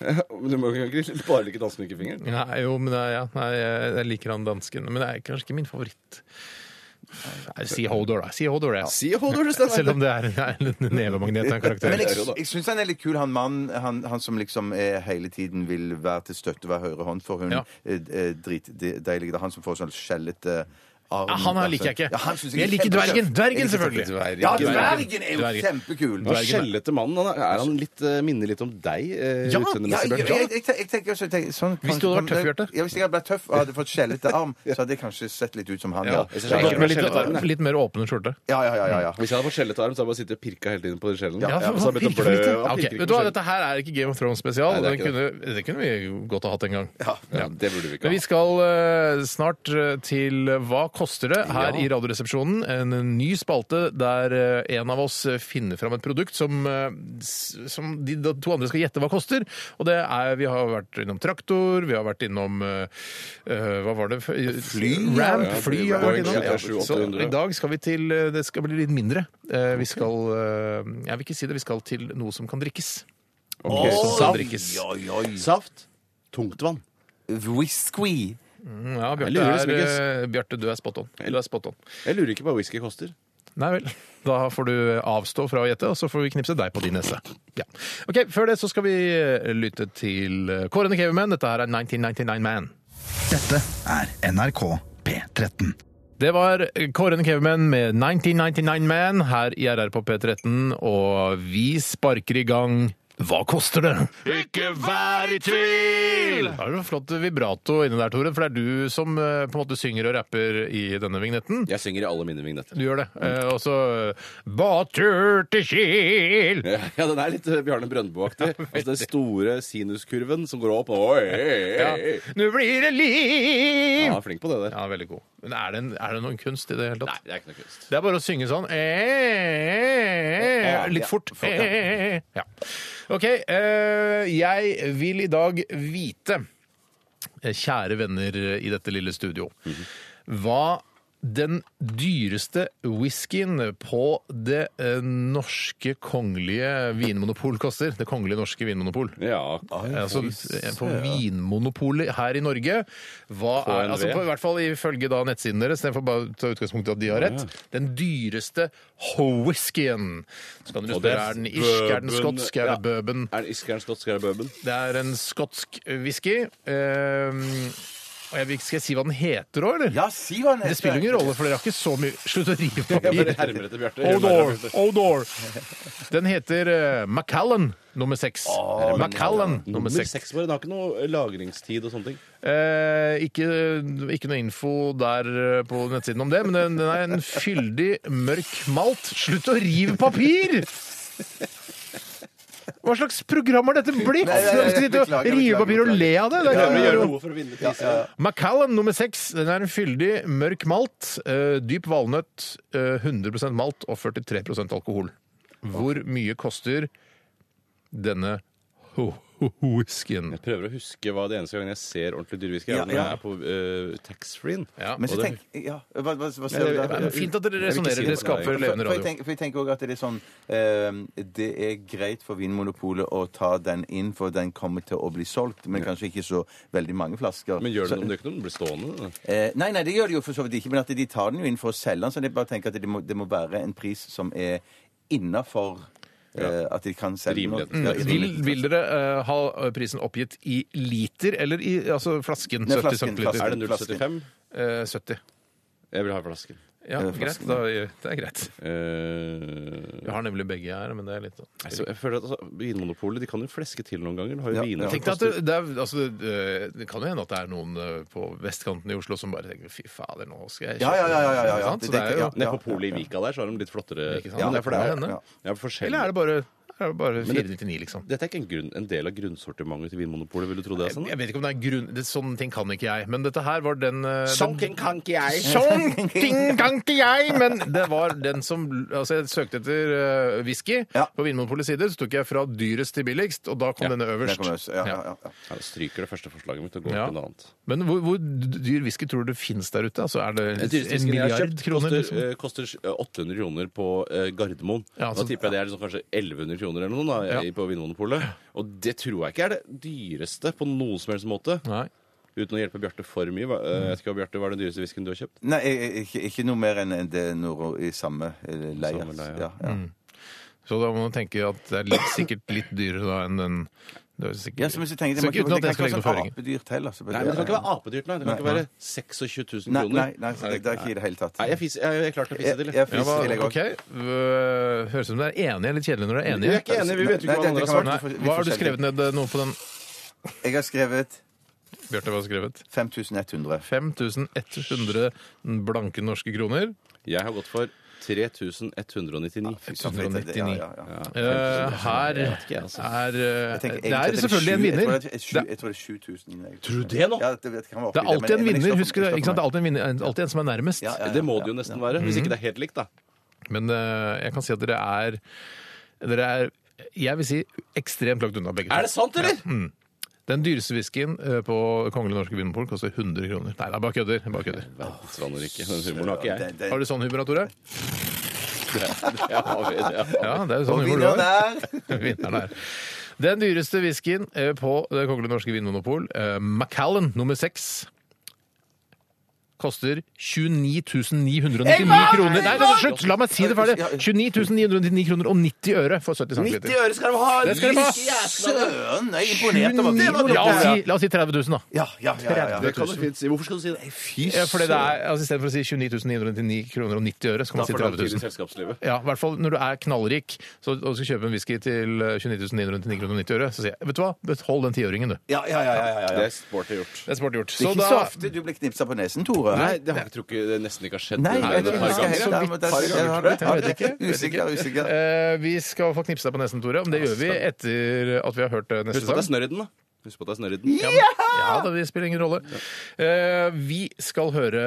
[SPEAKER 4] Men Du må jo ikke bare like dansen med ikke fingeren.
[SPEAKER 3] Nei, jo, men nei, ja, nei, jeg jeg liker han dansken. Men det er kanskje ikke min favoritt. Nei, Si Hodor, da. Si Hodor, ja.
[SPEAKER 4] Si Hodor, det stemmer.
[SPEAKER 3] Selv om det er en en nevemagnet av en
[SPEAKER 5] Men
[SPEAKER 3] karakter.
[SPEAKER 5] jeg,
[SPEAKER 4] jo da.
[SPEAKER 5] jeg syns han er litt kul, han mannen. Han, han som liksom eh, hele tiden vil være til støtte ved høyre hånd for hun
[SPEAKER 3] Ja.
[SPEAKER 5] eh, eh, dritdeilige. Det er han som får sånn skjellete arm. altså.
[SPEAKER 3] Ja, han her liker jeg ikke.
[SPEAKER 5] Ja, han synes
[SPEAKER 3] Men jeg liker
[SPEAKER 5] er kjempetøff.
[SPEAKER 3] dvergen. Dvergen,
[SPEAKER 5] Jeg liker
[SPEAKER 3] selvfølgelig.
[SPEAKER 5] dvergen. Ja, dvergen er jo
[SPEAKER 3] Dvergen.
[SPEAKER 5] kjempekul.
[SPEAKER 4] Han
[SPEAKER 3] Dvergen.
[SPEAKER 4] skjellete mannen. han Er er han litt, eh, minner litt om deg? eh,
[SPEAKER 3] Ja,
[SPEAKER 5] Ja,
[SPEAKER 4] utseendemessig,
[SPEAKER 5] jeg,
[SPEAKER 4] Bjørn?
[SPEAKER 5] jeg, jeg, jeg, jeg tenker også jeg tenker, sånn,
[SPEAKER 3] Hvis du hadde vært tøff, Bjarte.
[SPEAKER 5] Ja, hvis jeg hadde vært tøff og hadde fått skjellete arm, så hadde jeg kanskje sett litt ut som han. Ja,
[SPEAKER 4] jeg
[SPEAKER 3] Det
[SPEAKER 4] synes
[SPEAKER 3] er
[SPEAKER 5] ja,
[SPEAKER 3] godt med litt, litt mer åpne skjorte.
[SPEAKER 5] ja. ja, ja, ja, ja.
[SPEAKER 4] Hvis jeg hadde fått skjellete arm, så hadde jeg bare sittet og pirka hele tiden på skjellen.
[SPEAKER 3] Ja,
[SPEAKER 4] så hadde jeg begynt å blø.
[SPEAKER 3] Ja,
[SPEAKER 4] og
[SPEAKER 3] ok. Vet
[SPEAKER 4] pirker ikke
[SPEAKER 3] du hva,
[SPEAKER 4] på skjellen.
[SPEAKER 3] Dette her er ikke Game of Thrones
[SPEAKER 4] Nei,
[SPEAKER 3] spesial.
[SPEAKER 4] det er
[SPEAKER 3] Det
[SPEAKER 4] ikke
[SPEAKER 3] kunne, det kunne vi godt ha hatt en gang.
[SPEAKER 4] Ja, det burde vi ikke
[SPEAKER 3] Men vi
[SPEAKER 4] ha.
[SPEAKER 3] skal eh, snart eh, til Hva koster det her i Radioresepsjonen? En eh, ny spalte der eh, en av oss finner fram et produkt som, eh, s- som de da- to andre skal gjette hva koster. Og det er Vi har vært innom traktor, vi har vært innom eh, eh, Hva var det? Fly? Ramp.
[SPEAKER 4] Ja,
[SPEAKER 3] Fly har vi vært innom.
[SPEAKER 4] Boeing
[SPEAKER 3] Ja,
[SPEAKER 4] 787-800.
[SPEAKER 3] så i dag skal vi til eh, Det skal bli litt mindre. Eh, Vi skal eh, Jeg vil ikke si det, vi skal til noe som kan drikkes.
[SPEAKER 4] Ok,
[SPEAKER 3] Som
[SPEAKER 4] saft.
[SPEAKER 3] kan drikkes.
[SPEAKER 4] Saft. Tungtvann.
[SPEAKER 5] Whisky.
[SPEAKER 3] Mm, Ja,
[SPEAKER 4] Jeg
[SPEAKER 3] Bjarte,
[SPEAKER 4] lurer
[SPEAKER 3] er,
[SPEAKER 4] liksom ikke.
[SPEAKER 3] eh, Bjarte, du er spot on. Du er spot on.
[SPEAKER 4] Jeg lurer ikke på hva whisky koster.
[SPEAKER 3] Nei vel. Da får du avstå fra å gjette, og så får vi knipse deg på din nese. Ja. Ok, Før det så skal vi eh, lytte til Kårene Caveman. Dette her er 1999 Man.
[SPEAKER 1] Dette er NRK P13.
[SPEAKER 3] Det var Kårene Caveman med 1999 Man her i RR på P13, og vi sparker i gang Hva koster det?
[SPEAKER 4] Ikke vær i tvil!
[SPEAKER 3] Da er det en flott vibrato inni der, Tore, for det er du som eh, på en måte synger og rapper i denne vignetten.
[SPEAKER 4] Jeg synger i alle mine vignetter.
[SPEAKER 3] Du gjør det. Eh, Og så Båttur til Kiel!
[SPEAKER 4] Ja, den er litt eh, Bjarne Brøndbo-aktig. Altså den store sinuskurven som går opp. Oi, oi, oi.
[SPEAKER 3] Nå blir det liv!
[SPEAKER 4] Ja, flink på det der.
[SPEAKER 3] Ja, veldig god. Men er det, en- er det noen kunst i det hele tatt?
[SPEAKER 4] Nei, det er ikke noe kunst.
[SPEAKER 3] Det er bare å synge sånn eh, Litt fort. Eh, ja. OK. Eh, jeg vil i dag vite, eh, kjære venner i dette lille studio, hva den dyreste whiskyen på det eh, norske kongelige vinmonopol koster. Det kongelige norske vinmonopol.
[SPEAKER 4] Ja,
[SPEAKER 3] Altså, på Vinmonopolet her i Norge hva er,
[SPEAKER 4] KNV.
[SPEAKER 3] altså, på, I hvert fall ifølge da nettsiden deres, jeg får bare ta utgangspunkt i at de har rett. Den dyreste ho-whiskyen. Så kan dere
[SPEAKER 4] Og det er
[SPEAKER 3] spørre er den irsk, er den
[SPEAKER 4] bourbon-
[SPEAKER 3] skotsk, er det
[SPEAKER 4] ja.
[SPEAKER 3] bourbon?
[SPEAKER 4] Er det iskeren skotsk, er det bourbon?
[SPEAKER 3] Det er en skotsk whisky. Ehm, og jeg, vil ikke- skal jeg si hva den heter òg, eller?
[SPEAKER 5] Ja, si hva den
[SPEAKER 3] Det spiller jo ingen rolle, for dere har ikke så mye Slutt å rive
[SPEAKER 4] Jeg bare
[SPEAKER 3] papir.
[SPEAKER 4] hermer etter Bjarte.
[SPEAKER 3] Odor! Odor! Den heter eh, Macallan nummer seks. Macallan nummer seks.
[SPEAKER 4] bare. Den har ikke noe lagringstid og sånne ting.
[SPEAKER 3] Eh, ikke, ikke noe info der eh, på nettsiden om det, men den, den er en fyldig, mørk malt. Slutt å rive papir! Hva slags program har dette blitt?
[SPEAKER 5] Nei, nei, nei,
[SPEAKER 3] Skal vi sitte og
[SPEAKER 5] beklager,
[SPEAKER 3] rive
[SPEAKER 5] beklager,
[SPEAKER 3] papir og
[SPEAKER 5] beklager.
[SPEAKER 3] le av det? det er
[SPEAKER 4] Ja,
[SPEAKER 3] ikke
[SPEAKER 4] vi
[SPEAKER 3] noe-
[SPEAKER 4] gjør noe for å vinne priser.
[SPEAKER 3] Macallan nummer seks. Den er en fyldig, mørk malt. eh, dyp valnøtt. eh, 100 malt og 43 alkohol. Hvor mye koster denne ho- ho- ho- whiskyen?
[SPEAKER 4] Jeg prøver å huske hva det eneste gangen jeg ser ordentlig dyrwhisky, er
[SPEAKER 5] Ja,
[SPEAKER 4] når
[SPEAKER 5] ja.
[SPEAKER 4] jeg er på uh, taxfree-en.
[SPEAKER 3] Ja.
[SPEAKER 5] Men så
[SPEAKER 4] Og det-
[SPEAKER 5] tenk ja, hva, hva, hva
[SPEAKER 4] Nei,
[SPEAKER 5] ser du
[SPEAKER 4] det-
[SPEAKER 5] der?
[SPEAKER 4] det er
[SPEAKER 3] Fint at dere
[SPEAKER 4] Jeg vil ikke
[SPEAKER 3] resonnerer.
[SPEAKER 4] si
[SPEAKER 3] Dere
[SPEAKER 4] det på deg.
[SPEAKER 3] skaper
[SPEAKER 5] For,
[SPEAKER 3] levende
[SPEAKER 5] for, jeg
[SPEAKER 3] radio.
[SPEAKER 5] tenker, for jeg tenker også at det er sånn eh, Det er greit for Vinmonopolet å ta den inn, for den kommer til å bli solgt, men kanskje ikke så veldig mange flasker.
[SPEAKER 4] Men gjør
[SPEAKER 5] Så-
[SPEAKER 4] det noe om det ikke noe? Den blir stående. da.
[SPEAKER 5] Eh, nei, nei, det gjør de jo for så vidt ikke, men at de tar den jo inn for å selge den. Så jeg bare tenker at det må, det må være en pris som er innafor eh, at de kan selge den.
[SPEAKER 4] Rimelig.
[SPEAKER 5] Ja,
[SPEAKER 4] Mm,
[SPEAKER 3] Vil, vil dere eh, ha prisen oppgitt i liter eller i altså flasken?
[SPEAKER 5] Nei,
[SPEAKER 3] 70
[SPEAKER 5] flasken,
[SPEAKER 3] centiliter.
[SPEAKER 5] flasken.
[SPEAKER 4] Er det 0,75?
[SPEAKER 3] Eh, 70.
[SPEAKER 4] Jeg vil ha flasken.
[SPEAKER 3] Ja,
[SPEAKER 5] Eh,
[SPEAKER 3] greit.
[SPEAKER 5] flasken.
[SPEAKER 3] Da, det er greit.
[SPEAKER 4] Eh,
[SPEAKER 3] Vi har nemlig begge her, men det er litt sånn
[SPEAKER 4] altså, jeg føler at altså, Vinmonopolet de kan jo fleske til noen ganger. De har jo
[SPEAKER 5] Ja,
[SPEAKER 4] viner
[SPEAKER 5] ja.
[SPEAKER 4] som
[SPEAKER 3] Tenk deg at
[SPEAKER 4] koster-
[SPEAKER 3] det, det, er, altså, det, det kan jo hende at det er noen eh, på vestkanten i Oslo som bare tenker 'fy fader, nå skal jeg
[SPEAKER 5] Ja, ja, ja, ja, ja, ja, ja.
[SPEAKER 3] Ikke sant? Så det er jo,
[SPEAKER 5] Ja.
[SPEAKER 4] Nede på polet i Vika der, så har de litt flottere
[SPEAKER 3] Ikke sant?
[SPEAKER 4] Men det er for det er-
[SPEAKER 3] Kan hende.
[SPEAKER 4] det er forskjellig.
[SPEAKER 3] Eller er det bare, er det bare
[SPEAKER 4] Men det-
[SPEAKER 3] 499, liksom?
[SPEAKER 4] Dette er ikke en, grunn, en del av grunnsortimentet til Vinmonopolet, vil du tro det? er sånn?
[SPEAKER 3] Jeg vet ikke om det er grunn... Det, sånne ting kan ikke jeg. Men dette her var den eh, den-
[SPEAKER 4] kan ikke jeg.
[SPEAKER 3] Sånn ting kan ikke jeg! Men det var den som Altså, jeg søkte etter eh, whisky
[SPEAKER 5] Ja.
[SPEAKER 3] på Vinmonopolets sider, så tok jeg fra dyrest til billigst, og da kom denne
[SPEAKER 5] Der
[SPEAKER 3] øverst.
[SPEAKER 5] kommer oss. Ja, ja, ja, ja.
[SPEAKER 4] Jeg stryker det første forslaget mitt og går
[SPEAKER 3] Ja.
[SPEAKER 4] på noe annet.
[SPEAKER 3] Men hvor, hvor dyr whisky tror du finnes der ute? Altså, er det en
[SPEAKER 4] jeg har
[SPEAKER 3] milliard
[SPEAKER 4] kjøpt,
[SPEAKER 3] kroner?
[SPEAKER 4] koster,
[SPEAKER 3] liksom?
[SPEAKER 4] eh, koster eh, 800 kroner på eh, Gardermoen.
[SPEAKER 3] Ja, altså-
[SPEAKER 4] da tipper jeg det er liksom kanskje 1100 kroner eller noe da,
[SPEAKER 3] Ja.
[SPEAKER 4] i- på Vinmonopolet. Og det tror jeg ikke er det dyreste på noen som helst måte.
[SPEAKER 3] Nei.
[SPEAKER 4] Uten å hjelpe Bjarte for mye. hva- eh, Jeg vet ikke hva Bjarte, hva er den dyreste whiskyen du har kjøpt?
[SPEAKER 5] Nei, jeg- jeg- ikke, ikke noe mer enn enn det Noro i samme eh, leie.
[SPEAKER 4] Samme leie.
[SPEAKER 5] Ja, ja.
[SPEAKER 3] Så da må man tenke at det er litt, sikkert litt dyrere da enn den det er sikkert,
[SPEAKER 5] ja så, men så tenker jeg,
[SPEAKER 3] Så ikke uten at jeg skal legge noen
[SPEAKER 5] sånn
[SPEAKER 3] føringer.
[SPEAKER 5] apedyrt heller. så-
[SPEAKER 4] Nei, men Det kan ikke være apedyrt, nei. Det kan
[SPEAKER 5] Nei.
[SPEAKER 4] ikke være 26 000
[SPEAKER 5] Nei,
[SPEAKER 4] kroner.
[SPEAKER 5] nei, nei, så det, det er ikke i det hele tatt.
[SPEAKER 4] Nei, jeg, fis, jeg, jeg klarte å fise til.
[SPEAKER 5] Jeg- jeg
[SPEAKER 3] Ja, hva,
[SPEAKER 5] Vil jeg gå?
[SPEAKER 3] ok. Øh, Høres ut som dere er enige. Litt kjedelig når dere er
[SPEAKER 4] Vi er
[SPEAKER 3] enige.
[SPEAKER 4] ikke enige, vi vet jo
[SPEAKER 5] Nei,
[SPEAKER 4] ikke hva
[SPEAKER 5] det-
[SPEAKER 4] andre
[SPEAKER 5] det kan
[SPEAKER 4] har svart.
[SPEAKER 5] være-
[SPEAKER 3] Nei,
[SPEAKER 5] Vi får- vi
[SPEAKER 3] hva
[SPEAKER 5] får
[SPEAKER 3] har du
[SPEAKER 5] skjelne.
[SPEAKER 3] skrevet ned eh, noe på den?
[SPEAKER 5] Jeg har skrevet
[SPEAKER 3] Bjarte, hva har du skrevet?
[SPEAKER 5] 5100.
[SPEAKER 3] 5100 blanke norske kroner.
[SPEAKER 4] Jeg har gått for 3199.
[SPEAKER 5] Ja, ja, ja.
[SPEAKER 3] Eh, her er
[SPEAKER 4] ikke, altså.
[SPEAKER 3] eh,
[SPEAKER 5] Jeg tenker
[SPEAKER 3] Det
[SPEAKER 5] egentlig
[SPEAKER 3] er
[SPEAKER 5] at
[SPEAKER 3] selvfølgelig
[SPEAKER 5] sju-
[SPEAKER 3] en vinner.
[SPEAKER 5] Jeg tror det er sju-
[SPEAKER 3] Det-
[SPEAKER 5] jeg tror det er 7000.
[SPEAKER 4] Tror du det nå?
[SPEAKER 5] Ja, det, det, kan være
[SPEAKER 3] Det er
[SPEAKER 5] oppi
[SPEAKER 3] alltid en
[SPEAKER 5] men- men jeg
[SPEAKER 3] vinner.
[SPEAKER 5] står for-
[SPEAKER 3] husker du,
[SPEAKER 5] jeg står for
[SPEAKER 3] ikke sant? Det er
[SPEAKER 5] meg.
[SPEAKER 3] alltid en, vinner, alltid en som er nærmest.
[SPEAKER 5] Ja, ja, ja,
[SPEAKER 4] Det må det jo
[SPEAKER 5] ja,
[SPEAKER 4] nesten være,
[SPEAKER 3] Mhm.
[SPEAKER 4] hvis ikke det er helt likt, da.
[SPEAKER 3] Men eh, jeg kan si at dere er Dere er jeg vil si ekstremt langt unna begge
[SPEAKER 4] Er det sant, eller?
[SPEAKER 3] Den dyreste whiskyen eh, på Kongelig Norske Vinmonopol koster 100 kroner. Nei, det er bare kødder. det er bare kødder.
[SPEAKER 4] Verdensland og ikke. Den humoren har ikke jeg.
[SPEAKER 5] Den- den-
[SPEAKER 3] Har du sånn humor, Tore?
[SPEAKER 4] Ja, vi- ja.
[SPEAKER 3] Ja, det er jo sånn
[SPEAKER 5] Og
[SPEAKER 3] humor du har.
[SPEAKER 5] vinneren er
[SPEAKER 3] Vinneren er. Den dyreste whiskyen eh, på det Kongelige Norske Vinmonopol, eh, Macallan nummer 6, koster 29.999 kroner. Nei, nei, slutt! La meg si det ferdig. 29.999 kroner og 90 øre for 70 cm.
[SPEAKER 4] øre skal de ha!
[SPEAKER 3] Det skal de ha.
[SPEAKER 5] Søren, jeg er imponert over det.
[SPEAKER 3] La oss si, la oss si 30 000, da.
[SPEAKER 5] Ja, ja, ja, ja, ja.
[SPEAKER 4] Det kan du fint si. Hvorfor skal du si det?
[SPEAKER 5] Fy
[SPEAKER 3] Ja, fordi det er, altså, I stedet for å si 29.999 kroner og 90 øre, så kan
[SPEAKER 4] Da
[SPEAKER 3] man si
[SPEAKER 4] får du
[SPEAKER 3] 30
[SPEAKER 4] tid i
[SPEAKER 3] 000.
[SPEAKER 4] selskapslivet.
[SPEAKER 3] Ja, i hvert fall når du er knallrik så, og skal kjøpe en whisky til eh, 29.999 kroner og 90 øre, så sier jeg vet du hva, behold den tiøringen, du.
[SPEAKER 5] Ja, ja, ja, ja, ja, ja.
[SPEAKER 4] Det er sporty gjort.
[SPEAKER 3] Det er smart gjort.
[SPEAKER 5] Det er
[SPEAKER 3] Så
[SPEAKER 5] ikke så
[SPEAKER 3] da
[SPEAKER 5] ofte du blir knipsa på nesen, Tore.
[SPEAKER 4] Nei, det har jeg tror ikke det nesten ikke har skjedd.
[SPEAKER 5] Nei,
[SPEAKER 4] Nei,
[SPEAKER 5] jeg
[SPEAKER 4] det
[SPEAKER 5] tror
[SPEAKER 4] er
[SPEAKER 5] ikke det skal heller.
[SPEAKER 4] par ganger. Så
[SPEAKER 5] Nei, men
[SPEAKER 4] vidt.
[SPEAKER 5] det er-
[SPEAKER 4] Par
[SPEAKER 5] jeg
[SPEAKER 4] ganger.
[SPEAKER 5] har det. Jeg vet ikke. Usikker, usikker.
[SPEAKER 3] eh, vi skal få knipse deg på nesen, Tore, men det gjør vi etter at vi har hørt eh, neste
[SPEAKER 4] Husk på at det er
[SPEAKER 3] sang.
[SPEAKER 4] snørr i den, da. Husk på at det er snørr i den. Ja,
[SPEAKER 3] Ja, da, det spiller ingen rolle. Eh, vi skal høre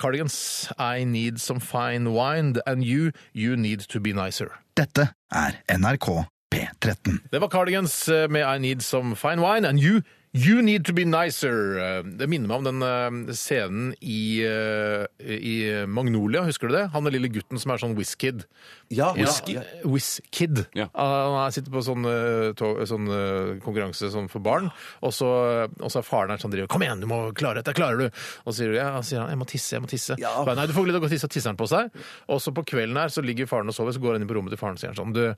[SPEAKER 3] Cardigans, I Need Some Fine Wine, and You, You Need To Be Nicer.
[SPEAKER 1] Dette er NRK P13.
[SPEAKER 3] Det var Cardigans eh, med I Need Some Fine Wine and You. You Need To Be Nicer. Eh, Det minner meg om den eh, scenen i, eh, i Magnolia, husker du det? Han den lille gutten som er sånn whiz-kid.
[SPEAKER 5] Ja,
[SPEAKER 3] Whisky?
[SPEAKER 5] ja.
[SPEAKER 3] Whiz-kid.
[SPEAKER 4] Ja.
[SPEAKER 3] Han er- sitter på sånn, eh, tog, sånn eh, konkurranse sånn for barn, og så, og så er faren her som driver Kom igjen, du må klare dette, klarer du! Og så sier, du, ja, og sier han jeg må tisse, jeg må tisse.
[SPEAKER 5] Ja.
[SPEAKER 3] Så bare, Nei, du får ikke lov til å gå og tisse, og tisser han på seg. Og så på kvelden her så ligger faren og sover, så går han inn på rommet til faren og sier han sånn du,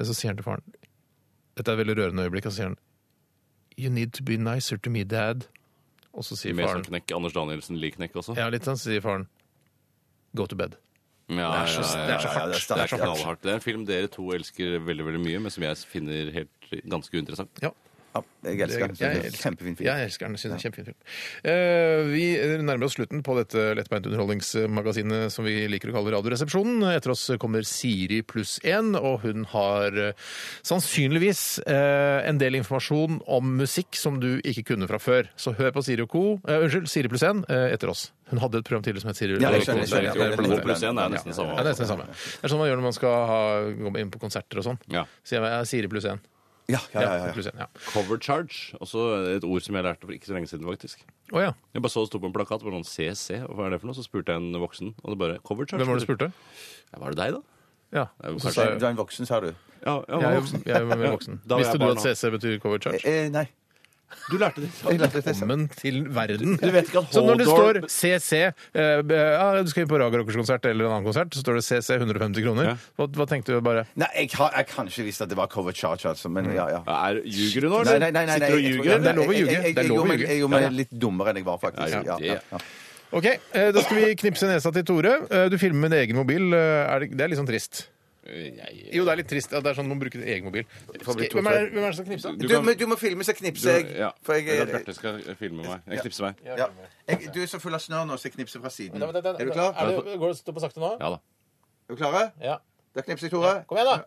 [SPEAKER 3] Så sier han til faren Dette er et veldig rørende øyeblikk, og så sier han You need to be nicer to me, dad. Og så sier
[SPEAKER 4] Med sånn
[SPEAKER 3] faren
[SPEAKER 4] knekk. Anders Danielsen lik knekk også.
[SPEAKER 3] Ja, litt sånn, så sier faren Go to bed.
[SPEAKER 4] Ja, ja, ja, ja.
[SPEAKER 3] Det er så hardt.
[SPEAKER 5] sterkt.
[SPEAKER 4] Det er knallhardt. Det er en film dere to elsker veldig veldig mye, men som jeg finner helt ganske uinteressant.
[SPEAKER 3] Ja.
[SPEAKER 5] Ja, Jeg elsker den.
[SPEAKER 3] Jeg
[SPEAKER 5] Det er
[SPEAKER 3] elsker-
[SPEAKER 5] Kjempefin film.
[SPEAKER 3] Jeg elsker den. Synes det er Kjempefin film. Eh, vi nærmer oss slutten på dette lettbeint underholdningsmagasinet som vi liker å kalle Radioresepsjonen. Etter oss kommer Siri pluss én, og hun har eh, sannsynligvis eh, en del informasjon om musikk som du ikke kunne fra før. Så hør på Siri og co. Eh, unnskyld, Siri pluss én eh, etter oss. Hun hadde et program tidligere som het Siri
[SPEAKER 5] Ja, jeg
[SPEAKER 3] og co.
[SPEAKER 5] skjønner, jeg skjønner,
[SPEAKER 4] Ja,
[SPEAKER 5] ja,
[SPEAKER 4] for to pluss én er nesten det samme.
[SPEAKER 3] Ja, det er nesten det samme. Det er sånn man gjør når man skal ha, gå inn på konserter og sånn.
[SPEAKER 4] Ja.
[SPEAKER 3] Så jeg er Siri pluss én.
[SPEAKER 5] Ja, ja, ja, ja.
[SPEAKER 3] pluss én, ja.
[SPEAKER 4] Cover charge, også et ord som jeg lærte for ikke så lenge siden, faktisk.
[SPEAKER 3] Å ja.
[SPEAKER 4] Jeg bare så det sto på en plakat, bare sånn CC, og hva er det for noe? Så spurte jeg en voksen, og det bare cover charge.
[SPEAKER 3] Hvem var det du spurte?
[SPEAKER 4] Ja, var det deg, da?
[SPEAKER 3] Ja.
[SPEAKER 4] Ja,
[SPEAKER 3] Så
[SPEAKER 4] kanskje.
[SPEAKER 3] sa jeg-
[SPEAKER 5] Du er en voksen, sa du?
[SPEAKER 4] Ja, jeg var
[SPEAKER 3] Jeg,
[SPEAKER 4] voksen.
[SPEAKER 3] jeg er jo mer voksen.
[SPEAKER 4] Da var jeg
[SPEAKER 3] Visste du
[SPEAKER 4] barn
[SPEAKER 3] at
[SPEAKER 4] da.
[SPEAKER 3] CC betyr cover charge?
[SPEAKER 5] Eh, nei.
[SPEAKER 4] Du lærte det.
[SPEAKER 5] Jeg lærte det selv.
[SPEAKER 3] Velkommen til verden.
[SPEAKER 4] Du vet ikke at
[SPEAKER 3] så når det står
[SPEAKER 4] Holdor-
[SPEAKER 3] CC eh, b- ja, Du skal inn på Raga Rockers konsert eller en annen konsert, så står det CC 150 kroner.
[SPEAKER 4] Ja.
[SPEAKER 3] Hva, hva tenkte du bare?
[SPEAKER 5] Nei, jeg har jeg kan ikke visst at det var cover charge, altså, men
[SPEAKER 3] Mm.
[SPEAKER 5] ja, ja.
[SPEAKER 4] Er, ljuger du nå,
[SPEAKER 5] Nei,
[SPEAKER 4] eller?
[SPEAKER 5] nei, nei, nei,
[SPEAKER 4] Sitter du
[SPEAKER 5] jeg
[SPEAKER 4] og
[SPEAKER 5] tror-
[SPEAKER 4] ljuger?
[SPEAKER 3] det er lov å
[SPEAKER 5] Jeg- jeg-
[SPEAKER 3] ljuge.
[SPEAKER 5] jeg-
[SPEAKER 3] Det er
[SPEAKER 5] jeg
[SPEAKER 3] lov å
[SPEAKER 5] gjorde meg-
[SPEAKER 3] ljuge.
[SPEAKER 5] Jeg gjorde meg litt dummere enn jeg var, faktisk.
[SPEAKER 4] Ja, ja,
[SPEAKER 5] Ja, ja,
[SPEAKER 4] det-
[SPEAKER 5] ja.
[SPEAKER 3] OK, eh, da skal vi knipse nesa til Tore. Eh, Du filmer med din egen mobil. Eh, Er det, det er litt sånn trist.
[SPEAKER 4] Jeg-
[SPEAKER 3] Jo, det er litt trist. Ja, det er sånn man bruker egen mobil.
[SPEAKER 5] får bli to,
[SPEAKER 3] Hvem er det hvem er det som knipser?
[SPEAKER 5] Du,
[SPEAKER 4] Du kan-
[SPEAKER 5] må- du må filme, så knipser jeg.
[SPEAKER 4] Ja.
[SPEAKER 5] For jeg,
[SPEAKER 4] Eller at
[SPEAKER 5] er-
[SPEAKER 4] Bjarte skal eh, filme meg. Jeg knipser meg.
[SPEAKER 5] ja. jeg, du er så full av snørr nå, så jeg knipser fra siden. Er du klar?
[SPEAKER 3] Er det, går det stå på sakte nå?
[SPEAKER 4] Ja da.
[SPEAKER 5] Er du klare?
[SPEAKER 3] Ja.
[SPEAKER 5] Da knipser jeg, Tore.
[SPEAKER 3] Kom igjen, da.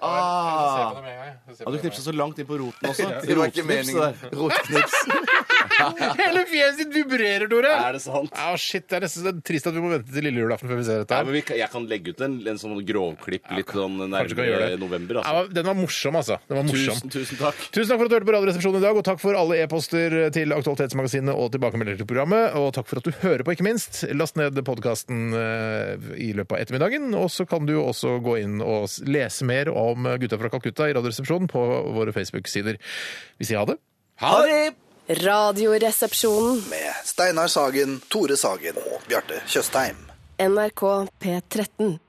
[SPEAKER 3] Ah, det er dødsvondt! Ah, det er svært ubehagelig. Ah.
[SPEAKER 4] Ja, du knipsa så langt inn på roten også.
[SPEAKER 5] Det var ikke
[SPEAKER 4] Rotknips,
[SPEAKER 5] meningen.
[SPEAKER 4] det
[SPEAKER 5] Rotknips.
[SPEAKER 3] Hele fjeset ditt vibrerer, Tore!
[SPEAKER 4] der. Er det sant?
[SPEAKER 3] Ja, shit, Det er nesten så trist at vi må vente til lille julaften før vi ser dette.
[SPEAKER 4] Nei, men
[SPEAKER 3] her.
[SPEAKER 4] vi kan, jeg kan legge ut en, en sånn grovklipp litt sånn
[SPEAKER 3] Kanskje vi kan gjøre
[SPEAKER 4] nærmere
[SPEAKER 3] det.
[SPEAKER 4] november.
[SPEAKER 3] Ja,
[SPEAKER 4] Altså.
[SPEAKER 3] den var morsom, altså. Den var morsom.
[SPEAKER 4] Tusen, tusen takk.
[SPEAKER 3] Tusen takk for at du hørte på Radioresepsjonen i dag, og takk for alle e-poster til Aktualitetsmagasinet og tilbakemeldinger til programmet. Og takk for at du hører på, ikke minst. Last ned podkasten i løpet av ettermiddagen. Og så kan du jo også gå inn og s- lese mer om Gutta fra Calcutta i Radioresepsjonen på våre Facebook-sider. Vi sier ha det.
[SPEAKER 5] Ha det!
[SPEAKER 2] Radioresepsjonen.
[SPEAKER 6] Med Steinar Sagen, Tore Sagen og Bjarte Tjøstheim.
[SPEAKER 2] NRK P13.